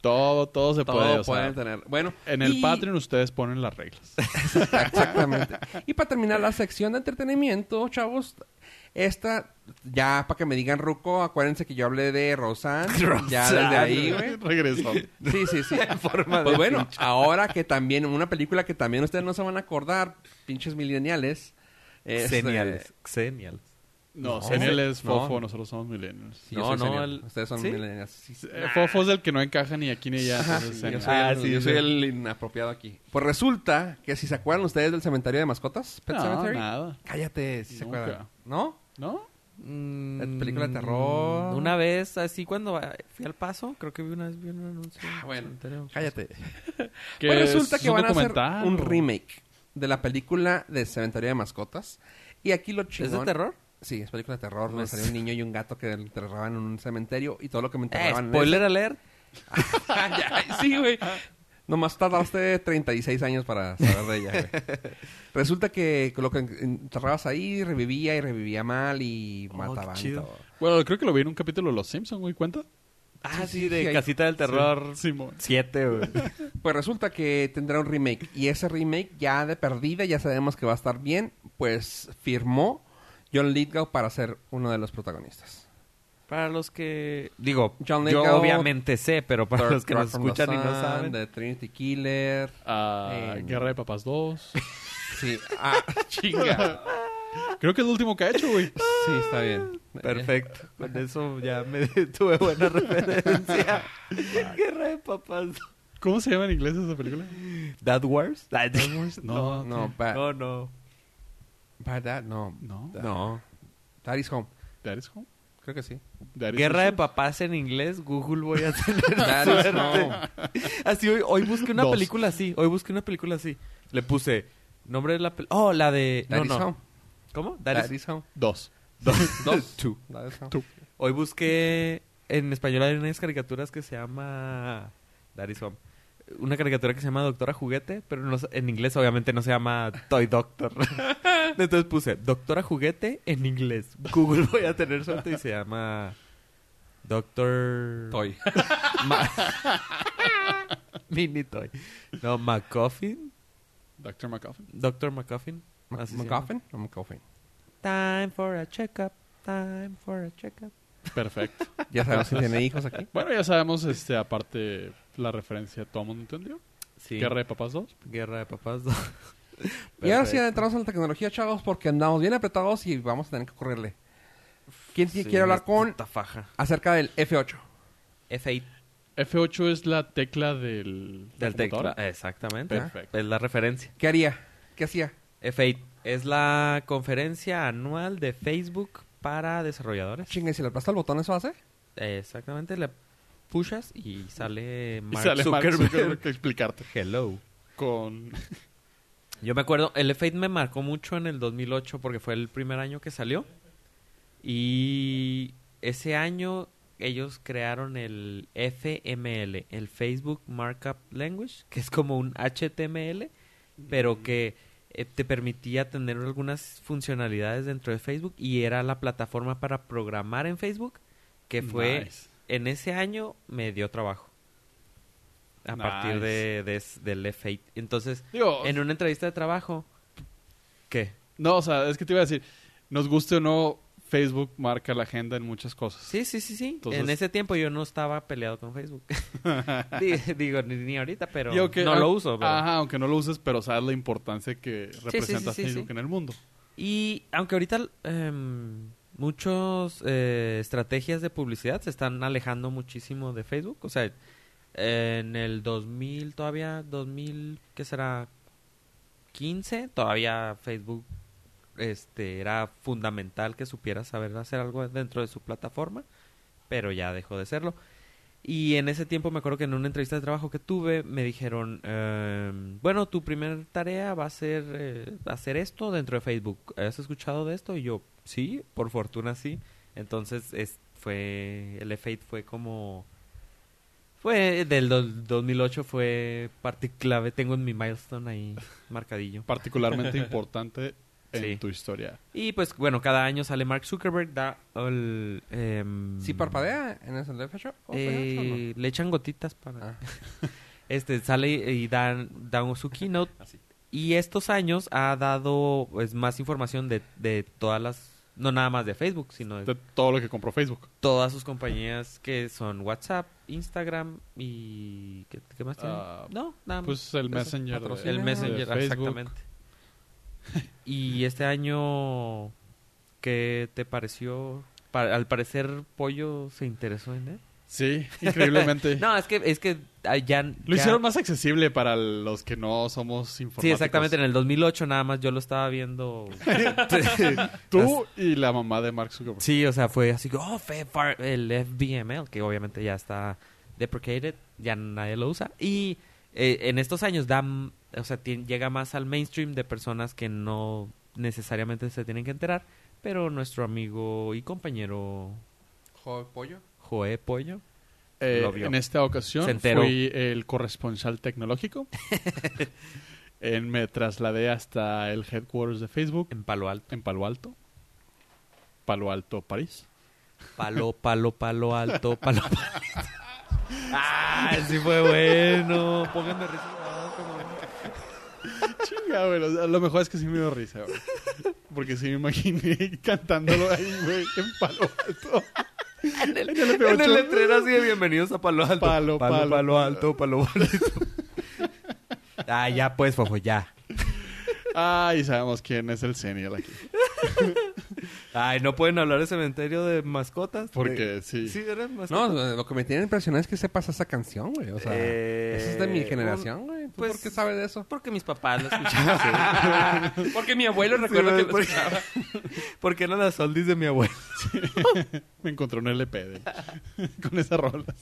Speaker 3: Todo, todo se
Speaker 4: Todo
Speaker 3: puede. o sea,
Speaker 4: pueden tener. Bueno,
Speaker 3: en el
Speaker 4: y-
Speaker 3: Patreon ustedes ponen las reglas.
Speaker 4: Exactamente. Y para terminar la sección de entretenimiento, chavos, esta, ya para que me digan Ruco, acuérdense que yo hablé de Rosan. Ya desde ahí, güey.
Speaker 3: Regresó.
Speaker 4: Sí, sí, sí. pues bueno, ahora que también, una película que también ustedes no se van a acordar, pinches mileniales. este,
Speaker 1: Geniales. Geniales.
Speaker 3: No,
Speaker 4: No,
Speaker 3: Zeniel
Speaker 4: güey.
Speaker 3: es fofo,
Speaker 1: No.
Speaker 3: nosotros somos millennials.
Speaker 4: sí, yo
Speaker 1: No,
Speaker 4: soy
Speaker 1: no,
Speaker 4: senior.
Speaker 1: el-
Speaker 4: Ustedes son
Speaker 1: ¿sí?
Speaker 4: millennials. Sí, sí.
Speaker 3: Eh, Fofo es el que no encaja ni aquí ni allá. entonces,
Speaker 4: Yo
Speaker 3: Zeniel.
Speaker 4: soy,
Speaker 1: Ah,
Speaker 4: el,
Speaker 1: sí,
Speaker 4: yo
Speaker 1: sí.
Speaker 4: soy el inapropiado aquí. Pues resulta que si se acuerdan ustedes del cementerio de mascotas, Pet
Speaker 3: no,
Speaker 4: Cemetery.
Speaker 3: nada.
Speaker 4: Cállate, si se
Speaker 3: Nunca.
Speaker 4: acuerdan. ¿No?
Speaker 3: ¿No?
Speaker 1: Mm,
Speaker 4: película de terror.
Speaker 1: Una vez, así cuando eh, fui al paso, creo que vi una vez vi un anuncio. Eh,
Speaker 4: Ah,
Speaker 1: en
Speaker 4: bueno.
Speaker 1: el cementerio.
Speaker 4: Cállate.
Speaker 3: Que
Speaker 4: Pues resulta
Speaker 3: es
Speaker 4: que
Speaker 3: un
Speaker 4: van a hacer
Speaker 3: documental,
Speaker 4: un
Speaker 3: ¿no?
Speaker 4: remake de la película de Cementerio de Mascotas. Y aquí lo
Speaker 1: ¿Es
Speaker 4: chingón...
Speaker 1: de terror?
Speaker 4: Sí, es película de terror. donde
Speaker 1: Pues-
Speaker 4: salió un niño y un gato que enterraban en un cementerio y todo lo que me
Speaker 1: Eh,
Speaker 4: enterraban... en
Speaker 1: spoiler alert.
Speaker 4: ese- Ay, sí, güey. Nomás tardaste 36 años para saber de ella, güey. Resulta que lo que enterrabas ahí revivía y revivía mal y
Speaker 1: Oh,
Speaker 4: mataban
Speaker 1: qué chido.
Speaker 4: todo.
Speaker 3: Bueno, creo que lo vi en un capítulo de Los Simpsons, güey. ¿Cuenta?
Speaker 1: Ah,
Speaker 4: sí,
Speaker 1: sí, de
Speaker 4: sí, hay-
Speaker 1: Casita del
Speaker 4: Ah.
Speaker 1: Terror
Speaker 3: Simón.
Speaker 1: 7, güey.
Speaker 4: Pues resulta que tendrá un remake. Y ese remake ya de perdida, ya sabemos que va a estar bien. Pues firmó John Lithgow para ser uno de los protagonistas.
Speaker 1: Para los que... Digo,
Speaker 4: John
Speaker 1: yo
Speaker 4: Lithgow,
Speaker 1: obviamente sé, pero para
Speaker 4: Third
Speaker 1: los que
Speaker 4: Rock
Speaker 1: nos
Speaker 4: from the
Speaker 1: escuchan y no
Speaker 4: Sun,
Speaker 1: saben.
Speaker 4: De Trinity Killer.
Speaker 3: Ah,
Speaker 4: Eh.
Speaker 3: Guerra de Papas 2.
Speaker 4: Sí. Ah, chinga.
Speaker 3: Creo que es el último que ha hecho, güey.
Speaker 4: Sí, está bien.
Speaker 1: Perfecto. Con eso ya me tuve buena referencia. Guerra de papás.
Speaker 3: ¿Cómo se llama en inglés esa película?
Speaker 1: ¿That Wars?
Speaker 3: No.
Speaker 4: Eh, No, bad,
Speaker 1: No, no.
Speaker 4: bad Dad, no.
Speaker 3: No.
Speaker 4: No. Dad is home.
Speaker 3: That is home.
Speaker 4: Creo que sí.
Speaker 3: That is
Speaker 1: Guerra
Speaker 3: home.
Speaker 1: de papás en inglés, Google voy a tener.
Speaker 4: Dad is home.
Speaker 1: Así hoy, hoy busqué una
Speaker 3: Dos.
Speaker 1: película así. Hoy busqué una película así. Le puse nombre de la película. Oh, la de.
Speaker 4: Dad
Speaker 1: no,
Speaker 4: is
Speaker 1: no.
Speaker 4: home.
Speaker 1: ¿Cómo? That
Speaker 4: Dad
Speaker 1: is-
Speaker 4: is home.
Speaker 3: Dos.
Speaker 4: Dos. Two. Dad is home.
Speaker 3: Two.
Speaker 1: Hoy busqué. En español hay unas caricaturas que se llama. That is home. Una caricatura que se llama Doctora Juguete, pero no se- en inglés obviamente no se llama Toy Doctor. Entonces puse Doctora Juguete en inglés. Google voy a tener suerte y se llama Doctor
Speaker 4: Toy.
Speaker 1: Ma- Mini Toy. No, McCoffin.
Speaker 3: Dr. McCoffin.
Speaker 1: Doctor McCoffin.
Speaker 4: Mc-
Speaker 1: Así se
Speaker 4: McCoffin. No, McCoffin.
Speaker 1: Time for a checkup. Time for a checkup.
Speaker 3: Perfecto.
Speaker 4: Ya sabemos si tiene hijos aquí.
Speaker 3: Bueno, ya sabemos, este, aparte, la referencia, ¿todo el mundo entendió?
Speaker 1: Sí.
Speaker 3: Guerra de Papas 2.
Speaker 1: Guerra de papás.
Speaker 4: Y ahora sí entramos en la tecnología, chavos, porque andamos bien apretados y vamos a tener que correrle. ¿Quién
Speaker 1: Sí,
Speaker 4: quiere hablar con
Speaker 1: esta faja.
Speaker 4: acerca del F8?
Speaker 1: F8
Speaker 3: F8 es la tecla del... de
Speaker 1: del
Speaker 3: la computadora.
Speaker 1: tecla. eh, Exactamente.
Speaker 3: Perfecto.
Speaker 1: Es la referencia.
Speaker 4: ¿Qué haría? ¿Qué hacía?
Speaker 1: F8 es la conferencia anual de Facebook para desarrolladores.
Speaker 4: Chingue, si le aplasta el botón, ¿eso hace?
Speaker 1: Exactamente. Le pushas y sale
Speaker 3: Y
Speaker 1: Mark
Speaker 3: sale Mark
Speaker 1: Zuckerberg.
Speaker 3: Zuckerberg que explicarte.
Speaker 1: Hello.
Speaker 3: Con...
Speaker 1: Yo me acuerdo, el F8 me marcó mucho en el 2008 porque fue el primer año que salió. Y ese año ellos crearon el FML, el Facebook Markup Language, que es como un HTML, pero que eh, te permitía tener algunas funcionalidades dentro de Facebook y era la plataforma para programar en Facebook, que fue
Speaker 3: Nice.
Speaker 1: en ese año me dio trabajo. A
Speaker 3: Nice.
Speaker 1: partir de, de- del F8. Entonces,
Speaker 3: Digo,
Speaker 1: en una entrevista de trabajo. ¿Qué?
Speaker 3: no, o sea, es que te iba a decir, nos guste o no, Facebook marca la agenda en muchas cosas.
Speaker 1: Sí, sí, sí, sí.
Speaker 3: Entonces-
Speaker 1: En ese tiempo yo no estaba peleado con Facebook. Di- Digo, ni, ni ahorita, pero
Speaker 3: Y aunque-
Speaker 1: no lo
Speaker 3: ah,
Speaker 1: uso. pero-
Speaker 3: Ajá, aunque no lo uses, pero sabes la importancia que representa
Speaker 1: sí, sí,
Speaker 3: Facebook
Speaker 1: sí.
Speaker 3: en el mundo.
Speaker 1: Y aunque ahorita em, muchas eh, estrategias de publicidad se están alejando muchísimo de Facebook, o sea, en el 2000 todavía, 2000, ¿qué será? 15, todavía Facebook este era fundamental que supiera saber hacer algo dentro de su plataforma, pero ya dejó de serlo. Y en ese tiempo me acuerdo que en una entrevista de trabajo que tuve me dijeron, ehm, bueno, tu primera tarea va a ser eh, hacer esto dentro de Facebook. ¿Has escuchado de esto? Y yo, sí, por fortuna sí. Entonces es, fue, el efecto fue como, fue del do- 2008, fue parte clave, tengo en mi milestone ahí marcadillo.
Speaker 3: Particularmente importante en
Speaker 1: Sí.
Speaker 3: tu historia.
Speaker 1: Y pues bueno, cada año sale Mark Zuckerberg, da el... ehm,
Speaker 4: ¿Sí parpadea en el Live Show? ¿O
Speaker 1: eh,
Speaker 4: fue eso
Speaker 1: Le echan gotitas para...
Speaker 4: o no? Ah.
Speaker 1: Este sale y dan, dan su keynote.
Speaker 4: Ah,
Speaker 2: Así.
Speaker 1: Y estos años ha dado pues, más información de, de todas las. No nada más de Facebook, sino de
Speaker 3: De todo lo que compró Facebook.
Speaker 1: todas sus compañías que son WhatsApp, Instagram y. ¿Qué, qué más tiene?
Speaker 3: Ah,
Speaker 1: no, nada más.
Speaker 3: Pues el
Speaker 1: Eso,
Speaker 3: Messenger. de-
Speaker 1: patrocina. el
Speaker 3: de
Speaker 1: Messenger,
Speaker 3: Facebook.
Speaker 1: exactamente. Y este año. ¿Qué te pareció? Pa- al parecer, Pollo se interesó en él.
Speaker 3: Sí, increíblemente.
Speaker 1: No, es que, es que ah, ya.
Speaker 3: Lo
Speaker 1: ya-
Speaker 3: hicieron más accesible para los que no somos informáticos.
Speaker 1: Sí, exactamente. En el 2008 nada más yo lo estaba viendo.
Speaker 3: Tú y la mamá de Mark Zuckerberg.
Speaker 1: sí, o sea, fue así que, oh, fe- far- el FBML, que obviamente ya está deprecated, ya nadie lo usa. Y eh, en estos años da, m- o sea, tien- llega más al mainstream de personas que no necesariamente se tienen que enterar. Pero nuestro amigo y compañero
Speaker 4: Jo- ¿Pollo?
Speaker 1: Joe Pollo,
Speaker 3: Eh,
Speaker 1: Lo vio.
Speaker 3: en esta
Speaker 1: Se
Speaker 3: ocasión
Speaker 1: enteró.
Speaker 3: fui el corresponsal tecnológico. Eh, me trasladé hasta el headquarters de Facebook
Speaker 1: en Palo Alto.
Speaker 3: en Palo Alto. Palo Alto, París.
Speaker 1: Palo, palo, palo alto, palo, palo. ah, sí fue bueno. Pónganme risa.
Speaker 3: Chinga, güey. o sea, lo mejor es que sí me dio risa, güey. Porque sí me imaginé cantándolo ahí, güey, en Palo Alto. En el,
Speaker 1: En el
Speaker 3: F8.
Speaker 1: letrero así de bienvenidos a Palo Alto.
Speaker 3: Palo, palo.
Speaker 1: alto, palo alto. ah, ya pues, Fofo, ya.
Speaker 3: Ay, sabemos quién es el senior aquí.
Speaker 1: Ay, no pueden hablar de cementerio de mascotas.
Speaker 3: Porque
Speaker 1: De-
Speaker 3: sí.
Speaker 1: Sí, eran
Speaker 4: No,
Speaker 1: mascotas.
Speaker 4: lo que me tiene impresionado es que sepas esa canción, güey. O sea,
Speaker 1: Eh,
Speaker 4: eso es de mi generación, güey. ¿Tú
Speaker 1: pues-
Speaker 4: ¿Por qué sabes de eso?
Speaker 1: Porque mis papás lo escuchaban.
Speaker 4: Porque mi abuelo
Speaker 1: Sí, porque- Porque eran las oldies de mi abuelo.
Speaker 3: Me encontré un LP de- con esas rolas.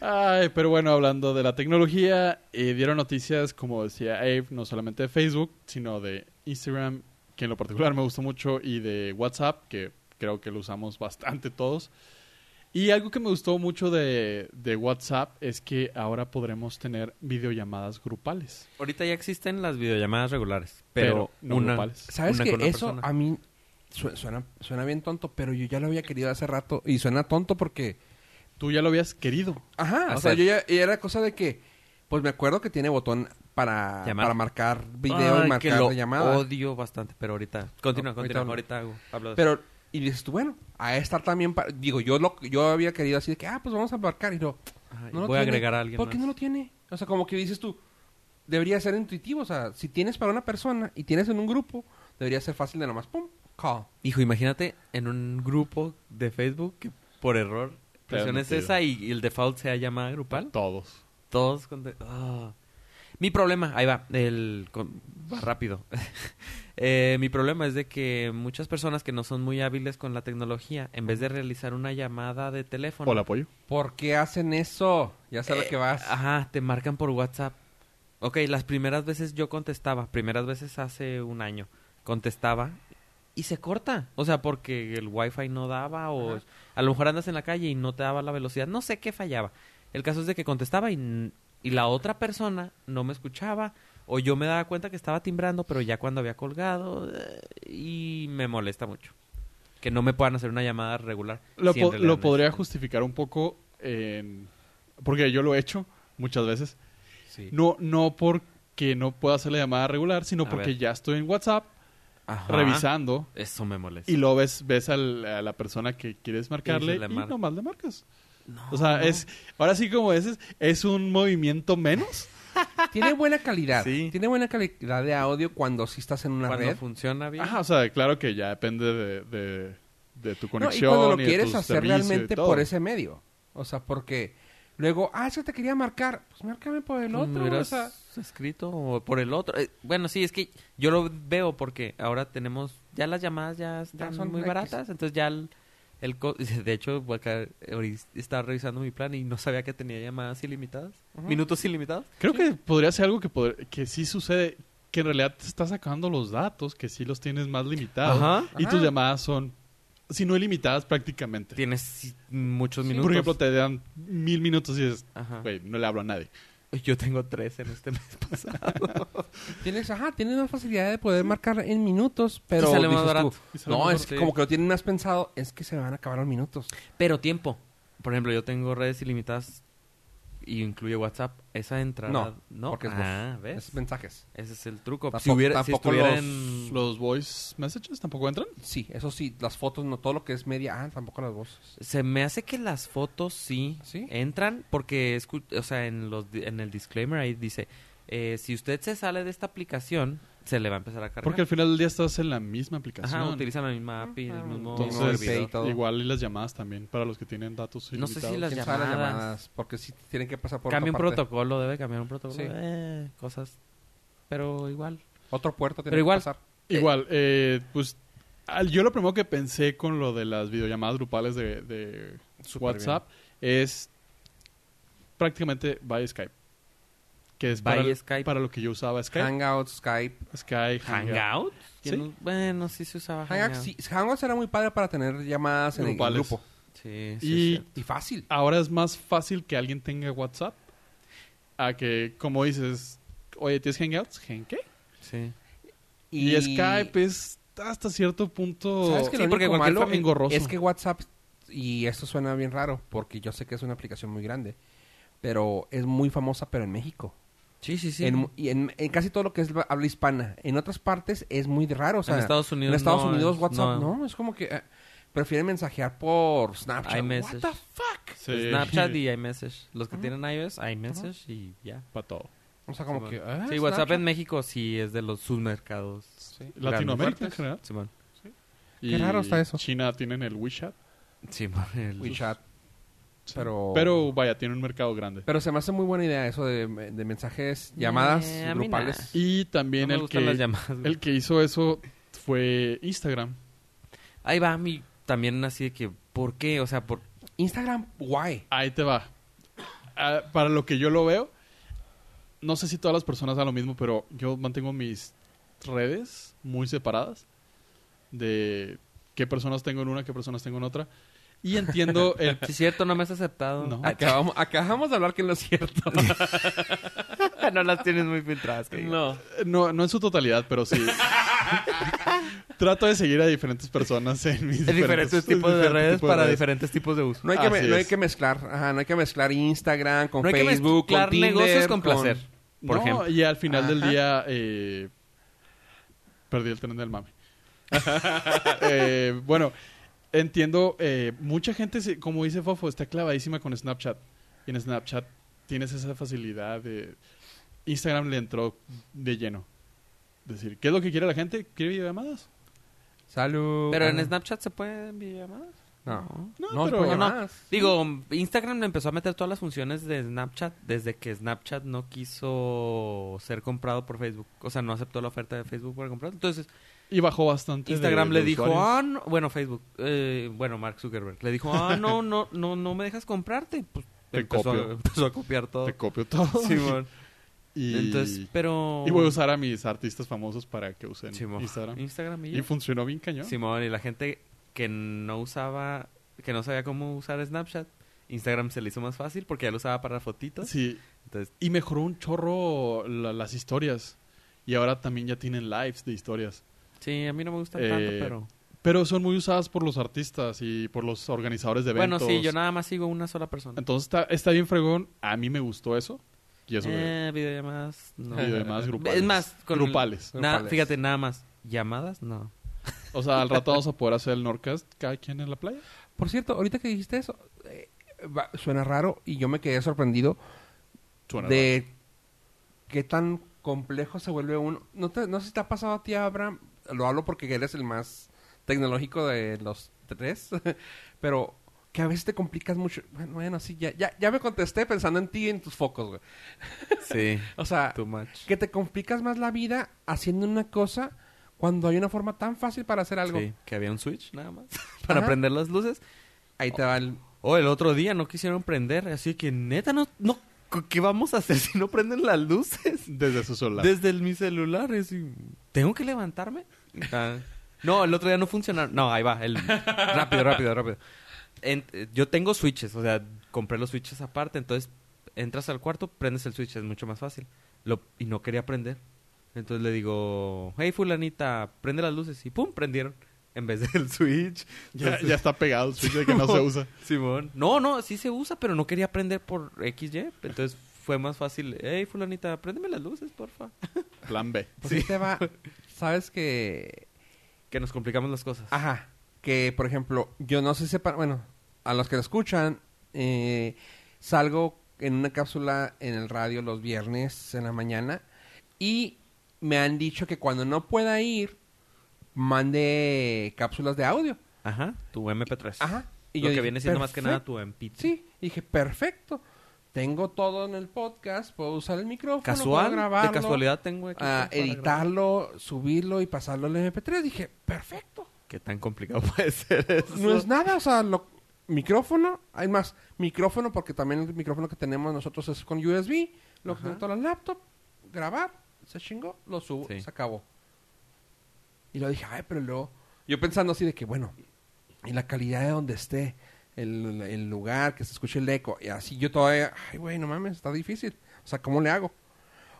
Speaker 3: Ay, pero bueno, hablando de la tecnología, eh, dieron noticias, como decía Abe, no solamente de Facebook, sino de Instagram, que en lo particular me gustó mucho, y de WhatsApp, que creo que lo usamos bastante todos. Y algo que me gustó mucho de, de WhatsApp es que ahora podremos tener videollamadas grupales.
Speaker 1: Ahorita ya existen las videollamadas regulares. Pero,
Speaker 3: no
Speaker 1: una...
Speaker 3: grupales.
Speaker 4: ¿Sabes
Speaker 1: Una
Speaker 4: que
Speaker 1: con una
Speaker 4: Eso
Speaker 1: persona.
Speaker 4: a mí su- suena, suena bien tonto, pero yo ya lo había querido hace rato. Y suena tonto porque...
Speaker 3: Tú ya lo habías querido.
Speaker 4: Ajá, o sea,
Speaker 1: Hacer.
Speaker 4: yo ya... y era cosa de que... Pues me acuerdo que tiene botón para,
Speaker 1: Llamar.
Speaker 4: para marcar video
Speaker 1: Ay,
Speaker 4: y
Speaker 1: que
Speaker 4: marcar
Speaker 1: lo
Speaker 4: llamada.
Speaker 1: odio bastante, pero ahorita... Continúa,
Speaker 4: No,
Speaker 1: continúa. Ahorita,
Speaker 4: ahorita
Speaker 1: hago. Hablo de eso.
Speaker 4: Pero, y dices tú, bueno, a estar también para... Digo, yo lo, yo había querido así de que, ah, pues vamos a marcar. Y no,
Speaker 1: Ay,
Speaker 4: no lo
Speaker 1: voy a
Speaker 4: tiene.
Speaker 1: agregar a alguien
Speaker 4: ¿Por qué
Speaker 1: más.
Speaker 4: no lo tiene? O sea, como que dices tú, debería ser intuitivo. O sea, si tienes para una persona y tienes en un grupo, debería ser fácil de nomás, pum, call.
Speaker 1: Hijo, imagínate en un grupo de Facebook que por error presiones
Speaker 3: metido.
Speaker 1: esa y, y el default sea llamada grupal.
Speaker 3: Todos.
Speaker 1: Todos con... de- Ah. Mi problema, ahí va, el... con- va rápido. Eh, mi problema es de que muchas personas que no son muy hábiles con la tecnología, en vez de realizar una llamada de teléfono...
Speaker 3: Hola, apoyo.
Speaker 4: ¿Por qué hacen eso? Ya sé a lo
Speaker 1: Eh,
Speaker 4: que vas.
Speaker 1: Ajá, te marcan por WhatsApp. Ok, las primeras veces yo contestaba, primeras veces hace un año, contestaba y se corta. O sea, porque el wifi no daba o
Speaker 4: Ajá.
Speaker 1: a lo mejor andas en la calle y no te daba la velocidad. No sé qué fallaba. El caso es de que contestaba y, n- y la otra persona no me escuchaba o yo me daba cuenta que estaba timbrando, pero ya cuando había colgado eh, y me molesta mucho. Que no me puedan hacer una llamada regular.
Speaker 3: Lo,
Speaker 1: si en
Speaker 3: po-
Speaker 1: realidad
Speaker 3: lo
Speaker 1: no es-
Speaker 3: podría justificar un poco en- porque yo lo he hecho muchas veces.
Speaker 4: Sí.
Speaker 3: No, no porque no pueda hacer la llamada regular, sino
Speaker 1: A
Speaker 3: porque
Speaker 1: ver.
Speaker 3: ya estoy en WhatsApp
Speaker 1: Ajá.
Speaker 3: revisando
Speaker 1: Eso me molesta.
Speaker 3: y lo ves, ves al- a la persona que quieres marcarle y,
Speaker 1: le mar-
Speaker 3: nomás le marcas.
Speaker 1: No,
Speaker 3: O sea,
Speaker 1: no.
Speaker 3: es ahora sí como ese es un movimiento menos.
Speaker 4: Tiene buena calidad.
Speaker 1: Sí.
Speaker 4: Tiene buena calidad de audio cuando sí estás en una
Speaker 1: Cuando
Speaker 4: red.
Speaker 1: funciona bien.
Speaker 3: Ajá, o sea, claro que ya depende de, de, de tu
Speaker 4: No, y
Speaker 3: conexión.
Speaker 4: cuando lo
Speaker 3: de
Speaker 4: quieres
Speaker 3: tu
Speaker 4: hacer
Speaker 3: servicio y
Speaker 4: realmente
Speaker 3: todo.
Speaker 4: por ese medio. O sea, porque luego, ah, eso te quería marcar. Pues márcame por el
Speaker 1: Pues me
Speaker 4: otro.
Speaker 1: hubieras
Speaker 4: o sea,
Speaker 1: escrito o por el otro. Eh, bueno, sí, es que yo lo veo porque ahora tenemos... Ya las llamadas ya están
Speaker 4: son
Speaker 1: muy
Speaker 4: X.
Speaker 1: baratas. Entonces ya el... el co- de hecho, voy acá, ahorita estaba revisando mi plan y no sabía que tenía llamadas ilimitadas.
Speaker 4: Ujú.
Speaker 1: Minutos ilimitados.
Speaker 3: Creo que podría ser algo que, podr- que sí sucede, que en realidad te está sacando los datos, que sí los tienes más limitados.
Speaker 1: Ajá.
Speaker 3: Y tus
Speaker 4: Ajá.
Speaker 3: llamadas son, si no ilimitadas, prácticamente.
Speaker 1: Tienes sí, muchos minutos.
Speaker 3: Por ejemplo, te dan mil minutos y dices,
Speaker 1: Ajá.
Speaker 3: güey, no le hablo a nadie.
Speaker 1: Yo tengo tres en este mes pasado.
Speaker 4: tienes, ajá, tienes más facilidad de poder marcar en minutos, pero.
Speaker 1: sale más
Speaker 4: dices tú,
Speaker 1: barato.
Speaker 3: Y sale
Speaker 4: no,
Speaker 3: mejor.
Speaker 4: es que
Speaker 1: sí.
Speaker 4: como que lo tienen más pensado, es que se me van a acabar los minutos.
Speaker 1: Pero tiempo. Por ejemplo, yo tengo redes ilimitadas y incluye WhatsApp. Esa entrada...
Speaker 4: No,
Speaker 1: no.
Speaker 4: porque es voz.
Speaker 1: ah, ¿ves?
Speaker 4: Es mensajes.
Speaker 1: Ese es el truco. si
Speaker 4: Tampoco-
Speaker 1: hubiera, si
Speaker 4: tampoco
Speaker 1: estuviera
Speaker 4: los-
Speaker 1: en...
Speaker 3: ¿Los voice messages tampoco entran?
Speaker 4: Sí, eso sí, las fotos, no todo lo que es media, ah, tampoco las voces.
Speaker 1: Se me hace que las fotos sí,
Speaker 4: ¿Sí?
Speaker 1: entran porque, escu- o sea, en, los, di- en el disclaimer ahí dice, eh, si usted se sale de esta aplicación, se le va a empezar a cargar.
Speaker 3: Porque al final del día estás en la misma aplicación.
Speaker 1: Ajá, utilizan la misma API, el mismo
Speaker 4: Entonces,
Speaker 1: servidor.
Speaker 4: y todo.
Speaker 3: Igual y las llamadas también, para los que tienen datos
Speaker 1: No sé si
Speaker 3: ilimitados.
Speaker 1: Las
Speaker 4: ¿Quién sabe
Speaker 1: llamadas.
Speaker 4: Porque sí tienen que pasar por
Speaker 1: Cambia un
Speaker 4: otra parte.
Speaker 1: protocolo, debe cambiar un protocolo.
Speaker 4: Sí.
Speaker 1: eh, cosas, pero igual.
Speaker 4: Otro puerto tiene
Speaker 1: Pero igual-
Speaker 4: que pasar.
Speaker 3: Igual, eh, pues al- yo lo primero que pensé con lo de las videollamadas grupales de, de
Speaker 4: Súper
Speaker 3: WhatsApp es prácticamente by Skype. Que es
Speaker 1: By
Speaker 3: para,
Speaker 1: Skype.
Speaker 3: para lo que yo usaba Skype.
Speaker 4: Hangout, Skype.
Speaker 3: Skype, Hangout.
Speaker 1: ¿Hangout?
Speaker 3: Sí.
Speaker 1: Yo no- Bueno, sí se usaba Hangout.
Speaker 4: Hangout, sí, Hangouts era muy padre para tener llamadas en el
Speaker 3: Grupales.
Speaker 4: grupo.
Speaker 1: Sí, sí,
Speaker 3: Y-
Speaker 1: sí.
Speaker 4: Y fácil.
Speaker 3: Ahora es más fácil que alguien tenga WhatsApp a que, como dices, oye, ¿tienes Hangouts? ¿Gen qué?
Speaker 1: sí.
Speaker 3: Y, Skype es hasta cierto punto...
Speaker 4: ¿Sabes que
Speaker 1: Sí,
Speaker 4: lo
Speaker 1: porque
Speaker 4: único
Speaker 1: cualquier
Speaker 4: malo
Speaker 3: fa- engorroso.
Speaker 4: es que WhatsApp, y esto suena bien raro, porque yo sé que es una aplicación muy grande, pero es muy famosa, pero en México.
Speaker 1: Sí, sí, sí.
Speaker 4: En, mu- y en, en casi todo lo que es la- habla hispana. En otras partes es muy raro. O sea,
Speaker 1: En Estados Unidos
Speaker 4: en Estados
Speaker 1: no,
Speaker 4: Unidos
Speaker 1: es-
Speaker 4: WhatsApp,
Speaker 1: no.
Speaker 4: no. es como que eh, prefieren mensajear por Snapchat.
Speaker 1: iMessage.
Speaker 4: What the fuck? Ah.
Speaker 3: Sí.
Speaker 1: Snapchat y iMessage. Los que tienen iOS, iMessage y ya.
Speaker 3: Para todo.
Speaker 4: O sea, como
Speaker 1: Simón.
Speaker 4: que... ah,
Speaker 1: Sí, WhatsApp
Speaker 4: Snapchat.
Speaker 1: en México sí es de los submercados.
Speaker 4: Sí.
Speaker 3: Latinoamérica en
Speaker 1: Grandes.
Speaker 3: general.
Speaker 1: Simón.
Speaker 3: Y
Speaker 4: raro está eso.
Speaker 3: China tienen el WeChat.
Speaker 1: Simón. el-
Speaker 4: WeChat. Pero...
Speaker 3: Pero vaya, tiene un mercado grande.
Speaker 4: Pero se me hace muy buena idea eso de, de mensajes, llamadas
Speaker 1: Eh, a mí nada.
Speaker 4: grupales.
Speaker 3: Y
Speaker 1: No
Speaker 3: también
Speaker 1: me
Speaker 3: el,
Speaker 1: gustan las
Speaker 3: que,
Speaker 1: llamadas. güey.
Speaker 3: el que hizo eso fue Instagram.
Speaker 1: Ahí va mi... También así de que... ¿Por qué? O sea, por...
Speaker 4: Instagram, guay.
Speaker 3: Ahí te va. Ah, para lo que yo lo veo, no sé si todas las personas hagan lo mismo, pero yo mantengo mis redes muy separadas de qué personas tengo en una, qué personas tengo en otra. Y entiendo el...
Speaker 1: Sí, es cierto, no me has aceptado.
Speaker 3: No.
Speaker 1: Ah,
Speaker 4: Acabamos, acabamos de hablar que no es cierto.
Speaker 1: no las tienes muy filtradas. que digas.
Speaker 4: No.
Speaker 3: No, no en su totalidad, pero sí. Trato de seguir a diferentes personas en mis
Speaker 1: Hay diferentes tipos de
Speaker 3: diferentes
Speaker 1: redes
Speaker 3: tipos
Speaker 1: para diferentes tipos de uso.
Speaker 4: No hay, que me-
Speaker 3: Así
Speaker 4: no hay
Speaker 3: es.
Speaker 4: que mezclar. Ajá, no hay que mezclar Instagram con
Speaker 1: No hay que
Speaker 4: Facebook,
Speaker 1: mezclar
Speaker 4: con Tinder,
Speaker 1: negocios con placer.
Speaker 3: Por
Speaker 1: Por ejemplo.
Speaker 3: Y al final del
Speaker 4: Ajá.
Speaker 3: día eh, perdí el tren del mame. Eh, bueno, entiendo, eh, mucha gente, se- como dice Fofo, está clavadísima con Snapchat. Y en Snapchat tienes esa facilidad de... Instagram le entró de lleno. Es decir, ¿qué es lo que quiere la gente? ¿Quiere videollamadas?
Speaker 4: Salud.
Speaker 1: Pero en
Speaker 4: Ah,
Speaker 1: Snapchat se pueden videollamadas.
Speaker 4: No.
Speaker 3: No,
Speaker 4: No,
Speaker 3: pero-
Speaker 4: pero
Speaker 1: no, no.
Speaker 4: llamadas.
Speaker 1: Digo, Instagram le empezó a meter todas las funciones de Snapchat desde que Snapchat no quiso ser comprado por Facebook. O sea, no aceptó la oferta de Facebook para comprarlo. Entonces,
Speaker 3: Y bajó bastante. de-
Speaker 1: Instagram
Speaker 3: de
Speaker 1: le dijo,
Speaker 3: usuarios.
Speaker 1: ah, no- bueno, Facebook, eh, bueno, Mark Zuckerberg, le dijo, ah, no, no, no, no me dejas comprarte. Pues
Speaker 3: Te
Speaker 1: empezó,
Speaker 3: copio.
Speaker 1: a, empezó a copiar todo.
Speaker 3: Te copio todo.
Speaker 1: Simón.
Speaker 3: y,
Speaker 1: Entonces, pero...
Speaker 3: y voy a usar a mis artistas famosos para que usen
Speaker 1: Simón.
Speaker 3: Instagram.
Speaker 1: Instagram y
Speaker 3: Y
Speaker 1: ya.
Speaker 3: funcionó bien cañón.
Speaker 1: Simón, y la gente que no usaba, que no sabía cómo usar Snapchat, Instagram se le hizo más fácil porque ya lo usaba para fotitos.
Speaker 3: Sí,
Speaker 1: Entonces,
Speaker 3: y mejoró un chorro la- las historias. Y ahora también ya tienen lives de historias.
Speaker 1: sí, a mí no me gusta
Speaker 3: Eh,
Speaker 1: tanto, pero...
Speaker 3: Pero son muy usadas por los artistas y por los organizadores de
Speaker 1: Bueno,
Speaker 3: eventos.
Speaker 1: sí, yo nada más sigo una sola persona.
Speaker 3: Entonces está, está bien fregón. A mí me gustó eso. Y eso
Speaker 1: Eh, videollamadas, no.
Speaker 3: de, y demás grupales.
Speaker 1: Es más, con el-
Speaker 3: grupales.
Speaker 1: na-
Speaker 4: Grupales.
Speaker 1: fíjate, nada más. ¿Llamadas? No.
Speaker 3: O sea, al rato vamos a poder hacer el Norcast cada quien en la playa.
Speaker 4: Por cierto, ahorita que dijiste eso, eh, va- suena raro y yo me quedé sorprendido
Speaker 3: Suena
Speaker 4: de qué tan complejo se vuelve uno. No, te- no sé si te ha pasado a ti, Abraham, lo hablo porque eres el más tecnológico de los tres, pero que a veces te complicas mucho. Bueno, bueno, sí, ya, ya, ya me contesté pensando en ti y en tus focos, güey.
Speaker 1: Sí.
Speaker 4: O sea,
Speaker 1: Too much.
Speaker 4: que te complicas más la vida haciendo una cosa cuando hay una forma tan fácil para hacer algo.
Speaker 1: Sí, que había un switch nada más para
Speaker 4: Ajá.
Speaker 1: prender las luces.
Speaker 4: Ahí te va el...
Speaker 1: O Oh, el otro día no quisieron prender, así que neta no, no ¿qué vamos a hacer si no prenden las luces?
Speaker 3: Desde su celular.
Speaker 1: Desde el- mi celular, es y- ¿tengo que levantarme? Ah, No, el otro día no funcionaron. No, ahí va, el rápido, rápido, rápido. En- eh, yo tengo switches, o sea, compré los switches aparte, entonces entras al cuarto, prendes el switch, es mucho más fácil. Lo, y no quería prender. Entonces le digo, hey fulanita, prende las luces y pum, prendieron. En vez del switch.
Speaker 3: Ya,
Speaker 1: Entonces-
Speaker 3: ya está pegado el switch de que no se usa.
Speaker 1: Simón. No, no, sí se usa, pero no quería aprender por XY. Entonces fue más fácil. Hey, fulanita, préndeme las luces, porfa.
Speaker 3: Plan B.
Speaker 4: Pues ahí te va... Sabes que
Speaker 1: Que nos complicamos las cosas.
Speaker 4: Ajá. Que, por ejemplo, yo no sé sepa... Bueno, a los que lo escuchan, eh, salgo en una cápsula en el radio los viernes en la mañana y me han dicho que cuando no pueda ir, mande cápsulas de audio.
Speaker 1: Ajá. Tu MP3.
Speaker 4: Ajá.
Speaker 1: Y
Speaker 4: yo
Speaker 1: Pues, Lo que
Speaker 4: dije,
Speaker 1: viene siendo más que nada
Speaker 4: "Perfecto".
Speaker 1: tu MP3.
Speaker 4: Sí. Y dije, perfecto. Tengo todo en el podcast, puedo usar el micrófono, puedo
Speaker 1: Casual.
Speaker 4: grabarlo,
Speaker 1: De casualidad tengo aquí.
Speaker 4: ah,
Speaker 1: para grabar.
Speaker 4: editarlo, subirlo y pasarlo al MP3. Dije, perfecto.
Speaker 1: Qué tan complicado puede ser eso.
Speaker 4: No es nada, o sea, lo- micrófono, hay más, micrófono, porque también el micrófono que tenemos nosotros es con USB, lo
Speaker 1: Ajá.
Speaker 4: conecto a la laptop, grabar, se chingó, lo subo,
Speaker 1: Sí.
Speaker 4: se acabó. Y lo dije, ay, pero luego, yo pensando así de que, bueno, y la calidad de donde esté, el, el lugar, que se escuche el eco, y así yo todavía, ay, güey, no mames, está difícil, o sea, ¿cómo le hago?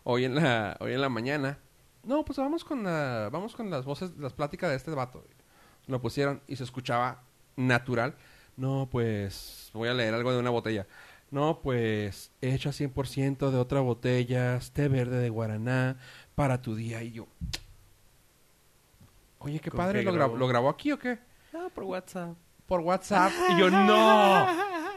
Speaker 4: Hoy en la, hoy en la mañana, no, pues vamos con la, vamos con las voces, las pláticas de este vato. Lo pusieron y se escuchaba natural. No, pues voy a leer algo de una botella. No, pues hecha 100% de otra botella, té verde de guaraná para tu día y yo. Oye, qué
Speaker 1: ¿Con
Speaker 4: padre,
Speaker 1: qué
Speaker 4: ¿lo,
Speaker 1: grabó?
Speaker 4: grabó? ¿lo grabó aquí o qué?
Speaker 1: Ah, por WhatsApp.
Speaker 4: Por WhatsApp. Y yo, no.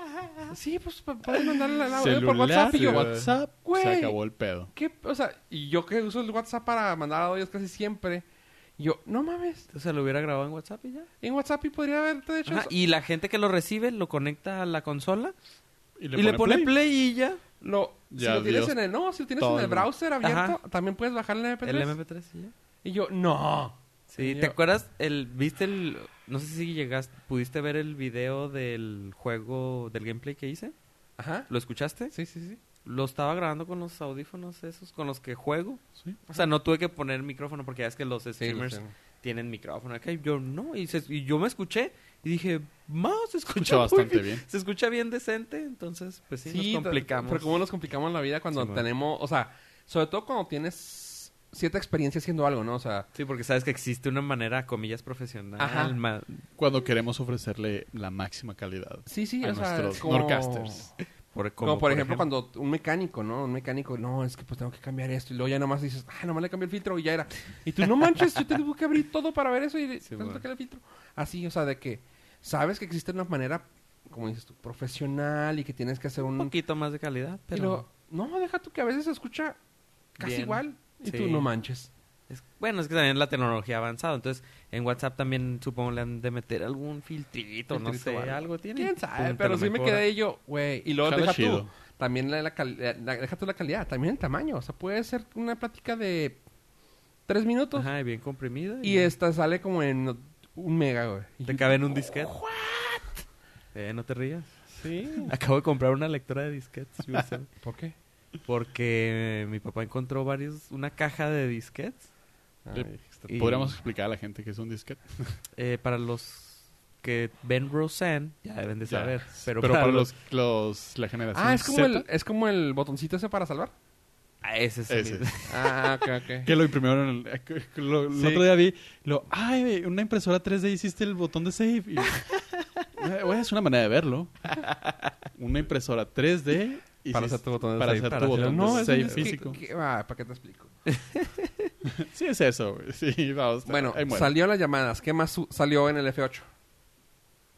Speaker 4: Sí, pues pa- podemos mandarle la- la- por WhatsApp y yo,
Speaker 3: WhatsApp, se
Speaker 4: güey.
Speaker 3: acabó el pedo.
Speaker 4: ¿Qué? O sea, y yo que uso el WhatsApp para mandar audios casi siempre. y Yo, no mames.
Speaker 1: O sea, lo hubiera grabado en WhatsApp y ya.
Speaker 4: En WhatsApp y podría haberte hecho
Speaker 1: Ajá,
Speaker 4: eso.
Speaker 1: Y la gente que lo recibe lo conecta a la consola
Speaker 3: Y
Speaker 1: y le pone play,
Speaker 3: play.
Speaker 1: y ya.
Speaker 4: Lo, si
Speaker 3: Ya,
Speaker 4: lo tienes
Speaker 3: Dios.
Speaker 4: en el, no, si lo tienes
Speaker 3: Todo
Speaker 4: en el
Speaker 3: el-
Speaker 4: browser abierto,
Speaker 1: Ajá.
Speaker 4: también puedes bajar el MP3.
Speaker 1: El MP3 y ya.
Speaker 4: Y yo, no.
Speaker 1: Sí,
Speaker 4: Y
Speaker 1: ¿te
Speaker 4: yo,
Speaker 1: acuerdas? El, ¿Viste el...? No sé si llegaste... ¿Pudiste ver el video del juego, del gameplay que hice?
Speaker 4: Ajá.
Speaker 1: ¿Lo escuchaste?
Speaker 4: Sí, sí, sí.
Speaker 1: Lo estaba grabando con los audífonos esos, con los que juego.
Speaker 3: Sí.
Speaker 1: O sea, no tuve que poner micrófono porque ya es que los
Speaker 4: Sí, lo
Speaker 1: streamers
Speaker 4: tengo.
Speaker 1: tienen micrófono. Acá y yo no. Y, se- y yo me escuché y dije, más se
Speaker 3: Escucha
Speaker 1: escucha, muy
Speaker 3: bastante
Speaker 1: bien".
Speaker 3: bien.
Speaker 1: Se escucha bien decente, entonces, pues sí,
Speaker 4: Sí,
Speaker 1: nos complicamos.
Speaker 4: Pero cómo nos complicamos la vida cuando
Speaker 1: Sí, man.
Speaker 4: tenemos, o sea, sobre todo cuando tienes cierta experiencia haciendo algo, ¿no? O sea,
Speaker 1: Sí, porque sabes que existe una manera, comillas, profesional.
Speaker 4: Ajá.
Speaker 1: ma-
Speaker 3: Cuando queremos ofrecerle la máxima calidad
Speaker 4: sí, sí,
Speaker 3: a
Speaker 4: o sea,
Speaker 3: nuestros
Speaker 4: como...
Speaker 3: Norcasters.
Speaker 1: por,
Speaker 4: Como, por, ejemplo, cuando un mecánico, ¿no? Un mecánico, no, es que pues tengo que cambiar esto. Y luego ya nomás dices, ah, nomás le cambié el filtro y ya era. Y tú, no manches, yo tuve que abrir todo para ver eso y le-
Speaker 1: Sí,
Speaker 4: resulta
Speaker 1: bueno.
Speaker 4: que era el filtro. Así, o sea, de que sabes que existe una manera, como dices tú, profesional y que tienes que hacer un...
Speaker 1: Un poquito más de calidad,
Speaker 4: y
Speaker 1: pero...
Speaker 4: luego, no, deja tú que a veces se escucha casi
Speaker 1: Bien.
Speaker 4: igual. Y tú,
Speaker 1: Sí.
Speaker 4: no manches.
Speaker 1: Es- bueno, es que también la tecnología ha avanzado. Entonces, en WhatsApp también supongo le han de meter algún filtrito, no
Speaker 4: Filtrito
Speaker 1: sé,
Speaker 4: o algo.
Speaker 1: algo tiene.
Speaker 4: ¿Quién sabe?
Speaker 1: Pum, te
Speaker 4: pero
Speaker 1: lo
Speaker 4: sí me
Speaker 1: mejora.
Speaker 4: quedé yo, güey. Y luego
Speaker 3: Jala
Speaker 4: deja tú.
Speaker 3: chido.
Speaker 4: También la, la cali- la- la- deja tú la calidad, también el tamaño. O sea, puede ser una plática de tres minutos
Speaker 1: Ajá, y bien comprimida.
Speaker 4: y esta sale como en un mega, güey. Y
Speaker 1: Te
Speaker 4: yo-
Speaker 1: cabe en un disquete. Eh, no te rías.
Speaker 3: Sí.
Speaker 1: Acabo de comprar una lectora de disquetes. Wilson,
Speaker 4: ¿Por qué?
Speaker 1: porque eh, mi papá encontró varios, una caja de disquetes.
Speaker 4: Ay, está-
Speaker 1: Y-
Speaker 3: Podríamos explicar a la gente que es un disquete.
Speaker 1: eh, para los que ven Roseanne, ya deben de
Speaker 3: Ya.
Speaker 1: saber. Pero,
Speaker 3: Pero, para los, los la generación
Speaker 4: Ah, es como,
Speaker 3: Z,
Speaker 4: el, es como el botoncito ese para salvar.
Speaker 1: Ah, ese es
Speaker 3: Ese.
Speaker 1: mi-
Speaker 4: Ah, ok, ok.
Speaker 3: que lo imprimieron en el, eh, que- que lo- el
Speaker 1: Sí.
Speaker 3: otro día vi lo ay güey, una impresora 3D hiciste el botón de save y, Güey, güey, es una manera de verlo una impresora 3D hiciste-
Speaker 4: Para hacer tu botón de
Speaker 3: para
Speaker 4: save.
Speaker 3: hacer
Speaker 1: Para
Speaker 3: tu
Speaker 1: hacer
Speaker 3: botón
Speaker 1: un
Speaker 3: de
Speaker 1: No,
Speaker 4: es
Speaker 3: save
Speaker 4: que-
Speaker 3: físico
Speaker 4: que- ah, ¿Para qué te explico?
Speaker 3: Sí, es eso, güey. Sí, vamos.
Speaker 4: Bueno,
Speaker 3: ahí muere.
Speaker 4: salió las llamadas. ¿Qué más su- salió en el F8?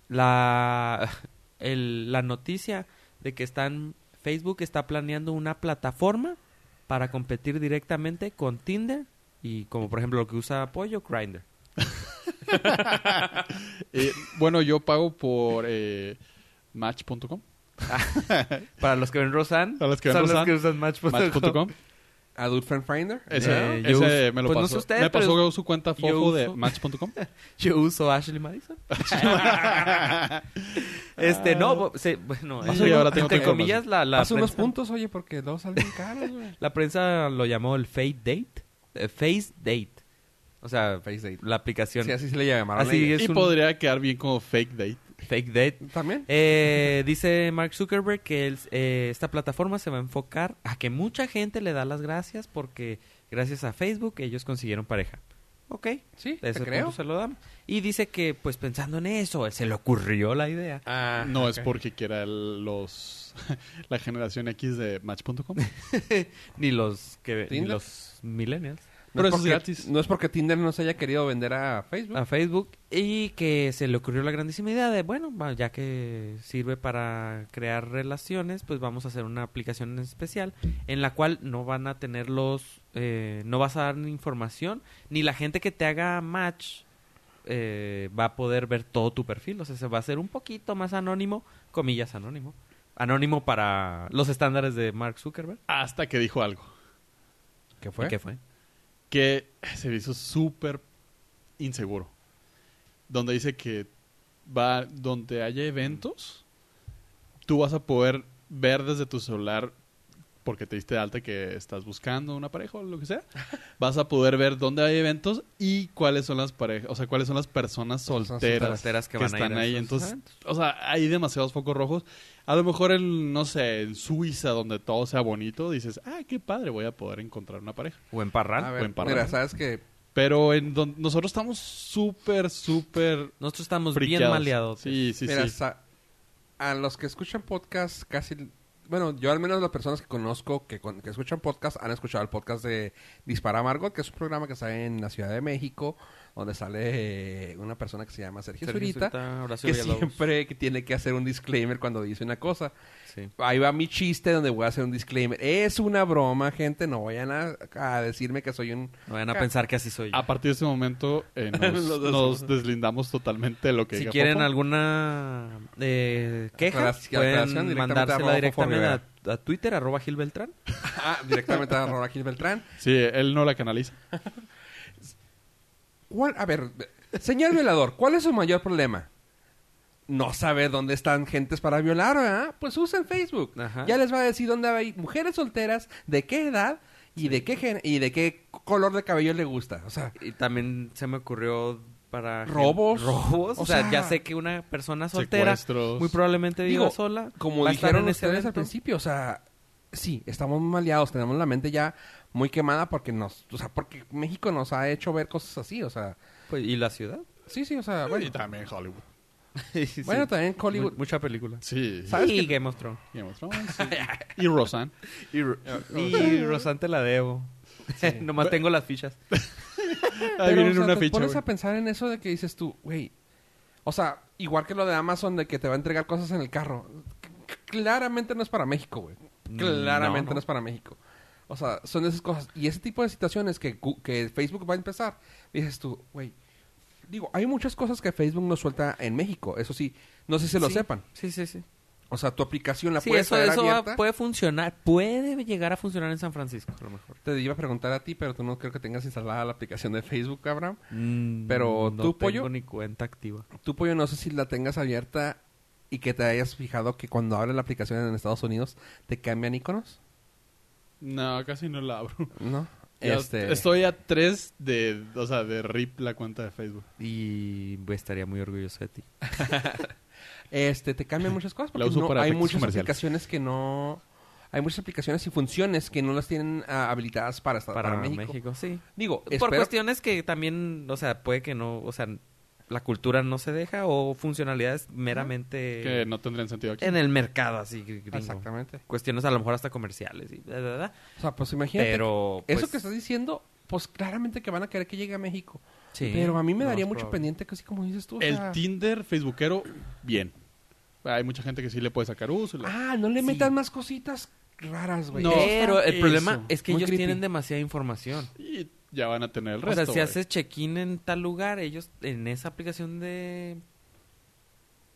Speaker 1: La, el- la noticia de que están, Facebook está planeando una plataforma para competir directamente con Tinder y como por ejemplo lo que usa Apoyo, Grindr.
Speaker 3: Eh, bueno, yo pago por eh, match.com.
Speaker 1: Para los que ven Rosan,
Speaker 3: Para los que ven
Speaker 1: son
Speaker 3: Rosan,
Speaker 1: los que usan Match.com.
Speaker 3: Match.com.
Speaker 4: Adult Friend Finder.
Speaker 3: Ese,
Speaker 1: Eh, yo
Speaker 3: ese
Speaker 1: uso-
Speaker 3: me lo
Speaker 1: pues no
Speaker 3: pasó.
Speaker 1: sé ustedes,
Speaker 3: me pasó
Speaker 1: pero-
Speaker 3: su cuenta
Speaker 1: yo
Speaker 3: fofo de
Speaker 1: uso-
Speaker 3: match.com.
Speaker 1: Yo uso Ashley Madison. este, no, bo- se- bueno,
Speaker 3: Paso
Speaker 1: entre-
Speaker 3: y Ah, ahora tengo
Speaker 1: entre
Speaker 3: que-
Speaker 1: comillas la, la
Speaker 4: Haz unos
Speaker 1: prensa-
Speaker 4: puntos, oye, porque dos salen caros, güey.
Speaker 1: La prensa lo llamó el Fate Date. eh, face Date. O sea,
Speaker 4: Face date.
Speaker 1: la aplicación.
Speaker 4: Sí, así se le llamaron.
Speaker 1: Así
Speaker 4: ellos.
Speaker 1: es
Speaker 3: y
Speaker 1: un-
Speaker 3: podría quedar bien como fake date.
Speaker 1: Fake Date.
Speaker 4: ¿También?
Speaker 1: Eh, dice Mark Zuckerberg que el- eh, esta plataforma se va a enfocar a que mucha gente le da las gracias porque gracias a Facebook ellos consiguieron pareja. Ok,
Speaker 4: Sí,
Speaker 1: de
Speaker 4: te
Speaker 1: ese
Speaker 4: creo.
Speaker 1: punto se lo dan. Y dice que pues pensando en eso, se le ocurrió la idea.
Speaker 4: Ah,
Speaker 3: no es
Speaker 4: ok.
Speaker 3: porque quiera el- los la generación X de match.com.
Speaker 1: Ni los que ni
Speaker 4: ¿Tinder?
Speaker 1: los millennials.
Speaker 4: No
Speaker 3: Pero
Speaker 4: es
Speaker 3: es
Speaker 4: porque,
Speaker 3: gratis.
Speaker 4: No es porque Tinder no se haya querido vender a Facebook.
Speaker 1: a Facebook y que se le ocurrió la grandísima idea de, bueno, va- ya que sirve para crear relaciones, pues vamos a hacer una aplicación especial en la cual no van a tener los, eh, no vas a dar ni información, ni la gente que te haga match eh, va a poder ver todo tu perfil, o sea, se va a hacer un poquito más anónimo, comillas anónimo, anónimo para los estándares de Mark Zuckerberg.
Speaker 3: Hasta que dijo algo
Speaker 4: ¿Qué
Speaker 1: ¿Y ¿Qué fue?
Speaker 3: que se me hizo súper inseguro. Donde dice que va donde haya eventos, tú vas a poder ver desde tu celular porque te diste de alta que estás buscando una pareja o lo que sea. Vas a poder ver dónde hay eventos y cuáles son las parejas, o sea, cuáles son las personas
Speaker 4: Personas
Speaker 3: solteras
Speaker 1: solteras que
Speaker 3: que,
Speaker 1: van a ir
Speaker 3: están
Speaker 1: a
Speaker 3: ahí.
Speaker 1: esos
Speaker 3: Entonces,
Speaker 1: eventos.
Speaker 3: o sea, hay demasiados focos rojos. A lo mejor en, no sé, en Suiza, donde todo sea bonito, dices, ah, qué padre, voy a poder encontrar una pareja.
Speaker 1: O en
Speaker 4: A
Speaker 1: Parral.
Speaker 4: ver,
Speaker 3: buen parra.
Speaker 4: mira, sabes que
Speaker 3: Pero en don- nosotros estamos súper, súper
Speaker 1: Nosotros estamos bien
Speaker 3: friqueados.
Speaker 1: maleados.
Speaker 3: Sí, sí,
Speaker 4: Mira,
Speaker 3: sí.
Speaker 4: sa- a los que escuchan podcast casi... Bueno, yo al menos las personas que conozco que, con- que escuchan podcast han escuchado el podcast de Dispara Margot, que es un programa que sale en la Ciudad de México, donde sale eh, una persona que se llama Sergio,
Speaker 1: Sergio
Speaker 4: Zurita,
Speaker 1: Zurita, Horacio
Speaker 4: que
Speaker 1: Villalobos.
Speaker 4: siempre que tiene que hacer un disclaimer cuando dice una cosa.
Speaker 1: Sí.
Speaker 4: Ahí va mi chiste donde voy a hacer un disclaimer. Es una broma, gente, no vayan a, a decirme que soy un...
Speaker 1: No van a pensar que así soy
Speaker 4: Ah,
Speaker 1: yo.
Speaker 3: A partir de ese momento eh, nos,
Speaker 4: Los dos
Speaker 3: nos deslindamos totalmente de lo que
Speaker 1: Si
Speaker 3: diga
Speaker 1: quieren
Speaker 3: Fofo.
Speaker 1: alguna eh, queja,
Speaker 4: Aclaración, aclaración
Speaker 1: pueden
Speaker 4: directamente
Speaker 1: mandársela
Speaker 4: a Rodolfo
Speaker 1: directamente a, a Twitter, arroba Gil Beltrán.
Speaker 4: Ah, directamente a Rora Gil Beltrán.
Speaker 3: Sí, él no la canaliza.
Speaker 4: ¿Cuál- a ver, señor violador, ¿cuál es su mayor problema? No saber dónde están gentes para violar, ¿verdad? Pues usen Facebook.
Speaker 1: Ajá.
Speaker 4: Ya les va a decir dónde hay mujeres solteras, de qué edad y de qué gen- y de qué color de cabello le gusta. O sea,
Speaker 1: Y también se me ocurrió para...
Speaker 4: Robos.
Speaker 1: Robos. O,
Speaker 4: O
Speaker 1: sea,
Speaker 4: sea,
Speaker 1: ya sé que una persona soltera
Speaker 3: secuestros.
Speaker 1: muy probablemente viva
Speaker 4: Digo,
Speaker 1: sola.
Speaker 4: como
Speaker 1: va a estar
Speaker 4: dijeron
Speaker 1: en ese
Speaker 4: ustedes al
Speaker 1: evento.
Speaker 4: principio, o sea, sí, estamos maleados, tenemos la mente ya muy quemada porque nos, o sea, porque México nos ha hecho ver cosas así, o sea,
Speaker 1: Pues, ¿Y la ciudad?
Speaker 4: sí, sí, o sea,
Speaker 3: Y
Speaker 4: bueno,
Speaker 3: también Hollywood.
Speaker 1: Sí.
Speaker 4: bueno también Hollywood,
Speaker 1: Mu- Mucha película.
Speaker 3: Sí.
Speaker 1: ¿Sabes y Game of Thrones.
Speaker 3: Game of Thrones, sí. y Rosan.
Speaker 1: Y, y Rosante la debo. Nomás tengo las fichas.
Speaker 3: Ahí
Speaker 4: Pero,
Speaker 3: viene
Speaker 4: o sea,
Speaker 3: una
Speaker 4: te
Speaker 3: ficha.
Speaker 4: pones
Speaker 3: güey.
Speaker 4: a pensar en eso de que dices tú, güey. O sea, igual que lo de Amazon de que te va a entregar cosas en el carro. C- c- Claramente no es para México, güey.
Speaker 1: Mm,
Speaker 4: Claramente
Speaker 1: no,
Speaker 4: no,
Speaker 1: no.
Speaker 4: es para México. O sea, son esas cosas. Y ese tipo de situaciones que, Gu- que Facebook va a empezar, dices tú, güey. Digo, hay muchas cosas que Facebook no suelta en México. Eso sí, no sé si lo
Speaker 1: Sí.
Speaker 4: sepan.
Speaker 1: Sí, sí, sí.
Speaker 4: O sea, tu aplicación la
Speaker 1: Sí,
Speaker 4: puedes
Speaker 1: eso,
Speaker 4: traer
Speaker 1: eso va-
Speaker 4: abierta.
Speaker 1: puede funcionar. Puede llegar a funcionar en San Francisco, a lo mejor.
Speaker 4: Te iba a preguntar a ti, pero tú no creo que tengas instalada la aplicación de Facebook, Abraham.
Speaker 1: Mm,
Speaker 4: Pero,
Speaker 1: no
Speaker 4: ¿tú,
Speaker 1: tengo
Speaker 4: pollo?
Speaker 1: ni cuenta activa.
Speaker 4: Tú, Pollo, no sé si la tengas abierta y que te hayas fijado que cuando abres la aplicación en Estados Unidos te cambian iconos.
Speaker 3: No, casi no la abro.
Speaker 4: ¿No?
Speaker 3: Ya
Speaker 4: Este,
Speaker 3: Estoy a tres de, o sea, de rip la cuenta de Facebook.
Speaker 1: Y pues, estaría muy orgulloso de ti.
Speaker 4: este, te cambian muchas cosas
Speaker 3: La
Speaker 4: porque
Speaker 3: uso
Speaker 4: no-
Speaker 3: para
Speaker 4: hay
Speaker 3: efectos
Speaker 4: muchas
Speaker 3: comerciales.
Speaker 4: aplicaciones que no... Hay muchas aplicaciones y funciones que no las tienen ah, habilitadas para, esta-
Speaker 1: Para,
Speaker 4: para
Speaker 1: México.
Speaker 4: México.
Speaker 1: sí.
Speaker 4: Digo,
Speaker 1: Por
Speaker 4: espero-
Speaker 1: cuestiones que también, o sea, puede que no, o sea, la cultura no se deja o funcionalidades meramente
Speaker 3: Que no tendrían sentido aquí.
Speaker 1: en el mercado, así, gringo.
Speaker 4: Exactamente.
Speaker 1: Cuestiones a lo mejor hasta comerciales y bla, bla, bla.
Speaker 4: O sea, pues imagínate.
Speaker 1: Pero,
Speaker 4: Eso
Speaker 1: pues,
Speaker 4: que estás diciendo pues claramente que van a querer que llegue a México.
Speaker 1: Sí.
Speaker 4: Pero a mí me
Speaker 1: lo
Speaker 4: daría
Speaker 1: más
Speaker 4: mucho
Speaker 1: probable.
Speaker 4: pendiente, casi como dices tú. o sea,
Speaker 3: El Tinder facebookero, bien. Hay mucha gente que sí le puede sacar uso. y la-
Speaker 4: Ah, no le
Speaker 3: Sí.
Speaker 4: metas más cositas raras, güey.
Speaker 3: No,
Speaker 1: Pero el
Speaker 3: eso.
Speaker 1: problema es que
Speaker 4: Muy
Speaker 1: ellos
Speaker 4: creepy.
Speaker 1: tienen demasiada información.
Speaker 3: Y ya van a tener el
Speaker 1: o
Speaker 3: resto.
Speaker 1: sea, si
Speaker 3: güey.
Speaker 1: haces check-in en tal lugar, ellos en esa aplicación de...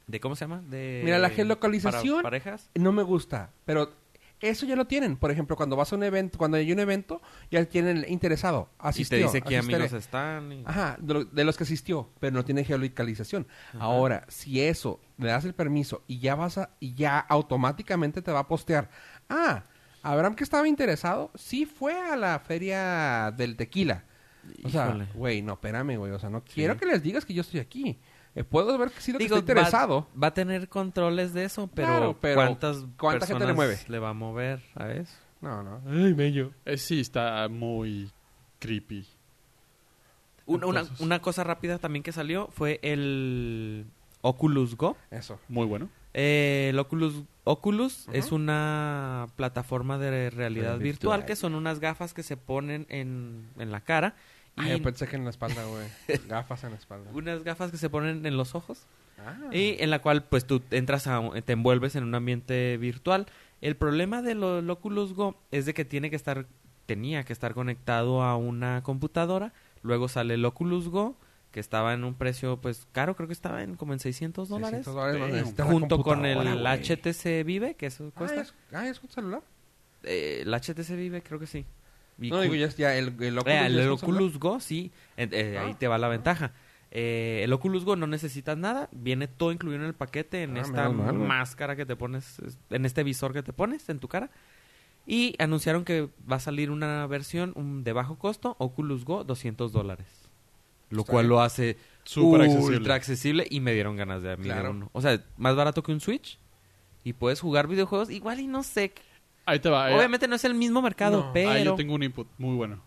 Speaker 1: de ¿Cómo se llama? De,
Speaker 4: Mira, la
Speaker 1: para
Speaker 4: geolocalización.
Speaker 1: parejas.
Speaker 4: No me gusta, pero eso ya lo tienen. Por ejemplo, cuando vas a un evento, cuando hay un evento, ya tienen el interesado. Asistió,
Speaker 1: y te dice qué
Speaker 4: asistiré.
Speaker 1: amigos están. y-
Speaker 4: Ajá, de, lo- de los que asistió, pero no tiene geolocalización.
Speaker 1: Ajá.
Speaker 4: Ahora, si eso le das el permiso y ya vas a, y ya automáticamente te va a postear. Ah, Abraham que estaba interesado, sí fue a la feria del tequila. O sea,
Speaker 1: Híjole.
Speaker 4: güey, no, espérame, güey. O sea, no quiero que les digas que yo estoy aquí. Eh, puedo ver que sí lo que
Speaker 1: Digo,
Speaker 4: está interesado.
Speaker 1: Va, va a tener controles de eso, pero,
Speaker 4: Claro, pero
Speaker 1: ¿cuántas
Speaker 4: ¿cuánta gente le
Speaker 1: personas
Speaker 4: mueve?
Speaker 1: le va a mover a eso?
Speaker 4: No, no.
Speaker 3: Ay, bello. Eh, sí, está muy creepy.
Speaker 1: Una, una-
Speaker 3: Entonces-
Speaker 1: una cosa rápida también que salió fue el Oculus Go.
Speaker 4: Eso.
Speaker 3: Muy bueno.
Speaker 1: Eh, el Oculus, Oculus
Speaker 4: Ujú.
Speaker 1: es una plataforma de realidad
Speaker 4: Realidad
Speaker 1: virtual,
Speaker 4: virtual.
Speaker 1: que son unas gafas que se ponen en, en la cara y
Speaker 4: Ay, Ah, yo pensé que en la espalda, güey. Gafas en la espalda.
Speaker 1: unas gafas que se ponen en los ojos
Speaker 4: Ah.
Speaker 1: y en la cual pues tú entras a un- te envuelves en un ambiente virtual. El problema del o- Oculus Go es de que tiene que estar tenía que estar conectado a una computadora, luego sale el Oculus Go que estaba en un precio pues caro, creo que estaba en como en 600 dólares.
Speaker 4: 600 dólares,
Speaker 3: Damn.
Speaker 4: no necesitas la
Speaker 1: Junto con el
Speaker 4: computadora, güey.
Speaker 1: HTC Vive, que eso
Speaker 4: Ah,
Speaker 1: cuesta.
Speaker 4: ¿es, ah, ¿es un celular?
Speaker 1: Eh, el HTC Vive, creo que sí. Y
Speaker 4: No,
Speaker 1: cu-
Speaker 4: digo, ya, es- ya el, el Oculus.
Speaker 1: Eh,
Speaker 4: ya
Speaker 1: el
Speaker 4: es un celular.
Speaker 1: Oculus Go, sí. Eh, eh,
Speaker 4: Ah.
Speaker 1: ahí te va la ventaja. Eh, el Oculus Go no necesitas nada. Viene todo incluido en el paquete, en
Speaker 4: Ah,
Speaker 1: esta
Speaker 4: menos mal, güey.
Speaker 1: máscara que te pones, es- en este visor que te pones en tu cara. Y anunciaron que va a salir una versión un- de bajo costo, Oculus Go, 200 dólares. Lo
Speaker 4: Está
Speaker 1: cual
Speaker 4: bien.
Speaker 1: lo hace
Speaker 3: Súper
Speaker 1: ultra
Speaker 3: accesible.
Speaker 1: accesible y me dieron ganas de a mí de
Speaker 4: Claro.
Speaker 1: uno. O sea, más barato que un Switch y puedes jugar videojuegos igual y no sé.
Speaker 3: Ahí te va. eh.
Speaker 1: Obviamente no es el mismo mercado,
Speaker 4: No.
Speaker 3: Ahí yo
Speaker 1: pero
Speaker 3: tengo un input muy bueno.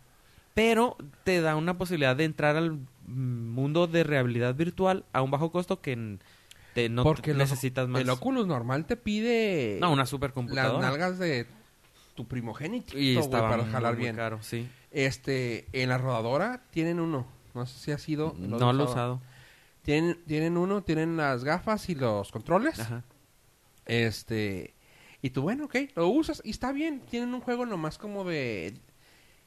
Speaker 1: pero te da una posibilidad de entrar al mm, mundo de realidad virtual a un bajo costo que n- te, no
Speaker 4: Porque
Speaker 1: te
Speaker 4: el-
Speaker 1: necesitas más.
Speaker 4: El Oculus normal te pide.
Speaker 1: No, una
Speaker 4: Las
Speaker 1: supercomputadora.
Speaker 4: nalgas de tu primogénito.
Speaker 1: y
Speaker 4: güey,
Speaker 1: estaba
Speaker 4: para
Speaker 1: muy,
Speaker 4: jalar
Speaker 1: muy
Speaker 4: bien.
Speaker 1: caro, sí.
Speaker 4: Este, en la rodadora tienen uno. No sé si ha sido.
Speaker 1: Mm, No lo he usado.
Speaker 4: Tienen, tienen uno, tienen las gafas y los controles.
Speaker 1: Ajá.
Speaker 4: Este. Y tú, bueno, ok, lo usas y está bien. Tienen un juego nomás como de.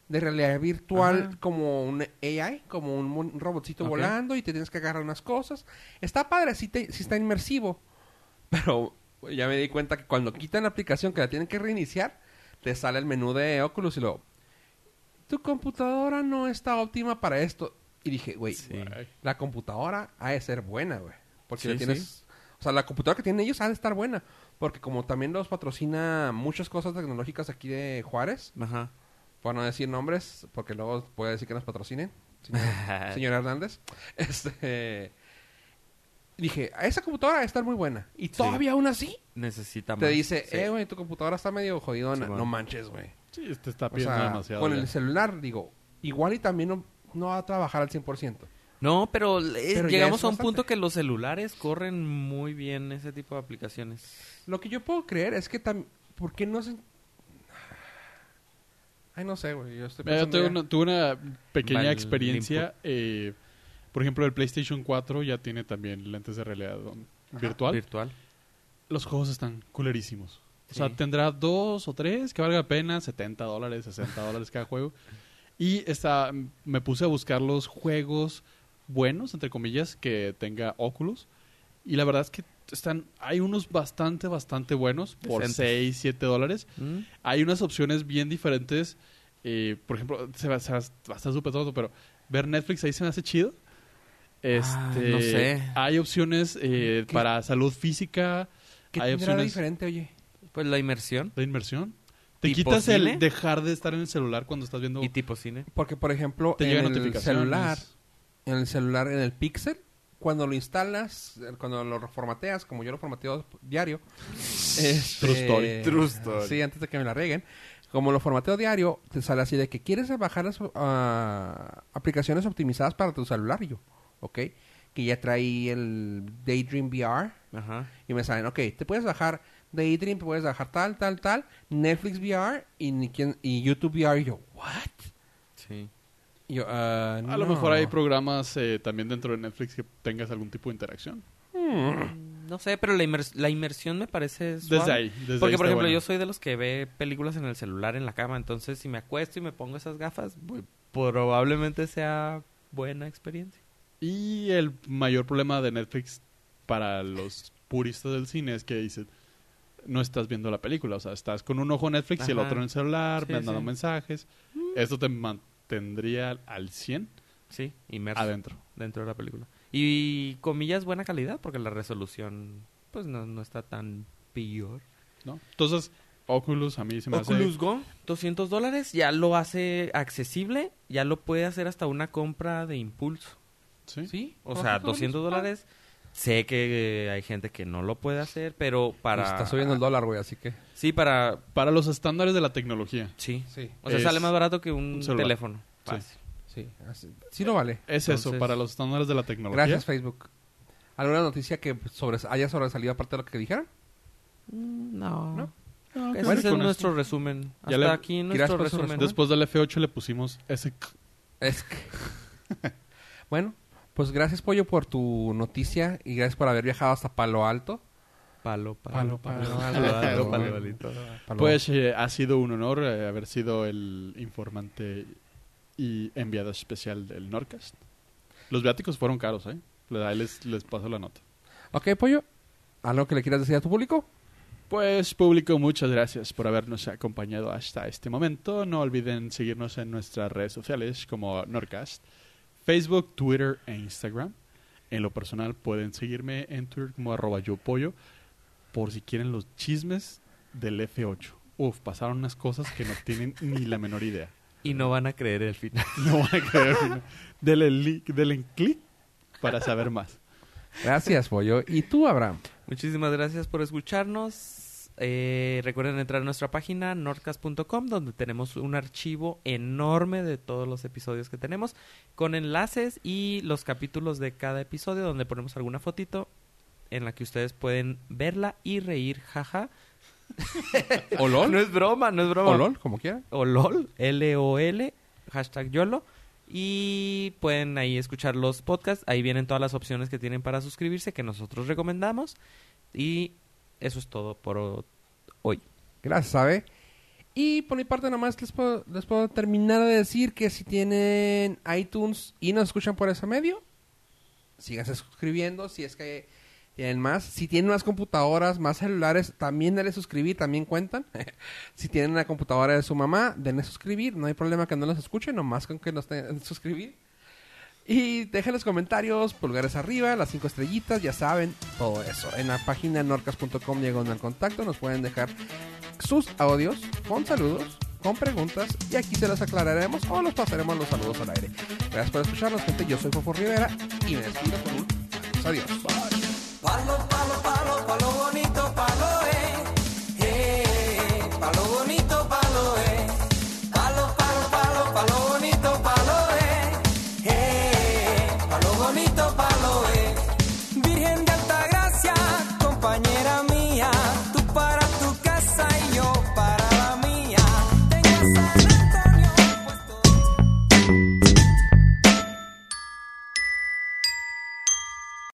Speaker 4: De realidad virtual,
Speaker 1: Ajá.
Speaker 4: como un AI, como un, mon- un robotcito
Speaker 1: Ok.
Speaker 4: volando y te tienes que agarrar unas cosas. Está padre, sí, te- sí está inmersivo. Pero güey, ya me di cuenta que cuando quitan la aplicación que la tienen que reiniciar, te sale el menú de Oculus y luego. Tu computadora no está óptima para esto. Y dije, güey,
Speaker 1: Sí.
Speaker 3: Ay.
Speaker 4: la computadora ha de ser buena, güey. Porque
Speaker 1: Sí,
Speaker 4: la tienes. O sea, la computadora que tienen ellos ha de estar buena. Porque como también los patrocina muchas cosas tecnológicas aquí de Juárez,
Speaker 1: Ajá.
Speaker 4: por no decir nombres, porque luego puede decir que nos patrocinen, señor, señor Hernández. Este. Dije, "A esa computadora ha de estar muy buena. Y todavía aún así
Speaker 1: Necesita más.
Speaker 4: te dice,
Speaker 1: Sí.
Speaker 4: eh, güey, tu computadora está medio jodidona.
Speaker 1: Sí, bueno.
Speaker 4: no manches, güey.
Speaker 3: Sí, este está
Speaker 4: O
Speaker 3: pidiendo
Speaker 4: sea,
Speaker 3: demasiado.
Speaker 4: con
Speaker 3: ya.
Speaker 4: el celular, digo, igual y también no, no va a trabajar al 100%.
Speaker 1: No, pero, eh,
Speaker 4: Pero ya
Speaker 1: llegamos
Speaker 4: es
Speaker 1: a un
Speaker 4: bastante.
Speaker 1: punto que los celulares corren muy bien ese tipo de aplicaciones.
Speaker 4: Lo que yo puedo creer es que también... ¿Por qué no se...? Ay, no sé, güey. Yo estoy
Speaker 3: Mira, yo
Speaker 4: pensando...
Speaker 3: tuve
Speaker 4: ya.
Speaker 3: Eh, una, tuve una pequeña
Speaker 1: Vale,
Speaker 3: experiencia. eh, por ejemplo, el PlayStation 4 ya tiene también lentes de realidad um, virtual.
Speaker 1: Virtual.
Speaker 3: Los juegos están culerísimos. O sea,
Speaker 1: Sí.
Speaker 3: tendrá dos o tres que valga la pena, 70 dólares, 60 dólares cada juego. Y está, me puse a buscar los juegos buenos, entre comillas, que tenga Oculus. Y la verdad es que están, hay unos bastante, bastante buenos por
Speaker 1: Decentes.
Speaker 3: 6, 7 dólares.
Speaker 1: ¿Mm?
Speaker 3: Hay unas opciones bien diferentes. eh, por ejemplo, se va, se va- va a estar súper tonto, pero ver Netflix ahí se me hace chido. Este,
Speaker 1: Ah, no sé.
Speaker 3: Hay opciones eh,
Speaker 4: ¿Qué?
Speaker 3: para salud física,
Speaker 4: ¿Qué tendrá
Speaker 3: hay
Speaker 4: de
Speaker 3: opciones-
Speaker 4: diferente, oye?
Speaker 1: Pues la inmersión
Speaker 3: de inversión. Te
Speaker 1: ¿Tipo
Speaker 3: quitas
Speaker 1: cine?
Speaker 3: el dejar de estar en el celular cuando estás viendo.
Speaker 1: y tipo cine.
Speaker 4: Porque, por ejemplo,
Speaker 3: te
Speaker 4: en
Speaker 3: llegan
Speaker 4: el
Speaker 3: notificaciones.
Speaker 4: celular, en el celular, en el Pixel, cuando lo instalas, eh, cuando lo reformateas, como yo lo formateo diario... este,
Speaker 3: True story.
Speaker 1: True story.
Speaker 4: Sí, antes de que me la reguen. Como lo formateo diario, te sale así de que quieres bajar las ah, aplicaciones optimizadas para tu celular. Y yo, ¿ok? Que ya traí el Daydream VR.
Speaker 1: Ajá.
Speaker 4: Y me salen, ok, te puedes bajar Daydream, te puedes bajar tal, tal, tal, Netflix VR y, ni quién- y YouTube VR. Y yo, ¿what?
Speaker 1: Sí.
Speaker 4: Y yo, ah,
Speaker 3: A lo
Speaker 4: no.
Speaker 3: mejor hay programas eh, también dentro de Netflix que tengas algún tipo de interacción.
Speaker 4: Mm.
Speaker 1: No sé, pero la, inmers- la inmersión me parece suave.
Speaker 3: Desde ahí. Desde
Speaker 1: Porque,
Speaker 3: ahí está
Speaker 1: por ejemplo,
Speaker 3: bueno.
Speaker 1: yo soy de los que ve películas en el celular en la cama. Entonces, si me acuesto y me pongo esas gafas, bu- probablemente sea buena experiencia.
Speaker 3: Y el mayor problema de Netflix para los puristas del cine es que dicen, no estás viendo la película, o sea, estás con un ojo en Netflix y el
Speaker 1: Ajá.
Speaker 3: otro en el celular,
Speaker 1: Sí,
Speaker 3: me mandando
Speaker 1: sí. Mm.
Speaker 3: mensajes. Esto te mantendría al 100
Speaker 1: Sí, inmerso
Speaker 3: adentro.
Speaker 1: dentro de la película. Y comillas, buena calidad, porque la resolución, pues, no, no está tan peor.
Speaker 3: ¿no? Entonces, Oculus a mí se me
Speaker 1: Oculus
Speaker 3: hace...
Speaker 1: Go, 200 dólares, ya lo hace accesible, ya lo puede hacer hasta una compra de impulso.
Speaker 3: ¿sí?
Speaker 1: Sí, pues, o
Speaker 4: Ajá,
Speaker 1: sea,
Speaker 4: está bonito.
Speaker 1: 200 dólares. Sé que eh, hay gente que no lo puede hacer, pero para...
Speaker 4: Está subiendo el dólar, güey, así que...
Speaker 1: Sí, para...
Speaker 3: Para los estándares de la tecnología.
Speaker 1: Sí.
Speaker 4: Sí,
Speaker 1: O sea,
Speaker 3: Es
Speaker 1: sale más barato que un,
Speaker 3: un celular.
Speaker 1: teléfono.
Speaker 3: Sí.
Speaker 1: Fácil.
Speaker 4: sí. así- Sí lo vale.
Speaker 3: Es eso,
Speaker 1: Entonces-
Speaker 3: para los estándares de la tecnología.
Speaker 4: Gracias, Facebook. ¿Alguna noticia que sobre, haya sobresalido aparte de lo que dijeron?
Speaker 1: Mm, No.
Speaker 4: ¿No?
Speaker 3: Ah, ok,
Speaker 1: Ese
Speaker 3: bueno,
Speaker 1: es
Speaker 3: con
Speaker 1: nuestro resumen.
Speaker 3: Ya
Speaker 1: Hasta
Speaker 3: le-
Speaker 1: aquí
Speaker 4: ¿Quieras
Speaker 1: nuestro
Speaker 4: por su
Speaker 1: resumen.
Speaker 3: esto. Después del F8 le pusimos ese... c-
Speaker 4: Es que... bueno, pues gracias, Pollo, por tu noticia y gracias por haber viajado hasta Palo Alto.
Speaker 1: Palo, palo,
Speaker 4: Palo,
Speaker 1: palo,
Speaker 4: palo,
Speaker 1: palo,
Speaker 4: palo,
Speaker 1: palo,
Speaker 3: palo.
Speaker 1: palo.
Speaker 4: Palo
Speaker 3: Pues eh, ha sido un honor eh, haber sido el informante y enviado especial del Norcast. Los viáticos fueron caros, ¿eh? Le- Ahí les, les paso la nota.
Speaker 4: Alto. Ok, Pollo, ¿algo que le quieras decir a tu público?
Speaker 3: Pues público, muchas gracias por habernos acompañado hasta este momento. No olviden seguirnos en nuestras redes sociales como Norcast, Facebook, Twitter e Instagram. En lo personal pueden seguirme en Twitter como arroba yo pollo por si quieren los chismes del F8. Uf, pasaron unas cosas que no tienen ni la menor idea.
Speaker 1: Y no van a creer el final.
Speaker 3: No van a creer. que no. Denle, li- denle clic para saber más.
Speaker 4: Gracias, Pollo. ¿Y tú, Abraham?
Speaker 1: Muchísimas gracias por escucharnos. Eh, recuerden entrar a nuestra página nordcast.com donde tenemos un archivo enorme de todos los episodios que tenemos con enlaces y los capítulos de cada episodio donde ponemos alguna fotito en la que ustedes pueden verla y reír, jaja.
Speaker 4: ¿O
Speaker 1: No
Speaker 4: LOL?
Speaker 1: es broma, no es broma.
Speaker 4: ¿O LOL? Como quieran.
Speaker 1: O LOL, L-O-L, hashtag YOLO. Y pueden ahí escuchar los podcasts. Ahí vienen todas las opciones que tienen para suscribirse que nosotros recomendamos. Y eso es todo por o- hoy.
Speaker 4: Gracias, Abe. Y por mi parte nomás les puedo, les puedo terminar de decir que si tienen iTunes y nos escuchan por ese medio, síganse suscribiendo si es que tienen más. Si tienen más computadoras, más celulares, también denle suscribir, también cuentan. si tienen la computadora de su mamá, denle suscribir. No hay problema que no los escuchen, nomás con que nos den suscribir. Y dejen los comentarios, pulgares arriba, las cinco estrellitas, ya saben, todo eso. En la página norcas.com diagonal contacto nos pueden dejar sus audios con saludos, con preguntas y aquí se las aclararemos o los pasaremos los saludos al aire. Gracias por escucharnos, gente. Yo soy Fofo Rivera y me despido con un adiós. Bye.